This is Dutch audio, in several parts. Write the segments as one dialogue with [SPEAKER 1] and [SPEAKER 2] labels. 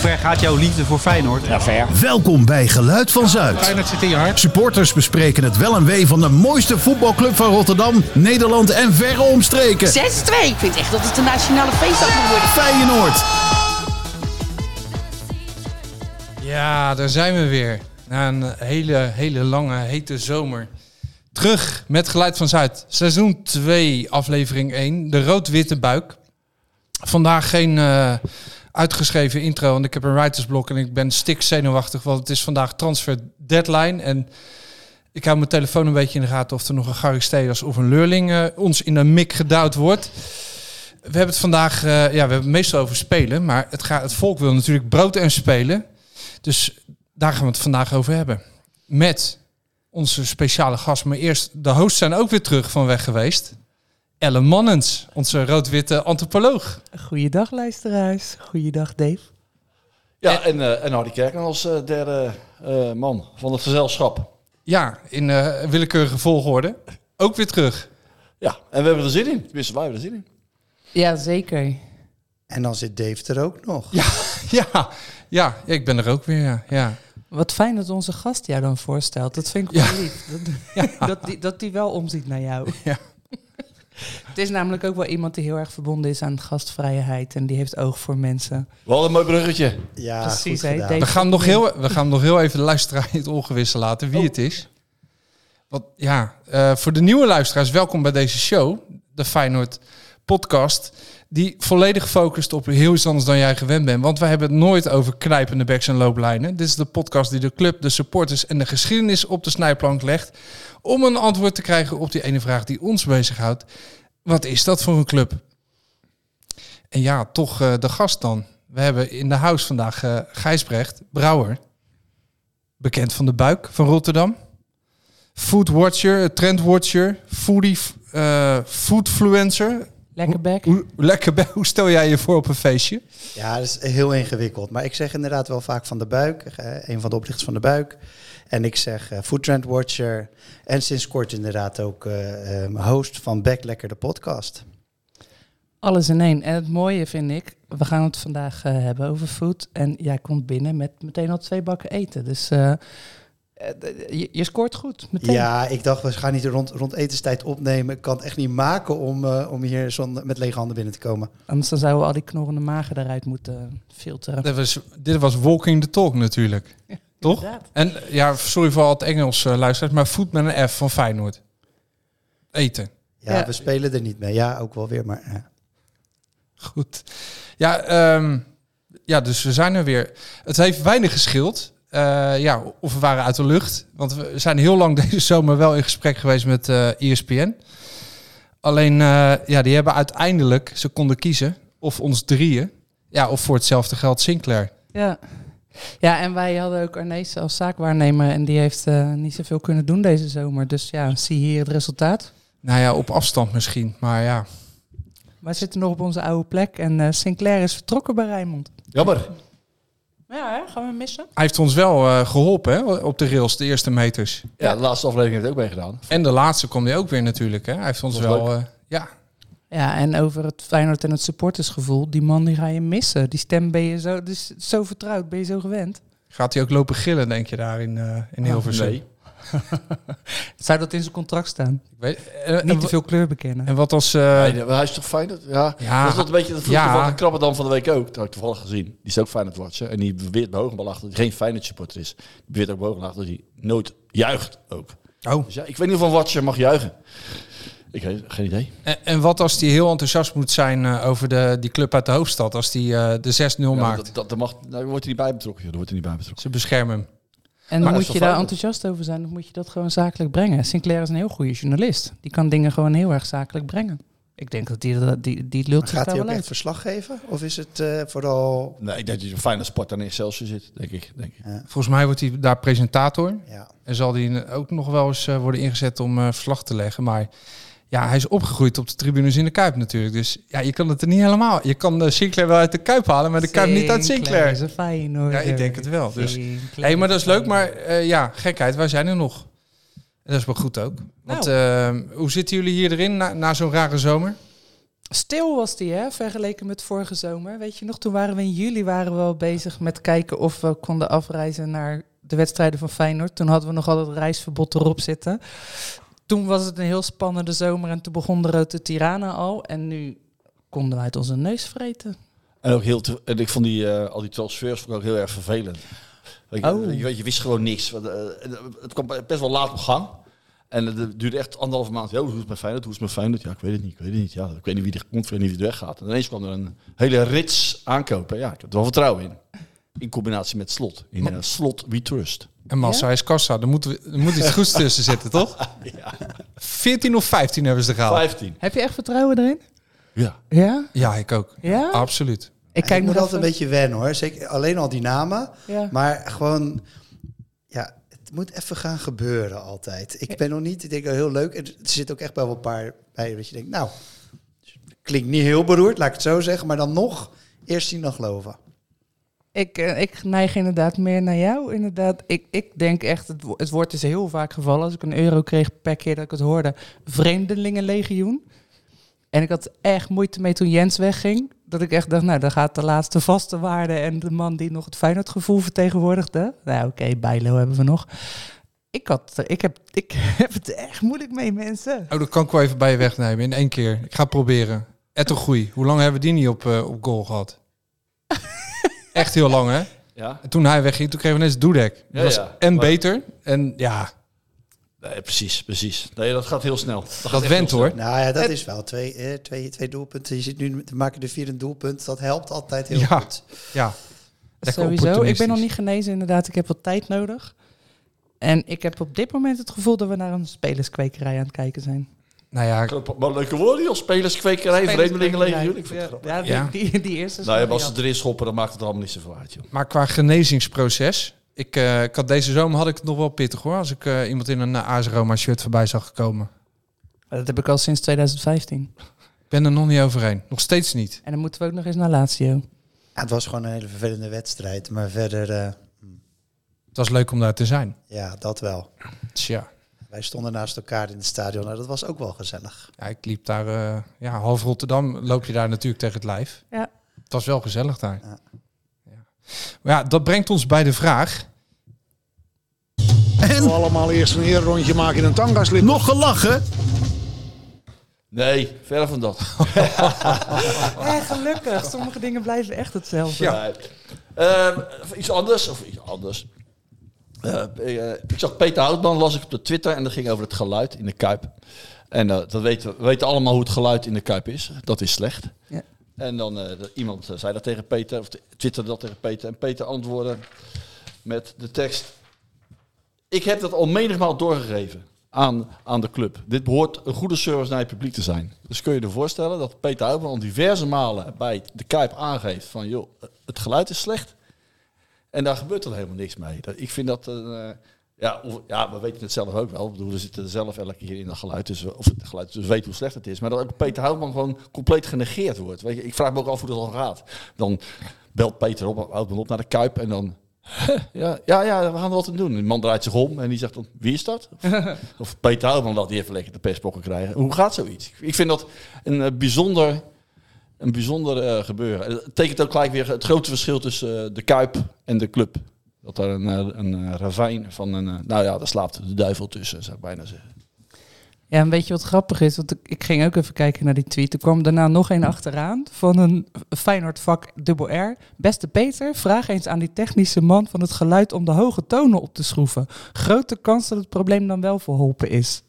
[SPEAKER 1] ver gaat jouw liefde voor Feyenoord?
[SPEAKER 2] Ja, ver.
[SPEAKER 3] Welkom bij Geluid van Zuid.
[SPEAKER 1] Feyenoord zit in je hart.
[SPEAKER 3] Supporters bespreken het wel en wee van de mooiste voetbalclub van Rotterdam, Nederland en verre omstreken.
[SPEAKER 4] 6-2. Ik vind echt dat het een nationale feestdag moet worden.
[SPEAKER 3] Feyenoord.
[SPEAKER 5] Ja, daar zijn we weer. Na een hele, hele lange, hete zomer. Terug met Geluid van Zuid. Seizoen 2, aflevering 1. De rood-witte buik. Vandaag geen eh, uitgeschreven intro, want ik heb een writersblok en ik ben stik zenuwachtig, want het is vandaag transfer deadline. En ik hou mijn telefoon een beetje in de gaten of er nog een Garisteas of een Leurling eh, ons in de mik gedouwd wordt. We hebben het vandaag, eh, ja, we hebben het meestal over spelen, maar het, gaat, het volk wil natuurlijk brood en spelen. Dus daar gaan we het vandaag over hebben. Met onze speciale gast. Maar eerst, de hosts zijn ook weer terug van weg geweest. Ellen Mannens, onze rood-witte antropoloog.
[SPEAKER 6] Goeiedag luisteraars. Goeiedag Dave.
[SPEAKER 2] Ja, en, eh en Hardy Kerken als eh, derde eh, man van het gezelschap.
[SPEAKER 5] Ja, in eh, willekeurige volgorde. Ook weer terug.
[SPEAKER 2] Ja, en we hebben er zin in. Tenminste, wij hebben er zin in.
[SPEAKER 4] Ja, zeker.
[SPEAKER 7] En dan zit Dave er ook nog.
[SPEAKER 5] Ja, ja, ik ben er ook weer. Ja, ja.
[SPEAKER 6] Wat fijn dat onze gast jou dan voorstelt. Dat vind ik wel lief. Dat, dat, die, dat die wel omziet naar jou.
[SPEAKER 5] Ja.
[SPEAKER 6] Het is namelijk ook wel iemand die heel erg verbonden is aan gastvrijheid. En die heeft oog voor mensen.
[SPEAKER 2] Wat een mooi bruggetje.
[SPEAKER 7] Ja,
[SPEAKER 6] Precies,
[SPEAKER 7] goed
[SPEAKER 6] hè,
[SPEAKER 7] gedaan.
[SPEAKER 6] Dave.
[SPEAKER 5] We gaan, hem nog heel, we gaan hem nog heel even de luisteraar in het ongewisse laten wie het is. Want ja, eh, voor de nieuwe luisteraars, welkom bij deze show, de Feyenoord podcast, die volledig focust op heel iets anders dan jij gewend bent. Want wij hebben het nooit over knijpende backs en looplijnen. Dit is de podcast die de club, de supporters en de geschiedenis op de snijplank legt om een antwoord te krijgen op die ene vraag die ons bezighoudt. Wat is dat voor een club? En ja, toch eh, de gast dan. We hebben in de house vandaag eh Gijsbrecht Brouwer. Bekend van de buik van Rotterdam. Foodwatcher, trendwatcher, foodie, eh foodfluencer.
[SPEAKER 6] Lekker bek.
[SPEAKER 5] Hoe, lekker, be- hoe stel jij je voor op een feestje?
[SPEAKER 7] Ja, dat is heel ingewikkeld. Maar ik zeg inderdaad wel vaak van de buik. eh, Een van de oplichters van de buik. En ik zeg eh, Food Trend Watcher. En sinds kort inderdaad ook eh, eh, host van Back Lekker de podcast.
[SPEAKER 6] Alles in één. En het mooie vind ik, we gaan het vandaag eh, hebben over food. En jij komt binnen met meteen al twee bakken eten. Dus eh, eh, d- je, je scoort goed, meteen.
[SPEAKER 7] Ja, ik dacht we gaan niet rond, rond etenstijd opnemen. Ik kan het echt niet maken om, eh, om hier zonder, met lege handen binnen te komen.
[SPEAKER 6] Anders dan zouden we al die knorrende magen eruit moeten filteren.
[SPEAKER 5] Dit was, dit was walking the talk natuurlijk. Toch?
[SPEAKER 6] Inderdaad.
[SPEAKER 5] En ja, sorry voor al het Engels eh, luisteraars, maar food met een F van Feyenoord. Eten.
[SPEAKER 7] Ja,
[SPEAKER 6] Ja.
[SPEAKER 7] we spelen er niet mee. Ja, ook wel weer. Maar eh,
[SPEAKER 5] Goed. Ja, ehm, ja, dus we zijn er weer. Het heeft weinig geschild. Eh, ja, of we waren uit de lucht. Want we zijn heel lang deze zomer wel in gesprek geweest met eh ESPN. Alleen, eh, ja, die hebben uiteindelijk, ze konden kiezen, of ons drieën, ja, of voor hetzelfde geld Sinclair.
[SPEAKER 6] Ja. ja, en wij hadden ook Arnees als zaakwaarnemer. En die heeft eh, niet zoveel kunnen doen deze zomer. Dus ja, zie hier het resultaat.
[SPEAKER 5] Nou ja, op afstand misschien, maar ja.
[SPEAKER 6] Wij zitten nog op onze oude plek. En eh, Sinclair is vertrokken bij Rijnmond.
[SPEAKER 2] Jammer.
[SPEAKER 6] Ja, hè? gaan we hem missen?
[SPEAKER 5] Hij heeft ons wel eh, geholpen hè, op de rails, de eerste meters.
[SPEAKER 2] Ja, de laatste aflevering heeft ook meegedaan.
[SPEAKER 5] En de laatste kwam hij ook weer natuurlijk. Hè. Hij heeft ons
[SPEAKER 2] Dat was
[SPEAKER 5] wel, eh, ja,
[SPEAKER 6] Ja, en over het Feyenoord en het supportersgevoel. Die man die ga je missen. Die stem ben je zo, dus zo vertrouwd, ben je zo gewend.
[SPEAKER 5] Gaat hij ook lopen gillen, denk je, daar in, eh in Hilversum?
[SPEAKER 2] Ah, nee.
[SPEAKER 6] Zou dat in zijn contract staan?
[SPEAKER 5] Ik weet, eh, en,
[SPEAKER 6] Niet te
[SPEAKER 5] wa-
[SPEAKER 6] veel kleur bekennen.
[SPEAKER 5] en wat als... eh,
[SPEAKER 2] Nee, maar hij is toch fijn? Ja.
[SPEAKER 5] Ja.
[SPEAKER 2] Dat is dat een beetje dat vroeg
[SPEAKER 5] Ja.
[SPEAKER 2] van de Krabberdam van de week ook. Dat heb ik toevallig gezien. Die is ook Feyenoord watcher. En die beweert bij Hogenbal achter dat hij geen Feyenoord supporter is. Die beweert ook bij Hogenbal achter dat hij nooit juicht ook.
[SPEAKER 5] oh.
[SPEAKER 2] Dus ja, ik weet niet of een watcher mag juichen. Ik weet geen idee.
[SPEAKER 5] en, en wat als hij heel enthousiast moet zijn eh, over de, die club uit de hoofdstad? Als hij de 6-0
[SPEAKER 2] Ja,
[SPEAKER 5] maakt.
[SPEAKER 2] dat, dat, dat mag, nou, daar wordt hij niet bij betrokken. joh. Daar wordt hij niet bij betrokken.
[SPEAKER 5] Ze beschermen hem.
[SPEAKER 6] En
[SPEAKER 2] Maar
[SPEAKER 6] moet
[SPEAKER 2] dat
[SPEAKER 6] je
[SPEAKER 2] is
[SPEAKER 6] daar
[SPEAKER 2] wel
[SPEAKER 6] enthousiast over zijn, of moet je dat gewoon zakelijk brengen? Sinclair is een heel goede journalist. Die kan dingen gewoon heel erg zakelijk brengen. Ik denk dat die, dat- die, die lult
[SPEAKER 7] maar
[SPEAKER 6] zich
[SPEAKER 7] gaat
[SPEAKER 6] daar
[SPEAKER 7] hij ook
[SPEAKER 6] wel
[SPEAKER 7] echt
[SPEAKER 6] uit.
[SPEAKER 7] verslag geven? Of is het eh, vooral...
[SPEAKER 2] Nee, ik denk dat je een fijne sport aan Excelsior zit, denk ik. Denk ik.
[SPEAKER 5] Volgens mij wordt hij daar presentator.
[SPEAKER 7] Ja.
[SPEAKER 5] En zal hij ook nog wel eens eh, worden ingezet om eh, verslag te leggen. Maar ja, hij is opgegroeid op de tribunes in de Kuip natuurlijk. Dus ja, je kan het er niet helemaal... Je kan eh, Sinclair wel uit de Kuip halen, maar de Kuip niet uit
[SPEAKER 6] is
[SPEAKER 5] Sinclair.
[SPEAKER 6] een
[SPEAKER 5] Ja,
[SPEAKER 6] Feyenoorder.
[SPEAKER 5] ik denk het wel. Dus,
[SPEAKER 6] Sinclair
[SPEAKER 5] Hé, maar dat is leuk.
[SPEAKER 6] Feyenoorder.
[SPEAKER 5] Maar eh, ja, gekheid, wij zijn er nog. En dat is wel goed ook. Want, eh, hoe zitten jullie hier erin na, na zo'n rare zomer?
[SPEAKER 6] Stil was die, hè, vergeleken met vorige zomer. Weet je nog, toen waren we in juli waren we al bezig met kijken of we konden afreizen naar de wedstrijden van Feyenoord. Toen hadden we nog al het reisverbod erop zitten. Toen was het een heel spannende zomer en toen begon de Rote Tirana al. En nu konden we uit onze neus vreten.
[SPEAKER 2] En ook heel te- en ik vond die, eh, al die transfers vond ik ook heel erg vervelend. Weet je,
[SPEAKER 6] Oh.
[SPEAKER 2] je, weet, je wist gewoon niks. Want, eh, en, eh, het kwam best wel laat op gang. En het eh, duurde echt anderhalve maand. Ja, hoe is het met Feyenoord? Hoe is het met Feyenoord? Ja, ik weet het niet. Ik weet het niet. Ja, ik weet niet wie er komt, ik weet niet wie er weggaat. En ineens kwam er een hele rits aankopen. Ja, ik heb er wel vertrouwen in. In combinatie met Slot. In eh, Slot We Trust.
[SPEAKER 5] En Massa is kassa. Er moet, er moet iets goeds tussen zitten, toch? 14 of 15 hebben ze er gehaald.
[SPEAKER 2] 15.
[SPEAKER 6] Heb je echt vertrouwen erin?
[SPEAKER 2] Ja.
[SPEAKER 6] Ja?
[SPEAKER 5] Ja, ik ook.
[SPEAKER 6] Ja?
[SPEAKER 5] Absoluut.
[SPEAKER 6] Ik
[SPEAKER 7] Ah, Ik
[SPEAKER 6] kijk
[SPEAKER 7] moet
[SPEAKER 6] nog
[SPEAKER 7] altijd
[SPEAKER 6] altijd
[SPEAKER 7] een beetje wennen hoor. Zeker, alleen al die namen.
[SPEAKER 6] Ja.
[SPEAKER 7] Maar gewoon, ja, het moet even gaan gebeuren altijd. Ik ben nog niet, ik denk oh, heel leuk. Er zit ook echt wel een paar bij dat je denkt, nou, klinkt niet heel beroerd, laat ik het zo zeggen. Maar dan nog, eerst zien dan geloven.
[SPEAKER 6] Ik, eh, ik neig inderdaad meer naar jou. Inderdaad. Ik, ik denk echt, het, wo- het woord is heel vaak gevallen. Als ik een euro kreeg per keer dat ik het hoorde. Vreemdelingenlegioen. En ik had echt moeite mee toen Jens wegging. Dat ik echt dacht, nou, dan gaat de laatste vaste waarde... en de man die nog het Feyenoordgevoel vertegenwoordigde. Nou, oké, Bijlo hebben we nog. Ik, had, eh, ik, heb, ik heb het echt moeilijk mee, mensen.
[SPEAKER 5] Oh, dat kan ik wel even bij je wegnemen in één keer. Ik ga het proberen. Ettogroei. Hoe lang hebben we die niet op, eh, op goal gehad? Echt heel lang, hè?
[SPEAKER 2] Ja,
[SPEAKER 5] En toen hij wegging, toen kregen we ineens Doedek. Dat
[SPEAKER 2] Ja,
[SPEAKER 5] was
[SPEAKER 2] ja.
[SPEAKER 5] en
[SPEAKER 2] Maar-
[SPEAKER 5] beter. En ja,
[SPEAKER 2] Nee, precies, precies. Nee, dat gaat heel snel. Dat,
[SPEAKER 5] dat went hoor.
[SPEAKER 7] Nou ja, dat is wel twee, eh, twee, twee doelpunten. Je zit nu, te maken de vier een doelpunt. Dat helpt altijd heel
[SPEAKER 5] Ja.
[SPEAKER 7] goed.
[SPEAKER 5] Ja. Lekker
[SPEAKER 6] Sowieso. Ik ben nog
[SPEAKER 5] opportunistisch.
[SPEAKER 6] niet genezen, inderdaad. Ik heb wat tijd nodig. En ik heb op dit moment het gevoel dat we naar een spelerskwekerij aan het kijken zijn.
[SPEAKER 5] Nou ja, ik-
[SPEAKER 2] Maar leuke woorden, joh. Spelerskwekerij, vreemdelingenlegioen. Ik vind het
[SPEAKER 6] Ja,
[SPEAKER 2] grappig.
[SPEAKER 6] ja, die,
[SPEAKER 5] Ja.
[SPEAKER 6] Die, die eerste. is
[SPEAKER 2] Nou ja,
[SPEAKER 6] wel
[SPEAKER 2] maar als ze erin schoppen, dan maakt het allemaal niet zoveel uit, joh.
[SPEAKER 5] maar qua genezingsproces. Ik, eh, ik had deze zomer had ik het nog wel pittig hoor. Als ik eh, iemand in een uh, AS Roma shirt voorbij zag komen.
[SPEAKER 6] jammer. Dat heb ik al sinds 2015.
[SPEAKER 5] Ik ben er nog niet overheen. Nog steeds niet.
[SPEAKER 6] En dan moeten we ook nog eens naar Lazio.
[SPEAKER 7] Ja, het was gewoon een hele vervelende wedstrijd. Maar verder, eh,
[SPEAKER 5] Het was leuk om daar te zijn.
[SPEAKER 7] ja, dat wel.
[SPEAKER 5] Tja.
[SPEAKER 7] Wij stonden naast elkaar in het stadion. Nou, dat was ook wel gezellig.
[SPEAKER 5] Ja, ik liep daar, eh, ja, half Rotterdam loop je daar natuurlijk tegen het lijf.
[SPEAKER 6] Ja.
[SPEAKER 5] Het was wel gezellig daar.
[SPEAKER 7] Ja.
[SPEAKER 5] Ja. Maar ja, dat brengt ons bij de vraag.
[SPEAKER 3] En
[SPEAKER 8] Allemaal eerst een eerrondje maken in een tangaslip.
[SPEAKER 3] nog gelachen?
[SPEAKER 2] Nee, verre van dat.
[SPEAKER 6] gelukkig. Sommige dingen blijven echt hetzelfde.
[SPEAKER 2] Ja. Ehm, iets anders, of iets anders. Eh, eh, ik zag Peter Houtman, las ik op de Twitter, en dat ging over het geluid in de Kuip. En eh, dat weten, we- we weten allemaal hoe het geluid in de Kuip is. Dat is slecht.
[SPEAKER 6] Ja.
[SPEAKER 2] En dan eh, dat- iemand eh, zei dat tegen Peter, of t- twitterde dat tegen Peter. En Peter antwoordde met de tekst... Ik heb dat al menigmaal doorgegeven aan, aan de club. Dit behoort een goede service naar je publiek te zijn. Dus kun je je voorstellen dat Peter Houtman al diverse malen bij de Kuip aangeeft van... joh, het geluid is slecht. En daar gebeurt dan helemaal niks mee. Dat- Ik vind dat... een, eh, ja, of- ja, we weten het zelf ook wel. Ik bedoel, we zitten zelf elke keer in dat geluid. Dus, we- of het geluid, dus we weten hoe slecht het is. Maar dat ook Peter Houtman gewoon compleet genegeerd wordt. Weet je, ik vraag me ook af hoe dat dan gaat. Dan belt Peter op, Houtman op naar de Kuip en dan... Ja, ja, ja, we gaan er wat aan doen. Die man draait zich om en die zegt dan, wie is dat? Of, of Peter Houtman laat die even lekker de persbokken krijgen. Hoe gaat zoiets? Ik vind dat een eh, bijzonder, een bijzonder eh, gebeuren. Het tekent ook gelijk weer het grote verschil tussen eh, de Kuip en de club. Dat daar een, eh, een eh, ravijn van een... eh, nou ja, daar slaapt de duivel tussen, zou ik bijna zeggen.
[SPEAKER 6] Ja, en weet je wat grappig is? Want ik, ik ging ook even kijken naar die tweet. Er kwam daarna nog een achteraan van een Feyenoord vak dubbel R. Beste Peter, vraag eens aan die technische man van het geluid om de hoge tonen op te schroeven. Grote kans dat het probleem dan wel verholpen is.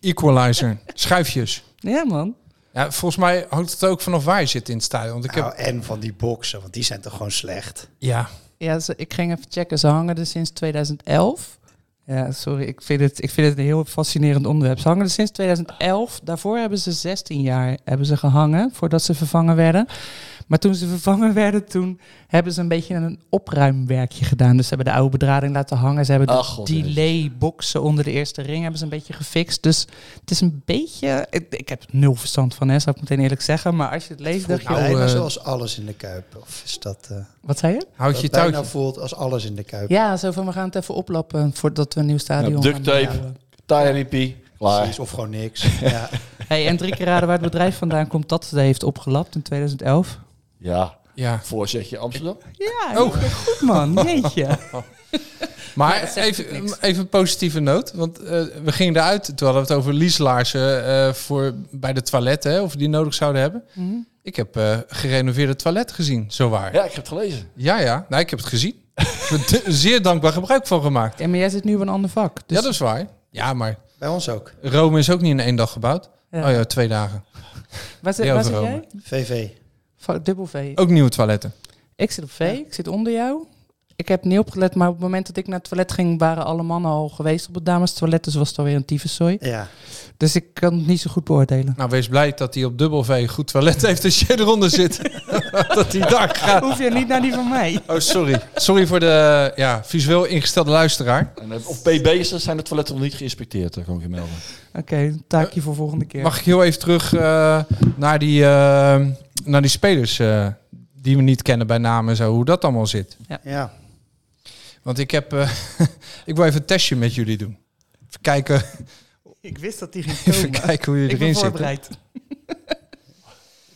[SPEAKER 5] Equalizer, schuifjes.
[SPEAKER 6] Ja, man.
[SPEAKER 5] Ja, volgens mij hangt het ook vanaf waar je zit in het stadion. Want ik heb,
[SPEAKER 7] Nou, en van die boksen, want die zijn toch gewoon slecht.
[SPEAKER 5] ja,
[SPEAKER 6] Ja, ze, ik ging even checken. Ze hangen er sinds 2011. Ja, sorry, ik vind, het, ik vind het een heel fascinerend onderwerp. Ze hangen er sinds 2011. Daarvoor hebben ze 16 jaar hebben ze gehangen voordat ze vervangen werden. Maar toen ze vervangen werden, toen hebben ze een beetje een opruimwerkje gedaan. Dus ze hebben de oude bedrading laten hangen. Ze hebben de
[SPEAKER 2] Ach, God,
[SPEAKER 6] delay-boxen onder de eerste ring hebben ze een beetje gefixt. Dus het is een beetje... Ik, ik heb nul verstand van, hè, zou ik meteen eerlijk zeggen. Maar als je het leest, dacht je...
[SPEAKER 5] Nou,
[SPEAKER 7] bijna
[SPEAKER 5] eh,
[SPEAKER 7] zoals alles in de kuip. Of is dat. eh
[SPEAKER 6] Wat zei je?
[SPEAKER 5] houd
[SPEAKER 7] dat
[SPEAKER 5] je
[SPEAKER 7] bijna
[SPEAKER 5] touwtje.
[SPEAKER 7] voelt als alles in de kuip.
[SPEAKER 6] Ja, zo van we gaan het even
[SPEAKER 5] Nou,
[SPEAKER 6] oplappen voordat we een nieuw stadion
[SPEAKER 2] Ja, Nou, duct
[SPEAKER 6] gaan eh,
[SPEAKER 2] tape.
[SPEAKER 6] bouwen.
[SPEAKER 2] Tyree P. Klaar.
[SPEAKER 7] Precies, of gewoon niks. ja.
[SPEAKER 6] Hey, en drie keer raden waar het bedrijf vandaan komt dat ze heeft opgelapt in 2011.
[SPEAKER 2] Ja,
[SPEAKER 5] Ja.
[SPEAKER 2] voorzetje Amsterdam.
[SPEAKER 6] Ja, oh. goed man. Jeetje.
[SPEAKER 5] Maar
[SPEAKER 6] Ja, dat zegt natuurlijk
[SPEAKER 5] even,
[SPEAKER 6] niks.
[SPEAKER 5] even een positieve noot. Want eh, we gingen eruit. Toen hadden we het over lieslaarzen eh, voor bij de toiletten. Hè, of we die nodig zouden hebben.
[SPEAKER 6] Mhm.
[SPEAKER 5] Ik heb eh, gerenoveerde toilet gezien, zowaar. Ja,
[SPEAKER 2] Ja, ik heb het gelezen.
[SPEAKER 5] ja. Nou, ik heb het gezien. Ik heb er zeer dankbaar gebruik van gemaakt.
[SPEAKER 6] Ja, maar jij zit nu op een ander vak. Dus
[SPEAKER 5] ja, dat is waar. Ja, maar
[SPEAKER 7] Bij ons ook.
[SPEAKER 5] Rome is ook niet in één dag gebouwd.
[SPEAKER 6] Ja.
[SPEAKER 5] Oh ja, twee dagen.
[SPEAKER 6] waar, zit,
[SPEAKER 5] Ja,
[SPEAKER 6] waar zit
[SPEAKER 5] Rome.
[SPEAKER 6] jij?
[SPEAKER 7] VV.
[SPEAKER 6] Va- Dubbel V.
[SPEAKER 5] Ook nieuwe toiletten.
[SPEAKER 6] Ik zit op V, ik zit onder jou. Ik heb niet opgelet, maar op het moment dat ik naar het toilet ging, waren alle mannen al geweest op het dames toilet. Dus was het alweer een tyfuszooi.
[SPEAKER 7] Ja.
[SPEAKER 6] Dus ik kan het niet zo goed beoordelen.
[SPEAKER 5] Nou, wees blij dat hij op dubbel V goed toilet heeft als je eronder zit. dat hij daar gaat.
[SPEAKER 6] Hoef je niet naar die van mij.
[SPEAKER 5] Oh, sorry. Sorry voor de ja, visueel ingestelde luisteraar.
[SPEAKER 2] En eh, op PB's zijn de toiletten nog niet geïnspecteerd, daar kan ik je melden.
[SPEAKER 6] Oké, taakje voor volgende keer.
[SPEAKER 5] Mag ik heel even terug eh, naar, die, eh, naar die spelers eh, die we niet kennen bij naam en zo, hoe dat allemaal zit.
[SPEAKER 7] Ja.
[SPEAKER 5] Want ik heb, eh, ik wil even een testje met jullie doen. Even kijken,
[SPEAKER 6] Ik wist dat die ging
[SPEAKER 5] even kijken hoe je erin zit.
[SPEAKER 6] voorbereid.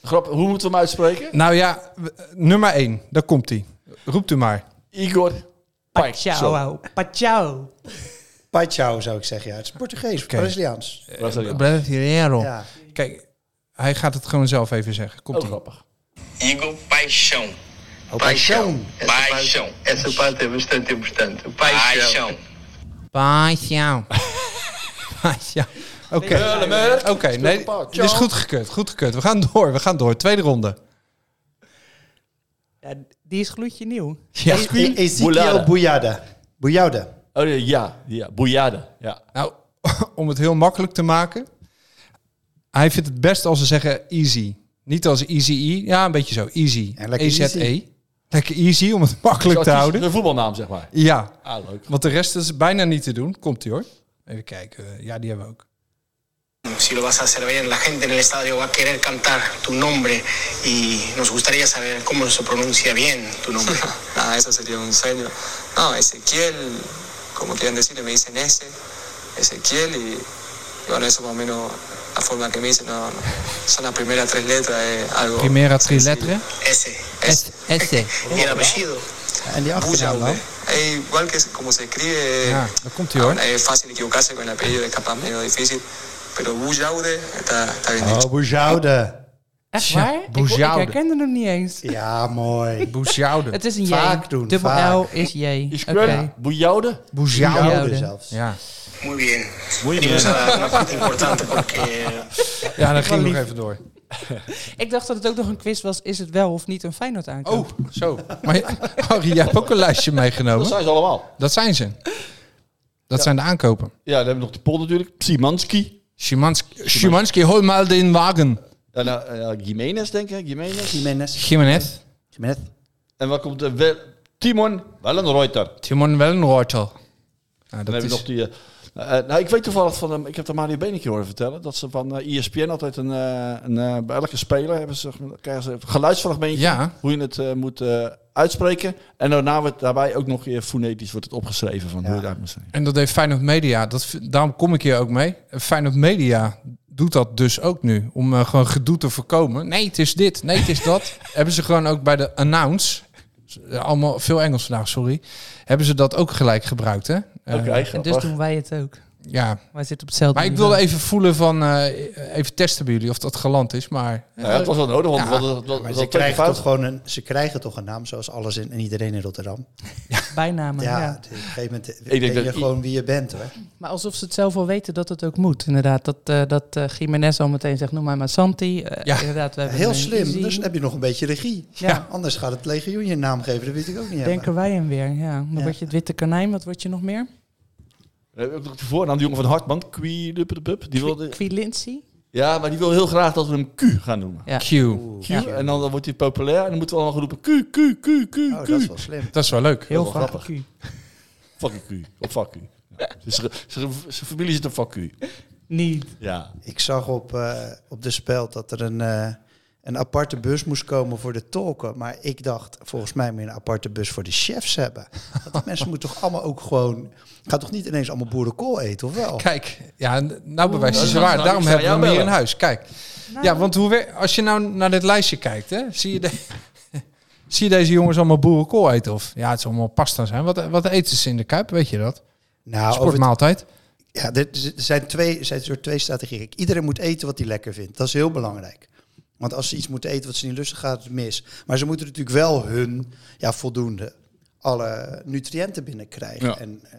[SPEAKER 2] Grap, hoe moeten we hem uitspreken?
[SPEAKER 5] Nou ja, w- nummer 1, daar komt hij. Roept u maar.
[SPEAKER 2] Igor Pike. Zo,
[SPEAKER 6] Pachau, pachau.
[SPEAKER 7] Pai Chao zou ik zeggen. Ja, het is Portugees,
[SPEAKER 5] Oké.
[SPEAKER 7] Braziliaans.
[SPEAKER 2] Braziliaan.
[SPEAKER 5] Brasileiro.
[SPEAKER 7] Ja.
[SPEAKER 5] Kijk, hij gaat het gewoon zelf even zeggen. Komt
[SPEAKER 2] Ook
[SPEAKER 5] ie.
[SPEAKER 2] grappig.
[SPEAKER 9] Igor Paixão.
[SPEAKER 7] Oh, paixão.
[SPEAKER 9] Essa Paixão. Parte, essa parte é bastante importante. Paixão.
[SPEAKER 5] Paasjouw. Paasjouw. Oké. Oké, nee,
[SPEAKER 2] Paasjouw.
[SPEAKER 5] het is goed gekeurd, goed gekeurd. We gaan door, we gaan door. Tweede ronde.
[SPEAKER 6] Ja, die is gloedje nieuw.
[SPEAKER 5] Ja.
[SPEAKER 7] E- Ezekiel
[SPEAKER 2] Boulada.
[SPEAKER 7] Bouyada. Bouyada.
[SPEAKER 2] Oh ja, ja, ja. Boeiade. Ja.
[SPEAKER 5] Nou, om het heel makkelijk te maken. Hij vindt het best als ze zeggen easy. Niet als easy E. Ja, een beetje zo. Easy.
[SPEAKER 7] Ja, lekker
[SPEAKER 5] EZE.
[SPEAKER 7] easy.
[SPEAKER 5] Lekker easy om het makkelijk
[SPEAKER 2] Zo,
[SPEAKER 5] te
[SPEAKER 2] het is
[SPEAKER 5] houden.
[SPEAKER 2] Een voetbalnaam, zeg maar.
[SPEAKER 5] Ja,
[SPEAKER 2] Ah, leuk.
[SPEAKER 5] want de rest is bijna niet te doen. Komt ie hoor. Even kijken. Eh, Ja, die hebben we ook.
[SPEAKER 9] Si lo vas a hacer bien, la gente en el estadio va a querer cantar tu nombre y nos gustaría saber cómo se pronuncia bien tu nombre.
[SPEAKER 10] Nada, Ah, eso sería un sueño. No, Ezequiel, como quieran decirle, me dicen ese, Ezequiel, y, y bueno, eso más o menos la forma que me dicen, no, no. son las primeras tres letras, es algo.
[SPEAKER 5] Primera tres letras.
[SPEAKER 9] Ese.
[SPEAKER 6] Esse.
[SPEAKER 9] Y el apellido.
[SPEAKER 7] En die achternaam dan?
[SPEAKER 10] Es Eh, igual que como se escribe,
[SPEAKER 5] Ja,
[SPEAKER 10] eh,
[SPEAKER 5] dat Ah, komt ie hoor.
[SPEAKER 10] bueno, es fácil equivocarse con el apellido, es capaz medio difícil, pero Bujaude está, está bien dicho.
[SPEAKER 7] Oh, Boujoude.
[SPEAKER 6] Echt
[SPEAKER 5] Tja,
[SPEAKER 6] waar? Ik, ik
[SPEAKER 5] boezjoude.
[SPEAKER 6] herkende hem niet eens.
[SPEAKER 7] Ja, mooi.
[SPEAKER 5] Boesjoude.
[SPEAKER 6] Het is een J.
[SPEAKER 7] Vaak doen,
[SPEAKER 6] Dubbel
[SPEAKER 7] vaak.
[SPEAKER 6] L is J.
[SPEAKER 2] Is
[SPEAKER 6] Oké.
[SPEAKER 2] Boeiade.
[SPEAKER 5] Boesjoude.
[SPEAKER 7] Boujoude
[SPEAKER 6] Boujoude.
[SPEAKER 7] zelfs.
[SPEAKER 5] Ja.
[SPEAKER 9] Muy bien. Venimos a dar una parte importante porque
[SPEAKER 5] ja, dan ging ik nog even door.
[SPEAKER 6] Ik dacht dat het ook nog een quiz was. Is het wel of niet een Feyenoord aankoop?
[SPEAKER 5] Oh, zo. Maar Harry, jij hebt ook een lijstje
[SPEAKER 2] Dat
[SPEAKER 5] meegenomen.
[SPEAKER 2] zijn ze allemaal.
[SPEAKER 5] Dat zijn ze. Dat zijn de aankopen.
[SPEAKER 2] Ja, dan hebben we nog die pol natuurlijk. Simanski.
[SPEAKER 5] Szymanski, Szymanski, hol mal den wagen.
[SPEAKER 2] En eh, eh, Jiménez, denk ik. Jiménez.
[SPEAKER 7] Jiménez.
[SPEAKER 5] Jiménez,
[SPEAKER 7] Jiménez.
[SPEAKER 2] En waar komt de wel Timon Wellenreuter. Dan
[SPEAKER 5] Timon Wellenreuter. Nou, dat
[SPEAKER 2] hebben we nog
[SPEAKER 5] is...
[SPEAKER 2] die... eh, eh, nou, ik weet toevallig van hem, ik heb de Mario Beneke horen vertellen, dat ze van E ISPN ESPN altijd een, eh, een eh, bij elke speler hebben ze, krijgen ze een geluidsfragmentje,
[SPEAKER 5] Ja.
[SPEAKER 2] hoe je het eh, moet eh, uitspreken. En daarna wordt daarbij ook nog weer fonetisch wordt het opgeschreven van hoe je het uit moet spreken.
[SPEAKER 5] En dat heeft Feyenoord Media, dat, v- daarom kom ik hier ook mee. Feyenoord Media doet dat dus ook nu, om eh, gewoon gedoe te voorkomen. Nee, het is dit, nee, het is dat. hebben ze gewoon ook bij de announce, eh, allemaal veel Engels vandaag, sorry, hebben ze dat ook gelijk gebruikt, hè? Eh,
[SPEAKER 2] Oké,
[SPEAKER 7] Oh,
[SPEAKER 6] En
[SPEAKER 2] grappig.
[SPEAKER 6] dus doen wij het ook.
[SPEAKER 5] Ja,
[SPEAKER 6] Wij zitten op hetzelfde
[SPEAKER 5] maar ik
[SPEAKER 6] niveau.
[SPEAKER 5] wilde even voelen van, eh, even testen bij jullie of dat geland is, maar...
[SPEAKER 2] Nou ja, dat was wel nodig, want
[SPEAKER 5] Ja.
[SPEAKER 2] dat, dat, dat,
[SPEAKER 7] Maar
[SPEAKER 2] dat
[SPEAKER 7] ze
[SPEAKER 2] dat-
[SPEAKER 7] krijgen,
[SPEAKER 2] fout.
[SPEAKER 7] toch gewoon een, ze krijgen toch een naam zoals alles in, en iedereen in Rotterdam.
[SPEAKER 6] Bijnamen.
[SPEAKER 7] Ja,
[SPEAKER 6] Nou Ja.
[SPEAKER 7] op een gegeven moment
[SPEAKER 2] denk
[SPEAKER 7] weet je
[SPEAKER 2] dat i-
[SPEAKER 7] gewoon wie je bent hoor.
[SPEAKER 6] Maar alsof ze het zelf wel weten dat het ook moet. Inderdaad, dat, eh dat eh, Jiménez al meteen zegt, noem mij maar Santi. Eh,
[SPEAKER 5] Ja.
[SPEAKER 6] inderdaad, we hebben
[SPEAKER 7] Heel
[SPEAKER 6] een
[SPEAKER 7] slim,
[SPEAKER 6] Izzy.
[SPEAKER 7] dus dan heb je nog een beetje regie.
[SPEAKER 6] Ja.
[SPEAKER 7] Anders gaat het legioen je naam geven, dat weet ik ook niet.
[SPEAKER 6] Denken
[SPEAKER 7] helemaal.
[SPEAKER 6] wij hem weer, ja. Dan
[SPEAKER 7] Ja.
[SPEAKER 6] word je het witte konijn, wat word je nog meer?
[SPEAKER 2] We hebben ook nog de voornaam, die jongen van Hartman, Quilupupup. Die wilde,
[SPEAKER 6] Quilincy?
[SPEAKER 2] ja, maar die wil heel graag dat we hem Q gaan noemen.
[SPEAKER 6] Ja.
[SPEAKER 5] Q,
[SPEAKER 2] Q, en dan, dan wordt hij populair en dan moeten we allemaal gaan roepen Q, Q, Q, Q,
[SPEAKER 7] Oh,
[SPEAKER 2] Q.
[SPEAKER 7] dat is wel slim.
[SPEAKER 5] dat is wel leuk.
[SPEAKER 6] Heel
[SPEAKER 2] wel
[SPEAKER 6] vaak
[SPEAKER 2] grappig.
[SPEAKER 6] Q.
[SPEAKER 2] Fuck u. Of fuck u. Ja. Zijn familie zit op fuck u.
[SPEAKER 6] Niet.
[SPEAKER 2] Ja.
[SPEAKER 7] Ik zag op, eh, op de speld dat er een, eh, een aparte bus moest komen voor de tolken. Maar ik dacht, volgens mij moet je een aparte bus voor de chefs hebben. Want die mensen moeten toch allemaal ook gewoon... Ga toch niet ineens allemaal boerenkool eten, of wel?
[SPEAKER 5] Kijk, ja, n- nou bewijst
[SPEAKER 2] dat
[SPEAKER 5] je
[SPEAKER 2] is
[SPEAKER 5] ze
[SPEAKER 2] nou-
[SPEAKER 5] waar.
[SPEAKER 2] nou,
[SPEAKER 5] Daarom
[SPEAKER 2] ik ga
[SPEAKER 5] hebben we hem hier in
[SPEAKER 2] jou bellen. Nou,
[SPEAKER 5] huis. Kijk. Ja, want hoe wer- als je nou naar dit lijstje kijkt, hè, zie, je de- zie je deze jongens allemaal boerenkool eten? Of ja, het is allemaal pasta zijn. Wat, wat eten ze in de Kuip, weet je dat?
[SPEAKER 7] Nou, over het-
[SPEAKER 5] Sportmaaltijd.
[SPEAKER 7] ja, er z- zijn twee, er zijn een soort twee strategieën. Kijk, Iedereen moet eten wat hij lekker vindt. Dat is heel belangrijk. Want als ze iets moeten eten wat ze niet lusten, gaat het mis. Maar ze moeten natuurlijk wel hun ja, voldoende alle nutriënten binnenkrijgen.
[SPEAKER 2] Ja.
[SPEAKER 7] En eh,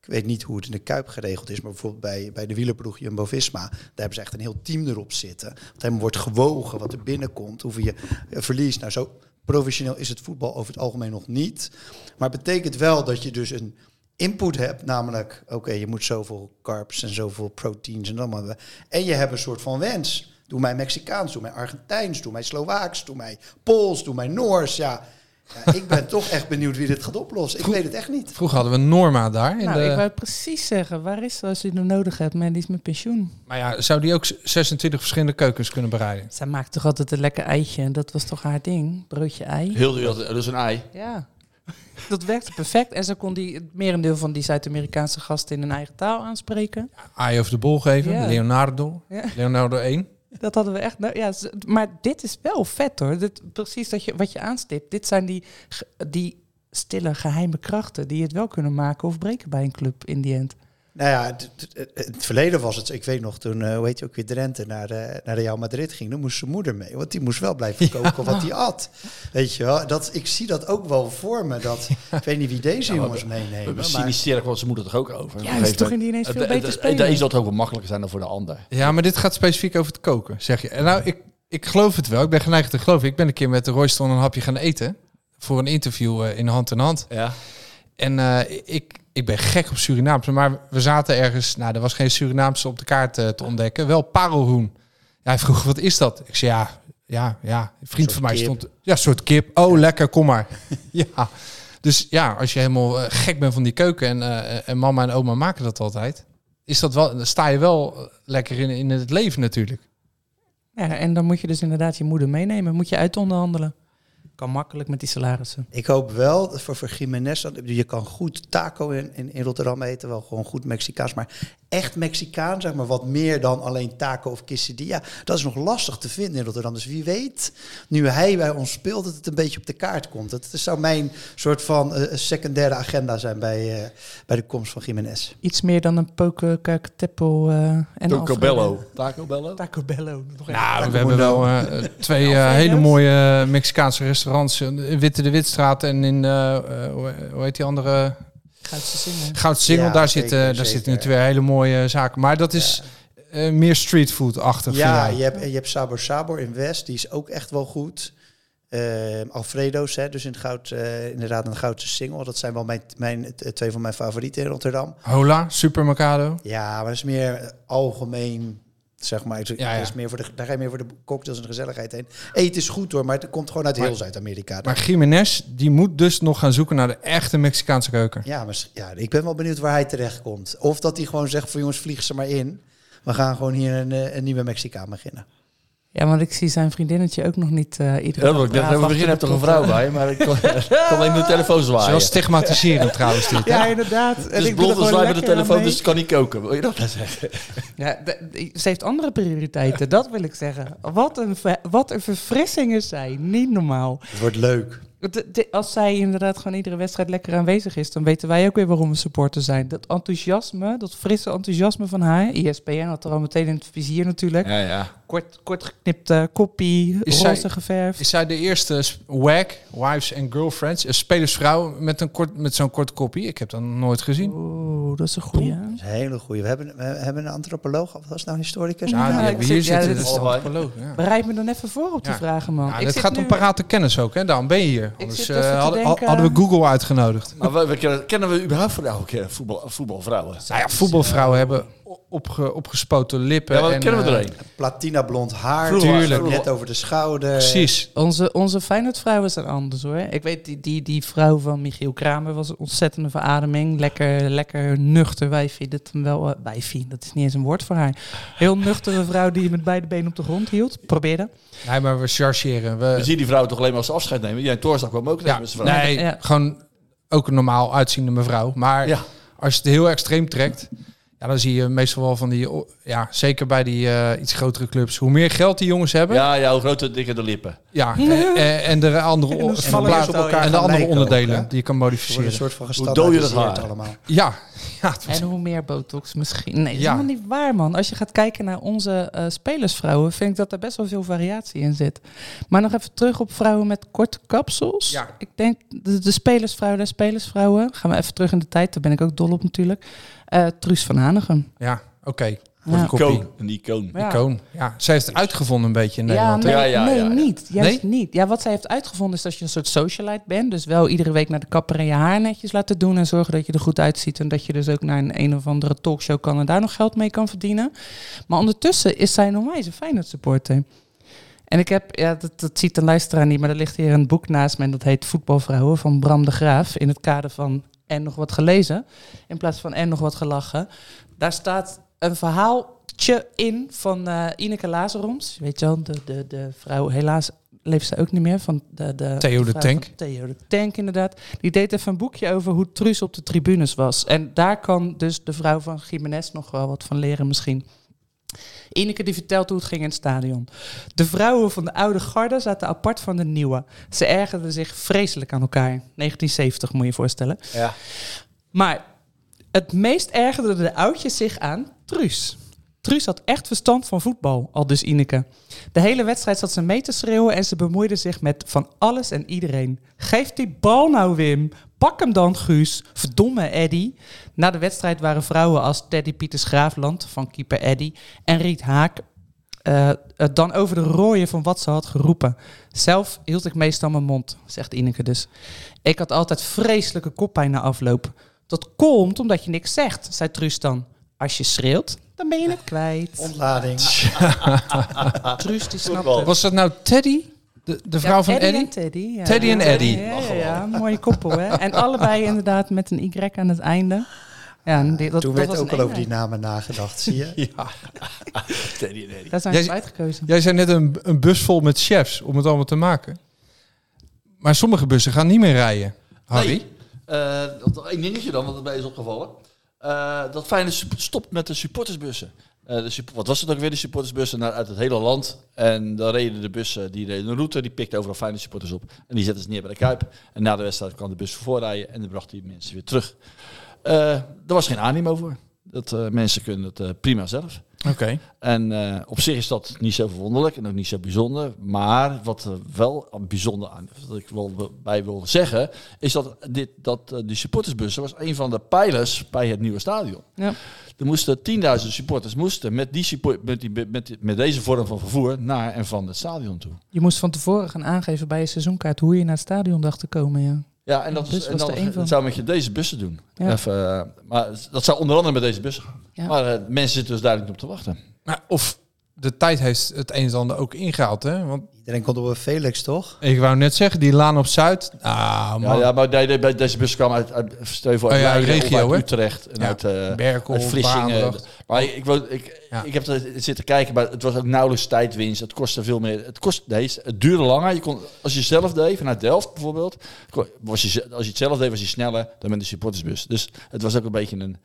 [SPEAKER 7] ik weet niet hoe het in de Kuip geregeld is, maar bijvoorbeeld bij, bij de wielerploeg Jumbo-Visma, daar hebben ze echt een heel team erop zitten. Want helemaal wordt gewogen wat er binnenkomt, hoeveel je eh, verliest. Nou, zo professioneel is het voetbal over het algemeen nog niet. Maar het betekent wel dat je dus een input hebt, namelijk, oké, je moet zoveel carbs en zoveel proteins en dat maar. En je hebt een soort van wens. Doe mij Mexicaans, doe mij Argentijns, doe mij Slovaaks, doe mij Pools, doe mij Noors. Ja, ja ik ben toch echt benieuwd wie dit gaat oplossen. Ik weet het echt niet.
[SPEAKER 5] Vroeger hadden we Norma daar. In
[SPEAKER 6] Nou,
[SPEAKER 5] de,
[SPEAKER 6] ik wou precies zeggen, waar is ze als je het nou nodig hebt? Maar die is met pensioen.
[SPEAKER 5] Maar ja, zou die ook z- 26 verschillende keukens kunnen bereiden?
[SPEAKER 6] Zij maakt toch altijd een lekker eitje. En dat was toch haar ding? Broodje ei.
[SPEAKER 2] Heel duur, dat is een ei.
[SPEAKER 6] Ja. Dat werkte perfect. En ze kon die, het merendeel van die Zuid-Amerikaanse gasten in hun eigen taal aanspreken.
[SPEAKER 5] Aai over de bol geven,
[SPEAKER 6] Ja.
[SPEAKER 5] Leonardo,
[SPEAKER 6] Ja.
[SPEAKER 5] Leonardo 1.
[SPEAKER 6] Dat hadden we echt. nou, ja, ze- maar dit is wel vet hoor. Dit, precies dat je, wat je aanstipt. Dit zijn die, ge- die stille geheime krachten die het wel kunnen maken of breken bij een club in die end.
[SPEAKER 7] Nou ja, het, het- het- het verleden was het. Ik weet nog toen, eh, hoe heet je ook weer, Drenthe naar, eh, naar Real Madrid ging. Dan moest zijn moeder mee, want die moest wel blijven koken wat hij at. Weet je wel, dat, ik zie dat ook wel voor me. Dat, Ik weet niet wie deze jongens meenemen.
[SPEAKER 2] Nou, We
[SPEAKER 7] maar-
[SPEAKER 2] cyniseren gewoon, ze moeten toch ook over.
[SPEAKER 6] Ja, dus toch in die ineens veel beter spelen.
[SPEAKER 2] De een zal toch wel makkelijker zijn dan voor de ander.
[SPEAKER 5] Ja, maar dit gaat specifiek over het koken, zeg je. En nou, ik, ik geloof het wel. Ik ben geneigd te geloven. Ik ben een keer met de Royston een hapje gaan eten. Voor een interview eh, in hand in hand.
[SPEAKER 2] Ja.
[SPEAKER 5] En eh, ik, ik ben gek op Surinaamse. Maar we zaten ergens... Nou, er was geen Surinaamse op de kaart eh, te ontdekken. Wel parelhoen. Ja, hij vroeg, wat is dat? Ik zei, ja, ja, ja. Een vriend van mij
[SPEAKER 7] kip.
[SPEAKER 5] stond... Ja, een soort kip. Oh, lekker, kom maar. ja. Dus ja, als je helemaal eh, gek bent van die keuken... En, eh, en mama en oma maken dat altijd... Is dat wel, dan sta je wel eh, lekker in, in het leven natuurlijk.
[SPEAKER 6] Ja, en dan moet je dus inderdaad je moeder meenemen. Moet je uitonderhandelen. Kan makkelijk met die salarissen.
[SPEAKER 7] Ik hoop wel dat voor, voor Jiménez, dat- je kan goed taco in, in, in Rotterdam eten, wel gewoon goed Mexicaans, maar echt Mexicaan, zeg maar, wat meer dan alleen taco of quesadilla, dat is nog lastig te vinden in Rotterdam. Dus wie weet, nu hij bij ons speelt, dat het een beetje op de kaart komt. Dat zou mijn soort van eh, secundaire agenda zijn bij, eh, bij de komst van Jiménez.
[SPEAKER 6] Iets meer dan een poke, kak, teppel eh, en
[SPEAKER 2] Taco
[SPEAKER 6] Alfredo.
[SPEAKER 2] Bello. Taco Bello?
[SPEAKER 6] Taco Bello. Nog even.
[SPEAKER 5] Nou, we hebben wel eh, twee eh, hele mooie eh, Mexicaanse restaurants. eh, In Witte de Witstraat en in, eh, eh, hoe hoe heet die andere?
[SPEAKER 6] Goudse zingen.
[SPEAKER 5] Goudsingel.
[SPEAKER 7] Ja,
[SPEAKER 5] daar
[SPEAKER 7] zeker,
[SPEAKER 5] zitten, daar
[SPEAKER 7] zeker.
[SPEAKER 5] zitten nu twee hele mooie zaken. Maar dat is eh, meer streetfood-achtig.
[SPEAKER 7] Ja,
[SPEAKER 5] vind
[SPEAKER 7] je
[SPEAKER 5] jij.
[SPEAKER 7] hebt, je hebt Sabor Sabor in West, die is ook echt wel goed. Ehm, Alfredo's, hè, dus in het goud, eh, inderdaad een goudse single. Dat zijn wel mijn, mijn, t- eh, twee van mijn favorieten in Rotterdam.
[SPEAKER 5] Hola, Supermercado.
[SPEAKER 7] Ja, maar dat is meer eh, algemeen, zeg maar. Het-
[SPEAKER 5] Ja,
[SPEAKER 7] het
[SPEAKER 5] ja.
[SPEAKER 7] Is meer voor de, daar ga je meer voor de cocktails en de gezelligheid heen. Eten is goed hoor, maar het komt gewoon uit heel
[SPEAKER 5] Maar-
[SPEAKER 7] Zuid-Amerika.
[SPEAKER 5] Maar Jiménez, die moet dus nog gaan zoeken naar de echte Mexicaanse keuken.
[SPEAKER 7] Ja, misschien- ja, ik ben wel benieuwd waar hij terecht komt. Of dat hij gewoon zegt van jongens, vlieg ze maar in. We gaan gewoon hier een, eh, een nieuwe Mexicaan beginnen.
[SPEAKER 6] Ja, want ik zie zijn vriendinnetje ook nog niet eh iedere dag braaf
[SPEAKER 2] aan het
[SPEAKER 6] achter
[SPEAKER 2] begin
[SPEAKER 6] de
[SPEAKER 2] heb toch een
[SPEAKER 6] toppen.
[SPEAKER 2] vrouw bij, maar ik kon, ik kon alleen de telefoon
[SPEAKER 5] Dat is
[SPEAKER 2] zwaaien.
[SPEAKER 5] wel stigmatiserend trouwens dit. hè?
[SPEAKER 6] Ja, inderdaad. En
[SPEAKER 2] Het
[SPEAKER 6] ik
[SPEAKER 2] is
[SPEAKER 6] doe er
[SPEAKER 2] blond en
[SPEAKER 6] gewoon
[SPEAKER 2] zwaai met de
[SPEAKER 6] lekker aan
[SPEAKER 2] telefoon,
[SPEAKER 6] mee.
[SPEAKER 2] dus het kan niet koken. Wil je dat nou zeggen?
[SPEAKER 6] Ja, de- de- ze heeft andere prioriteiten, dat wil ik zeggen. Wat een, ver- wat een verfrissing is zij. Niet normaal.
[SPEAKER 7] Het wordt leuk.
[SPEAKER 6] De- de- als zij inderdaad gewoon iedere wedstrijd lekker aanwezig is, dan weten wij ook weer waarom we supporter zijn. Dat enthousiasme, dat frisse enthousiasme van haar. E ESPN had er al meteen in het vizier natuurlijk.
[SPEAKER 2] Ja, ja.
[SPEAKER 6] Kort, kort geknipte koppie,
[SPEAKER 5] Is zij-
[SPEAKER 6] roze geverf.
[SPEAKER 5] Is zij de eerste sp- WAG, Wives and Girlfriends, een spelersvrouw met, een kort, met zo'n kort kopie? Ik heb dat nog nooit gezien.
[SPEAKER 6] Oeh, dat is een goeie. hè?
[SPEAKER 7] Dat is een hele goeie. We hebben, we hebben een antropoloog, of was het nou een historicus?
[SPEAKER 5] Ja, die
[SPEAKER 6] ik
[SPEAKER 5] hebben hier
[SPEAKER 6] zit- ja,
[SPEAKER 5] zitten.
[SPEAKER 6] dit
[SPEAKER 5] dat
[SPEAKER 6] is
[SPEAKER 5] is de
[SPEAKER 2] allebei.
[SPEAKER 5] antropoloog, ja.
[SPEAKER 6] Bereid me dan even voor op die
[SPEAKER 5] Ja.
[SPEAKER 6] vragen, man.
[SPEAKER 5] Ja,
[SPEAKER 6] Ik
[SPEAKER 5] het
[SPEAKER 6] zit
[SPEAKER 5] gaat
[SPEAKER 6] nu-
[SPEAKER 5] om parate kennis ook, hè? Daarom ben je hier. Anders
[SPEAKER 6] zit even
[SPEAKER 5] eh,
[SPEAKER 6] te
[SPEAKER 5] hadden,
[SPEAKER 6] denken-
[SPEAKER 5] hadden we Google uitgenodigd.
[SPEAKER 2] Maar we, we kennen, kennen we überhaupt vrouwen, oh, voetbal, voetbalvrouwen?
[SPEAKER 5] Nou ja, voetbalvrouwen hebben opge, opgespoten lippen.
[SPEAKER 2] Ja, maar dat
[SPEAKER 5] en,
[SPEAKER 2] kennen we
[SPEAKER 5] eh,
[SPEAKER 2] er een.
[SPEAKER 7] Platina blond haar,
[SPEAKER 5] Vroeger.
[SPEAKER 7] natuurlijk,
[SPEAKER 5] Vroeger.
[SPEAKER 7] net over de schouder.
[SPEAKER 5] Precies.
[SPEAKER 6] Onze, onze Feyenoord-vrouwen zijn anders hoor. Ik weet, die, die, die vrouw van Michiel Kramer was een ontzettende verademing. Lekker, lekker nuchter wijfie. Dat hem wel, eh, wijfie, dat is niet eens een woord voor haar. Heel nuchtere vrouw die je met beide benen op de grond hield. Probeer dat.
[SPEAKER 5] Nee, maar we chargeren. We,
[SPEAKER 2] Dan zie je die vrouw toch alleen maar als ze afscheid nemen. Jij Torsdag kwam ook tegen
[SPEAKER 5] ja,
[SPEAKER 2] met zijn vrouw.
[SPEAKER 5] nee,
[SPEAKER 6] Ja.
[SPEAKER 5] gewoon ook een normaal uitziende mevrouw. Maar
[SPEAKER 2] Ja.
[SPEAKER 5] als je het heel extreem trekt, ja, dan zie je meestal wel van die... Ja, zeker bij die eh, iets grotere clubs. Hoe meer geld die jongens hebben...
[SPEAKER 2] Ja, ja, hoe grote dikke de lippen.
[SPEAKER 5] Ja, en, en- en de andere, o-
[SPEAKER 7] ze
[SPEAKER 5] en de
[SPEAKER 7] vallen
[SPEAKER 5] plaat-
[SPEAKER 7] eerst op elkaar
[SPEAKER 5] en de
[SPEAKER 7] gaan
[SPEAKER 5] andere
[SPEAKER 7] lijken
[SPEAKER 5] onderdelen
[SPEAKER 7] ook, hè?
[SPEAKER 5] die je kan
[SPEAKER 7] Ze worden
[SPEAKER 5] modificeren.
[SPEAKER 7] een soort van
[SPEAKER 2] doe je dat
[SPEAKER 7] gestandaardiseerd
[SPEAKER 2] haar?
[SPEAKER 7] allemaal.
[SPEAKER 5] Ja, ja, het was-
[SPEAKER 6] En hoe meer botox misschien. Nee, dat
[SPEAKER 5] Ja.
[SPEAKER 6] is helemaal niet waar, man. Als je gaat kijken naar onze eh, spelersvrouwen, vind ik dat er best wel veel variatie in zit. Maar nog even terug op vrouwen met korte kapsels.
[SPEAKER 5] Ja.
[SPEAKER 6] Ik denk de, de spelersvrouwen en spelersvrouwen. Gaan we even terug in de tijd, daar ben ik ook dol op natuurlijk. Eh Truus van Hanegem.
[SPEAKER 5] ja oké.
[SPEAKER 6] Ja.
[SPEAKER 5] Kopie.
[SPEAKER 2] Icoon. Een icoon.
[SPEAKER 6] Ja.
[SPEAKER 5] Icoon. Ja, zij heeft het uitgevonden een beetje in
[SPEAKER 6] Ja,
[SPEAKER 5] Nederland.
[SPEAKER 6] nee,
[SPEAKER 2] Ja, ja,
[SPEAKER 6] nee
[SPEAKER 2] ja, ja.
[SPEAKER 6] niet. Juist
[SPEAKER 5] Nee?
[SPEAKER 6] niet. Ja, wat zij heeft uitgevonden is dat je een soort socialite bent. Dus wel iedere week naar de kapper en je haar netjes laten doen. En zorgen dat je er goed uitziet. En dat je dus ook naar een een of andere talkshow kan. En daar nog geld mee kan verdienen. Maar ondertussen is zij een onwijze Feyenoord supporter. En ik heb, ja, dat, dat ziet de luisteraar niet. Maar er ligt hier een boek naast me. En dat heet Voetbalvrouwen van Bram de Graaf. In het kader van En nog wat gelezen. In plaats van En nog wat gelachen. Daar staat een verhaaltje in van eh, Ineke Lazaroms. Weet je wel, de, de, de vrouw, helaas leeft ze ook niet meer. Van de, de,
[SPEAKER 5] Theo de
[SPEAKER 6] vrouw
[SPEAKER 5] Tank.
[SPEAKER 6] van Theo de Tank, inderdaad. Die deed even een boekje over hoe Truus op de tribunes was. En daar kan dus de vrouw van Jiménez nog wel wat van leren misschien. Ineke die vertelt hoe het ging in het stadion. De vrouwen van de oude garde zaten apart van de nieuwe. Ze ergerden zich vreselijk aan elkaar. 1970 moet je je voorstellen.
[SPEAKER 2] Ja.
[SPEAKER 6] Maar het meest ergerde de oudjes zich aan Truus. Truus had echt verstand van voetbal, al dus Ineke. De hele wedstrijd zat ze mee te schreeuwen en ze bemoeide zich met van alles en iedereen. Geef die bal nou, Wim. Pak hem dan, Guus. Verdomme, Eddy. Na de wedstrijd waren vrouwen als Teddy Pieters Graafland van keeper Eddy en Riet Haak eh, het dan over de rooien van wat ze had geroepen. Zelf hield ik meestal mijn mond, zegt Ineke dus. Ik had altijd vreselijke koppijn na afloop. Dat komt omdat je niks zegt, zei Truus dan. Als je schreeuwt, dan ben je het kwijt.
[SPEAKER 7] Ontlading.
[SPEAKER 6] Truus die
[SPEAKER 2] Voetbal.
[SPEAKER 6] snapte.
[SPEAKER 5] Was dat nou Teddy? De, de vrouw
[SPEAKER 6] Ja,
[SPEAKER 5] van Eddie?
[SPEAKER 6] en Teddy, ja.
[SPEAKER 5] Teddy en Eddie.
[SPEAKER 6] Ja, ja, ja, mooie koppel, hè? En allebei inderdaad met een Y aan het einde. Ja, en die- dat,
[SPEAKER 7] Toen
[SPEAKER 6] dat
[SPEAKER 7] werd
[SPEAKER 6] was
[SPEAKER 7] ook
[SPEAKER 6] een
[SPEAKER 7] al over die
[SPEAKER 6] eenheid.
[SPEAKER 7] namen nagedacht, zie je?
[SPEAKER 2] Teddy en Eddie.
[SPEAKER 6] Daar zijn
[SPEAKER 5] Jij
[SPEAKER 6] ze
[SPEAKER 5] zi-
[SPEAKER 6] uitgekozen.
[SPEAKER 5] Jij zei net een, een bus vol met chefs om het allemaal te maken. Maar sommige bussen gaan niet meer rijden, Harry.
[SPEAKER 2] Nee. Eh, dat- één dingetje dan, wat het mij is opgevallen. Eh, dat Feyenoord sup- stopt met de supportersbussen. Eh, de sup- wat was het ook weer, de supportersbussen naar, uit het hele land. En dan reden de bussen, die reden een route, die pikten overal Feyenoord supporters op. En die zetten ze neer bij de Kuip. En na de wedstrijd kwam de bus voorrijden en dan bracht die mensen weer terug. Eh er was geen animo voor. Dat, eh, mensen kunnen het eh, prima zelf.
[SPEAKER 5] Oké.
[SPEAKER 2] En eh, op zich is dat niet zo verwonderlijk en ook niet zo bijzonder. Maar wat er wel aan- bijzonder aan, wat ik wel bij wil zeggen, is dat, dit, dat eh, die supportersbussen was een van de pijlers bij het nieuwe stadion.
[SPEAKER 6] Ja.
[SPEAKER 2] Er moesten 10.000 supporters moesten met, die support, met, die, met, die- met deze vorm van vervoer naar en van het stadion toe.
[SPEAKER 6] Je moest van tevoren gaan aangeven bij je seizoenkaart hoe je naar het stadion dacht te komen, ja.
[SPEAKER 2] Ja, en dat,
[SPEAKER 6] Dus
[SPEAKER 2] en
[SPEAKER 6] was
[SPEAKER 2] dan,
[SPEAKER 6] er één van.
[SPEAKER 2] dat zou met je deze bussen doen.
[SPEAKER 6] Ja.
[SPEAKER 2] Even, eh, maar dat zou onder andere met deze bussen gaan.
[SPEAKER 6] Ja.
[SPEAKER 2] Maar eh, mensen zitten dus duidelijk niet op te wachten.
[SPEAKER 5] Maar Nou, of de tijd heeft het een en ander ook ingehaald, hè? Want
[SPEAKER 7] Iedereen komt op een Felix, toch?
[SPEAKER 5] ik wou net zeggen, die laan op Zuid. Ah,
[SPEAKER 2] Ja,
[SPEAKER 5] man.
[SPEAKER 2] ja maar nee, nee, bij deze bus kwam uit, uit, stel je voor, uit
[SPEAKER 5] Oh ja,
[SPEAKER 2] Leiden
[SPEAKER 5] regio,
[SPEAKER 2] of uit
[SPEAKER 5] hè?
[SPEAKER 2] Utrecht en
[SPEAKER 5] Ja,
[SPEAKER 2] uit, eh,
[SPEAKER 5] Berkel,
[SPEAKER 2] uit Vlissingen.
[SPEAKER 5] Barendrecht.
[SPEAKER 2] Maar ik, ik, wou- ik,
[SPEAKER 5] Ja.
[SPEAKER 2] ik heb er zitten kijken, maar het was ook nauwelijks tijdwinst. Het kostte veel meer. Het, kost, nee, het duurde langer. Je kon, als je zelf deed, vanuit Delft bijvoorbeeld, kon- was je, ze- als je het zelf deed, was je sneller dan met de supportersbus. Dus het was ook een beetje een,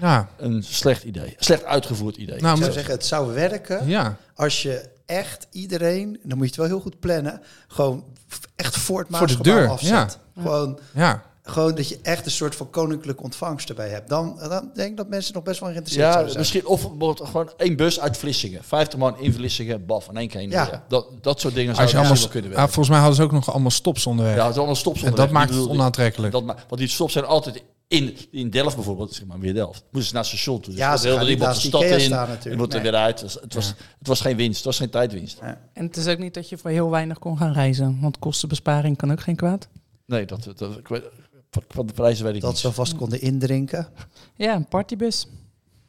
[SPEAKER 5] Ja,
[SPEAKER 2] een slecht idee. Slecht uitgevoerd
[SPEAKER 5] nou,
[SPEAKER 2] idee.
[SPEAKER 7] Ik zou
[SPEAKER 5] maar-
[SPEAKER 7] zeggen, het zou werken
[SPEAKER 5] ja.
[SPEAKER 7] als je echt iedereen, dan moet je het wel heel goed plannen, gewoon f- echt voor het
[SPEAKER 5] Voor de
[SPEAKER 7] Maasgebouw
[SPEAKER 5] deur,
[SPEAKER 7] afzet. Gewoon,
[SPEAKER 5] ja.
[SPEAKER 7] gewoon dat je echt een soort van koninklijke ontvangst erbij hebt. Dan, dan denk ik dat mensen nog best wel geïnteresseerd
[SPEAKER 2] ja,
[SPEAKER 7] zouden zijn.
[SPEAKER 2] misschien of bijvoorbeeld gewoon één bus uit Vlissingen. 50 man in Vlissingen, baf, in één keer heen.
[SPEAKER 7] Ja.
[SPEAKER 2] Ja. Dat, dat soort dingen
[SPEAKER 5] Als je
[SPEAKER 2] zouden
[SPEAKER 5] allemaal,
[SPEAKER 2] misschien wel kunnen
[SPEAKER 5] ah,
[SPEAKER 2] werken.
[SPEAKER 5] volgens mij hadden ze ook nog allemaal stops onderweg.
[SPEAKER 2] Ja, het is allemaal stops
[SPEAKER 5] en dat
[SPEAKER 2] onderweg.
[SPEAKER 5] maakt
[SPEAKER 2] Ik
[SPEAKER 5] het
[SPEAKER 2] bedoel, die-
[SPEAKER 5] onaantrekkelijk.
[SPEAKER 2] Dat ma- want die stops zijn altijd in, in Delft bijvoorbeeld, zeg maar weer Delft. Moesten ze naar het station toe. Dus
[SPEAKER 7] Ja,
[SPEAKER 2] dat
[SPEAKER 7] ze
[SPEAKER 2] heel
[SPEAKER 7] gaan
[SPEAKER 2] de
[SPEAKER 7] niet
[SPEAKER 2] iemand
[SPEAKER 7] naast
[SPEAKER 2] de stad
[SPEAKER 7] Ikea
[SPEAKER 2] in,
[SPEAKER 7] staan
[SPEAKER 2] je
[SPEAKER 7] natuurlijk.
[SPEAKER 2] moet er
[SPEAKER 7] Nee.
[SPEAKER 2] weer uit. Dus het, was, het was geen winst, het was geen tijdwinst.
[SPEAKER 6] En het is ook niet dat je voor heel weinig kon gaan reizen. Want kostenbesparing kan ook geen kwaad.
[SPEAKER 2] Nee, dat, dat, ik weet- van- van de prijzen weet ik
[SPEAKER 7] Dat
[SPEAKER 2] niet.
[SPEAKER 7] ze vast konden indrinken.
[SPEAKER 6] Ja, een partybus.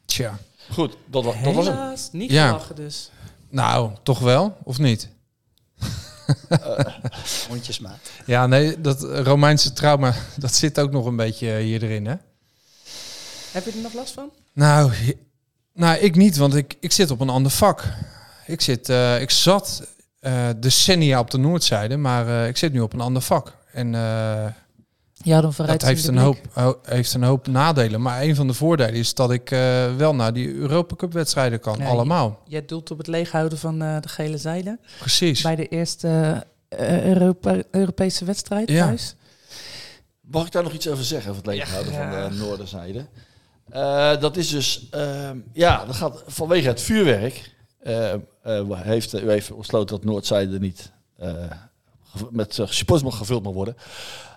[SPEAKER 5] Tja.
[SPEAKER 2] Goed, dat, wa- dat was hem.
[SPEAKER 11] Helaas, niet
[SPEAKER 5] Ja.
[SPEAKER 11] gelachen dus.
[SPEAKER 5] Nou, toch wel, of niet?
[SPEAKER 7] Mondjesmaat.
[SPEAKER 5] Ja, nee, dat Romeinse trauma, dat zit ook nog een beetje eh, hier erin, hè?
[SPEAKER 11] Heb je er nog last van?
[SPEAKER 5] Nou, je- nou ik niet, want ik, ik zit op een ander vak. Ik, zit, eh, ik zat eh, decennia op de Noordzijde, maar eh, ik zit nu op een ander vak. En eh,
[SPEAKER 6] Je had een
[SPEAKER 5] dat heeft een, hoop, ho- heeft een hoop nadelen. Maar een van de voordelen is dat ik eh, wel naar die Europa Cup wedstrijden kan,
[SPEAKER 6] Ja,
[SPEAKER 5] allemaal.
[SPEAKER 11] Jij doelt op het leeghouden van eh, de gele zijde.
[SPEAKER 5] Precies.
[SPEAKER 6] Bij de eerste eh, Europa- Europese wedstrijd
[SPEAKER 5] Ja.
[SPEAKER 6] thuis.
[SPEAKER 2] Mag ik daar nog iets over zeggen, over het leeghouden van de noorderzijde? Eh, dat is dus, ehm, ja, dat gaat vanwege het vuurwerk. eh, eh, heeft u even besloten dat Noordzijde niet eh, gev- met eh, supporters mag gevuld mag worden.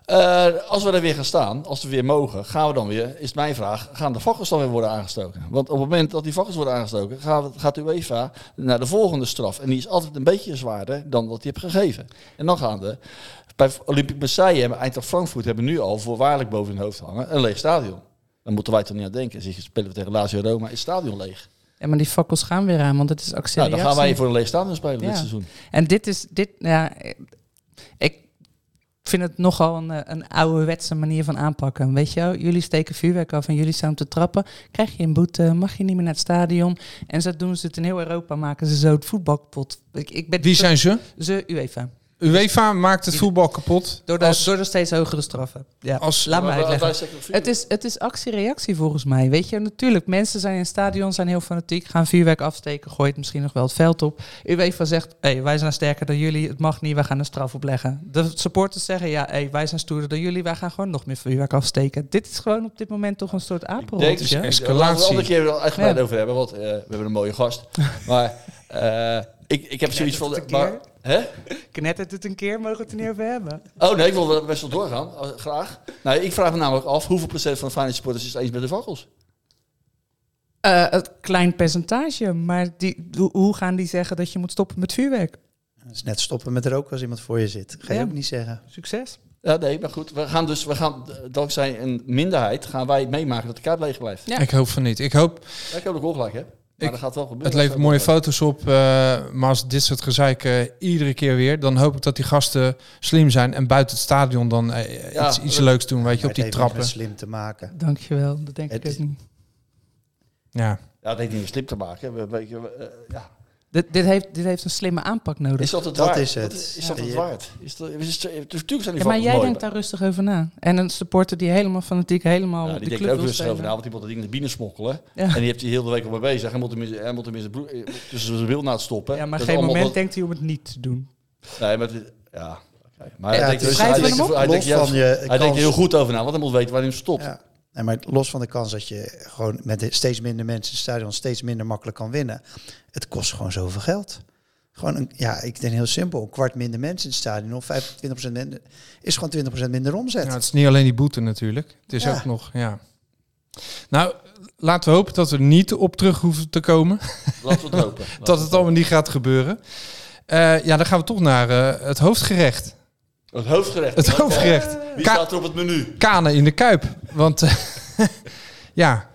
[SPEAKER 2] Eh, als we er weer gaan staan, als we weer mogen, gaan we dan weer, is mijn vraag, gaan de vakkers dan weer worden aangestoken? Want op het moment dat die vakkers worden aangestoken, gaan we- gaat de UEFA naar de volgende straf. En die is altijd een beetje zwaarder dan wat die hebt gegeven. En dan gaan de, bij Olympic Marseille en Eintracht Frankfurt hebben nu al voorwaardelijk boven hun hoofd hangen een leeg stadion. Dan moeten wij toch niet aan denken. Zeg je, spelen we tegen Lazio Roma, is het stadion leeg?
[SPEAKER 6] Ja, maar die fakkels gaan weer aan, want het is actie.
[SPEAKER 2] Nou, dan gaan wij voor een leeg stadion spelen dit seizoen.
[SPEAKER 6] En dit is, dit, ja, ik vind het nogal een, eh, een ouderwetse manier van aanpakken. Weet je wel, jullie steken vuurwerk af en jullie staan te trappen. Krijg je een boete, mag je niet meer naar het stadion. En zo doen ze het in heel Europa, maken ze zo het voetbal kapot. Ik, ik ben
[SPEAKER 5] Wie zijn ze?
[SPEAKER 6] Ze, UEFA.
[SPEAKER 5] UEFA maakt het voetbal kapot.
[SPEAKER 6] Door de, door de steeds hogere straffen. Ja,
[SPEAKER 5] Als-
[SPEAKER 6] laat me
[SPEAKER 2] Maar wij-
[SPEAKER 6] uitleggen.
[SPEAKER 2] wij zeggen vuurwerk.
[SPEAKER 6] Het is, het is actie-reactie volgens mij. Weet je, natuurlijk, mensen zijn in het stadion, zijn heel fanatiek, gaan vuurwerk afsteken, gooit misschien nog wel het veld op. UEFA zegt, hey, wij zijn sterker dan jullie, het mag niet, wij gaan een straf opleggen. De supporters zeggen, ja, hey, wij zijn stoerder dan jullie, wij gaan gewoon nog meer vuurwerk afsteken. Dit is gewoon op dit moment toch een soort
[SPEAKER 2] Denk,
[SPEAKER 6] apenroltje.
[SPEAKER 2] Laten we het een
[SPEAKER 5] escalatie.
[SPEAKER 2] andere keer wel uitgebreid
[SPEAKER 6] Ja.
[SPEAKER 2] over hebben, want eh, we hebben een mooie gast. maar eh, ik, ik heb zoiets van...
[SPEAKER 6] het een
[SPEAKER 2] maar- hè?
[SPEAKER 6] Knettert het een keer, mogen we het er niet over hebben.
[SPEAKER 2] Oh nee, ik wil er best wel doorgaan, eh, graag. Nou, ik vraag me namelijk af, hoeveel procent van de finance supporters is het eens met de vakkels?
[SPEAKER 6] Eh, een klein percentage, maar die, hoe- hoe gaan die zeggen dat je moet stoppen met vuurwerk?
[SPEAKER 7] Dat is net stoppen met roken als iemand voor je zit. Ga je
[SPEAKER 6] Ja.
[SPEAKER 7] ook niet zeggen.
[SPEAKER 6] Succes.
[SPEAKER 2] Ja, nee, maar goed. We gaan dus, we gaan, eh, dankzij een minderheid, gaan wij meemaken dat de kaart leeg blijft.
[SPEAKER 6] Ja.
[SPEAKER 5] Ik hoop van niet. Ik hoop
[SPEAKER 2] Ja, ik heb ook wel gelijk, hè? Maar
[SPEAKER 5] Ik-
[SPEAKER 2] dat gaat wel gebeuren.
[SPEAKER 5] Het levert
[SPEAKER 2] Dat
[SPEAKER 5] mooie
[SPEAKER 2] gaat wel
[SPEAKER 5] foto's op, eh, maar als dit soort gezeik eh, iedere keer weer, dan hoop ik dat die gasten slim zijn en buiten het stadion dan eh,
[SPEAKER 2] Ja,
[SPEAKER 5] iets, iets
[SPEAKER 2] dat-
[SPEAKER 5] leuks doen, weet je,
[SPEAKER 7] Maar
[SPEAKER 5] op die
[SPEAKER 7] het heeft niks met
[SPEAKER 5] trappen.
[SPEAKER 7] slim te maken.
[SPEAKER 6] Dankjewel, dat denk
[SPEAKER 7] Het
[SPEAKER 6] ik
[SPEAKER 7] is-
[SPEAKER 6] ook niet.
[SPEAKER 5] Ja.
[SPEAKER 2] gebeuren. Ja, dat heeft niet meer slim te maken. We, we, we- eh, ja.
[SPEAKER 6] Dit, dit, heeft, dit heeft een slimme aanpak nodig.
[SPEAKER 2] Is dat het
[SPEAKER 7] dat
[SPEAKER 2] waard?
[SPEAKER 7] is het.
[SPEAKER 2] Is, is dat
[SPEAKER 7] Ja.
[SPEAKER 2] het waard? Is dat, is, is- natuurlijk zijn die
[SPEAKER 6] Ja, maar
[SPEAKER 2] foto's
[SPEAKER 6] jij
[SPEAKER 2] mooi.
[SPEAKER 6] denkt daar rustig over na. En een supporter die helemaal fanatiek, helemaal
[SPEAKER 2] Ja, die
[SPEAKER 6] de
[SPEAKER 2] denkt
[SPEAKER 6] club
[SPEAKER 2] er ook
[SPEAKER 6] wil
[SPEAKER 2] rustig over na,
[SPEAKER 6] steunen.
[SPEAKER 2] want die moet dat ding naar binnen smokkelen.
[SPEAKER 6] Ja.
[SPEAKER 2] En die heeft hij heel de week al mee bezig. Hij moet hem in- hij moet hem in zijn broek- eh, tussen zijn wilnaad stoppen.
[SPEAKER 6] Ja, maar
[SPEAKER 2] Dat is
[SPEAKER 6] geen
[SPEAKER 2] allemaal
[SPEAKER 6] moment
[SPEAKER 2] dat-
[SPEAKER 6] denkt hij om het niet te doen.
[SPEAKER 2] Nee, maar... dit- Ja, oké. Maar hij
[SPEAKER 7] Ja, het
[SPEAKER 2] denkt
[SPEAKER 7] is-
[SPEAKER 2] rustig-
[SPEAKER 6] schrijven we
[SPEAKER 2] hij denkt-
[SPEAKER 6] hem op?
[SPEAKER 2] hij denkt
[SPEAKER 7] Los van
[SPEAKER 2] juist- hij
[SPEAKER 7] je
[SPEAKER 2] denkt
[SPEAKER 7] kans.
[SPEAKER 2] er heel goed over na, want hij moet weten waar hij hem stopt.
[SPEAKER 7] Ja. Nee, maar los van de kans dat je gewoon met de- steeds minder mensen in het stadion steeds minder makkelijk kan winnen. Het kost gewoon zoveel geld. Gewoon, een, ja, ik denk heel simpel. Een kwart minder mensen in het stadion of 25% minder, is gewoon 20% minder omzet.
[SPEAKER 5] ja, het is niet alleen die boete natuurlijk. Het is
[SPEAKER 7] Ja.
[SPEAKER 5] ook nog, ja. Nou, laten we hopen dat we er niet op terug hoeven te komen,
[SPEAKER 2] Laten we het hopen.
[SPEAKER 5] dat het allemaal niet gaat gebeuren. Eh, ja, dan gaan we toch naar eh, het hoofdgerecht.
[SPEAKER 2] Het hoofdgerecht.
[SPEAKER 5] Het hoofdgerecht.
[SPEAKER 2] Wie
[SPEAKER 5] Ka-
[SPEAKER 2] staat er op het menu?
[SPEAKER 5] Kanen in de Kuip. Want eh, ja,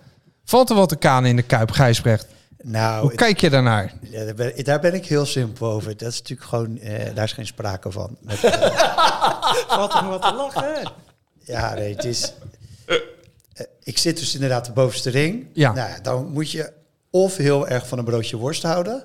[SPEAKER 5] valt er wat te kanen in de Kuip, Gijsbrecht?
[SPEAKER 7] Nou,
[SPEAKER 5] Hoe
[SPEAKER 7] ik-
[SPEAKER 5] kijk je daarnaar?
[SPEAKER 7] ja, daar, ben, daar ben ik heel simpel over. Dat is natuurlijk gewoon, eh, daar is geen sprake van. Met, eh,
[SPEAKER 11] Valt er nog wat te lachen?
[SPEAKER 7] Ja, nee, het is. Eh, Ik zit dus inderdaad de bovenste ring.
[SPEAKER 5] Ja.
[SPEAKER 7] Nou, ja, dan moet je of heel erg van een broodje worst houden,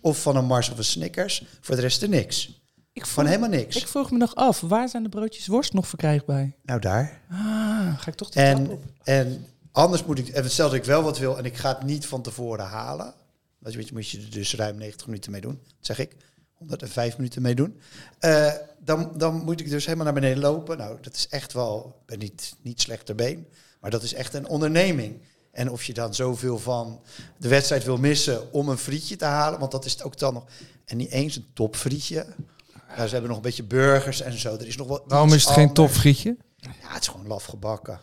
[SPEAKER 7] of van een Mars of een Snickers. Voor de rest er niks.
[SPEAKER 6] Ik
[SPEAKER 7] Van helemaal niks.
[SPEAKER 6] Ik vroeg me nog af, waar zijn de broodjes worst nog verkrijgbaar?
[SPEAKER 7] Nou daar.
[SPEAKER 6] Ah, ga ik toch die trap
[SPEAKER 7] En,
[SPEAKER 6] op?
[SPEAKER 7] en anders moet ik, en stel dat ik wel wat wil en ik ga het niet van tevoren halen. Dat weet je, moet je er dus ruim 90 minuten mee doen, dat zeg ik. 105 minuten mee doen. Eh, dan, dan moet ik dus helemaal naar beneden lopen. Nou, dat is echt wel, ik ben niet, niet slechter been, maar dat is echt een onderneming. En of je dan zoveel van de wedstrijd wil missen om een frietje te halen, want dat is het ook dan nog. En niet eens een topfrietje. Nou, ze hebben nog een beetje burgers en zo. Er is nog wel.
[SPEAKER 5] Waarom
[SPEAKER 7] iets
[SPEAKER 5] is het geen
[SPEAKER 7] anders.
[SPEAKER 5] topfrietje?
[SPEAKER 7] Ja, het is gewoon laf gebakken.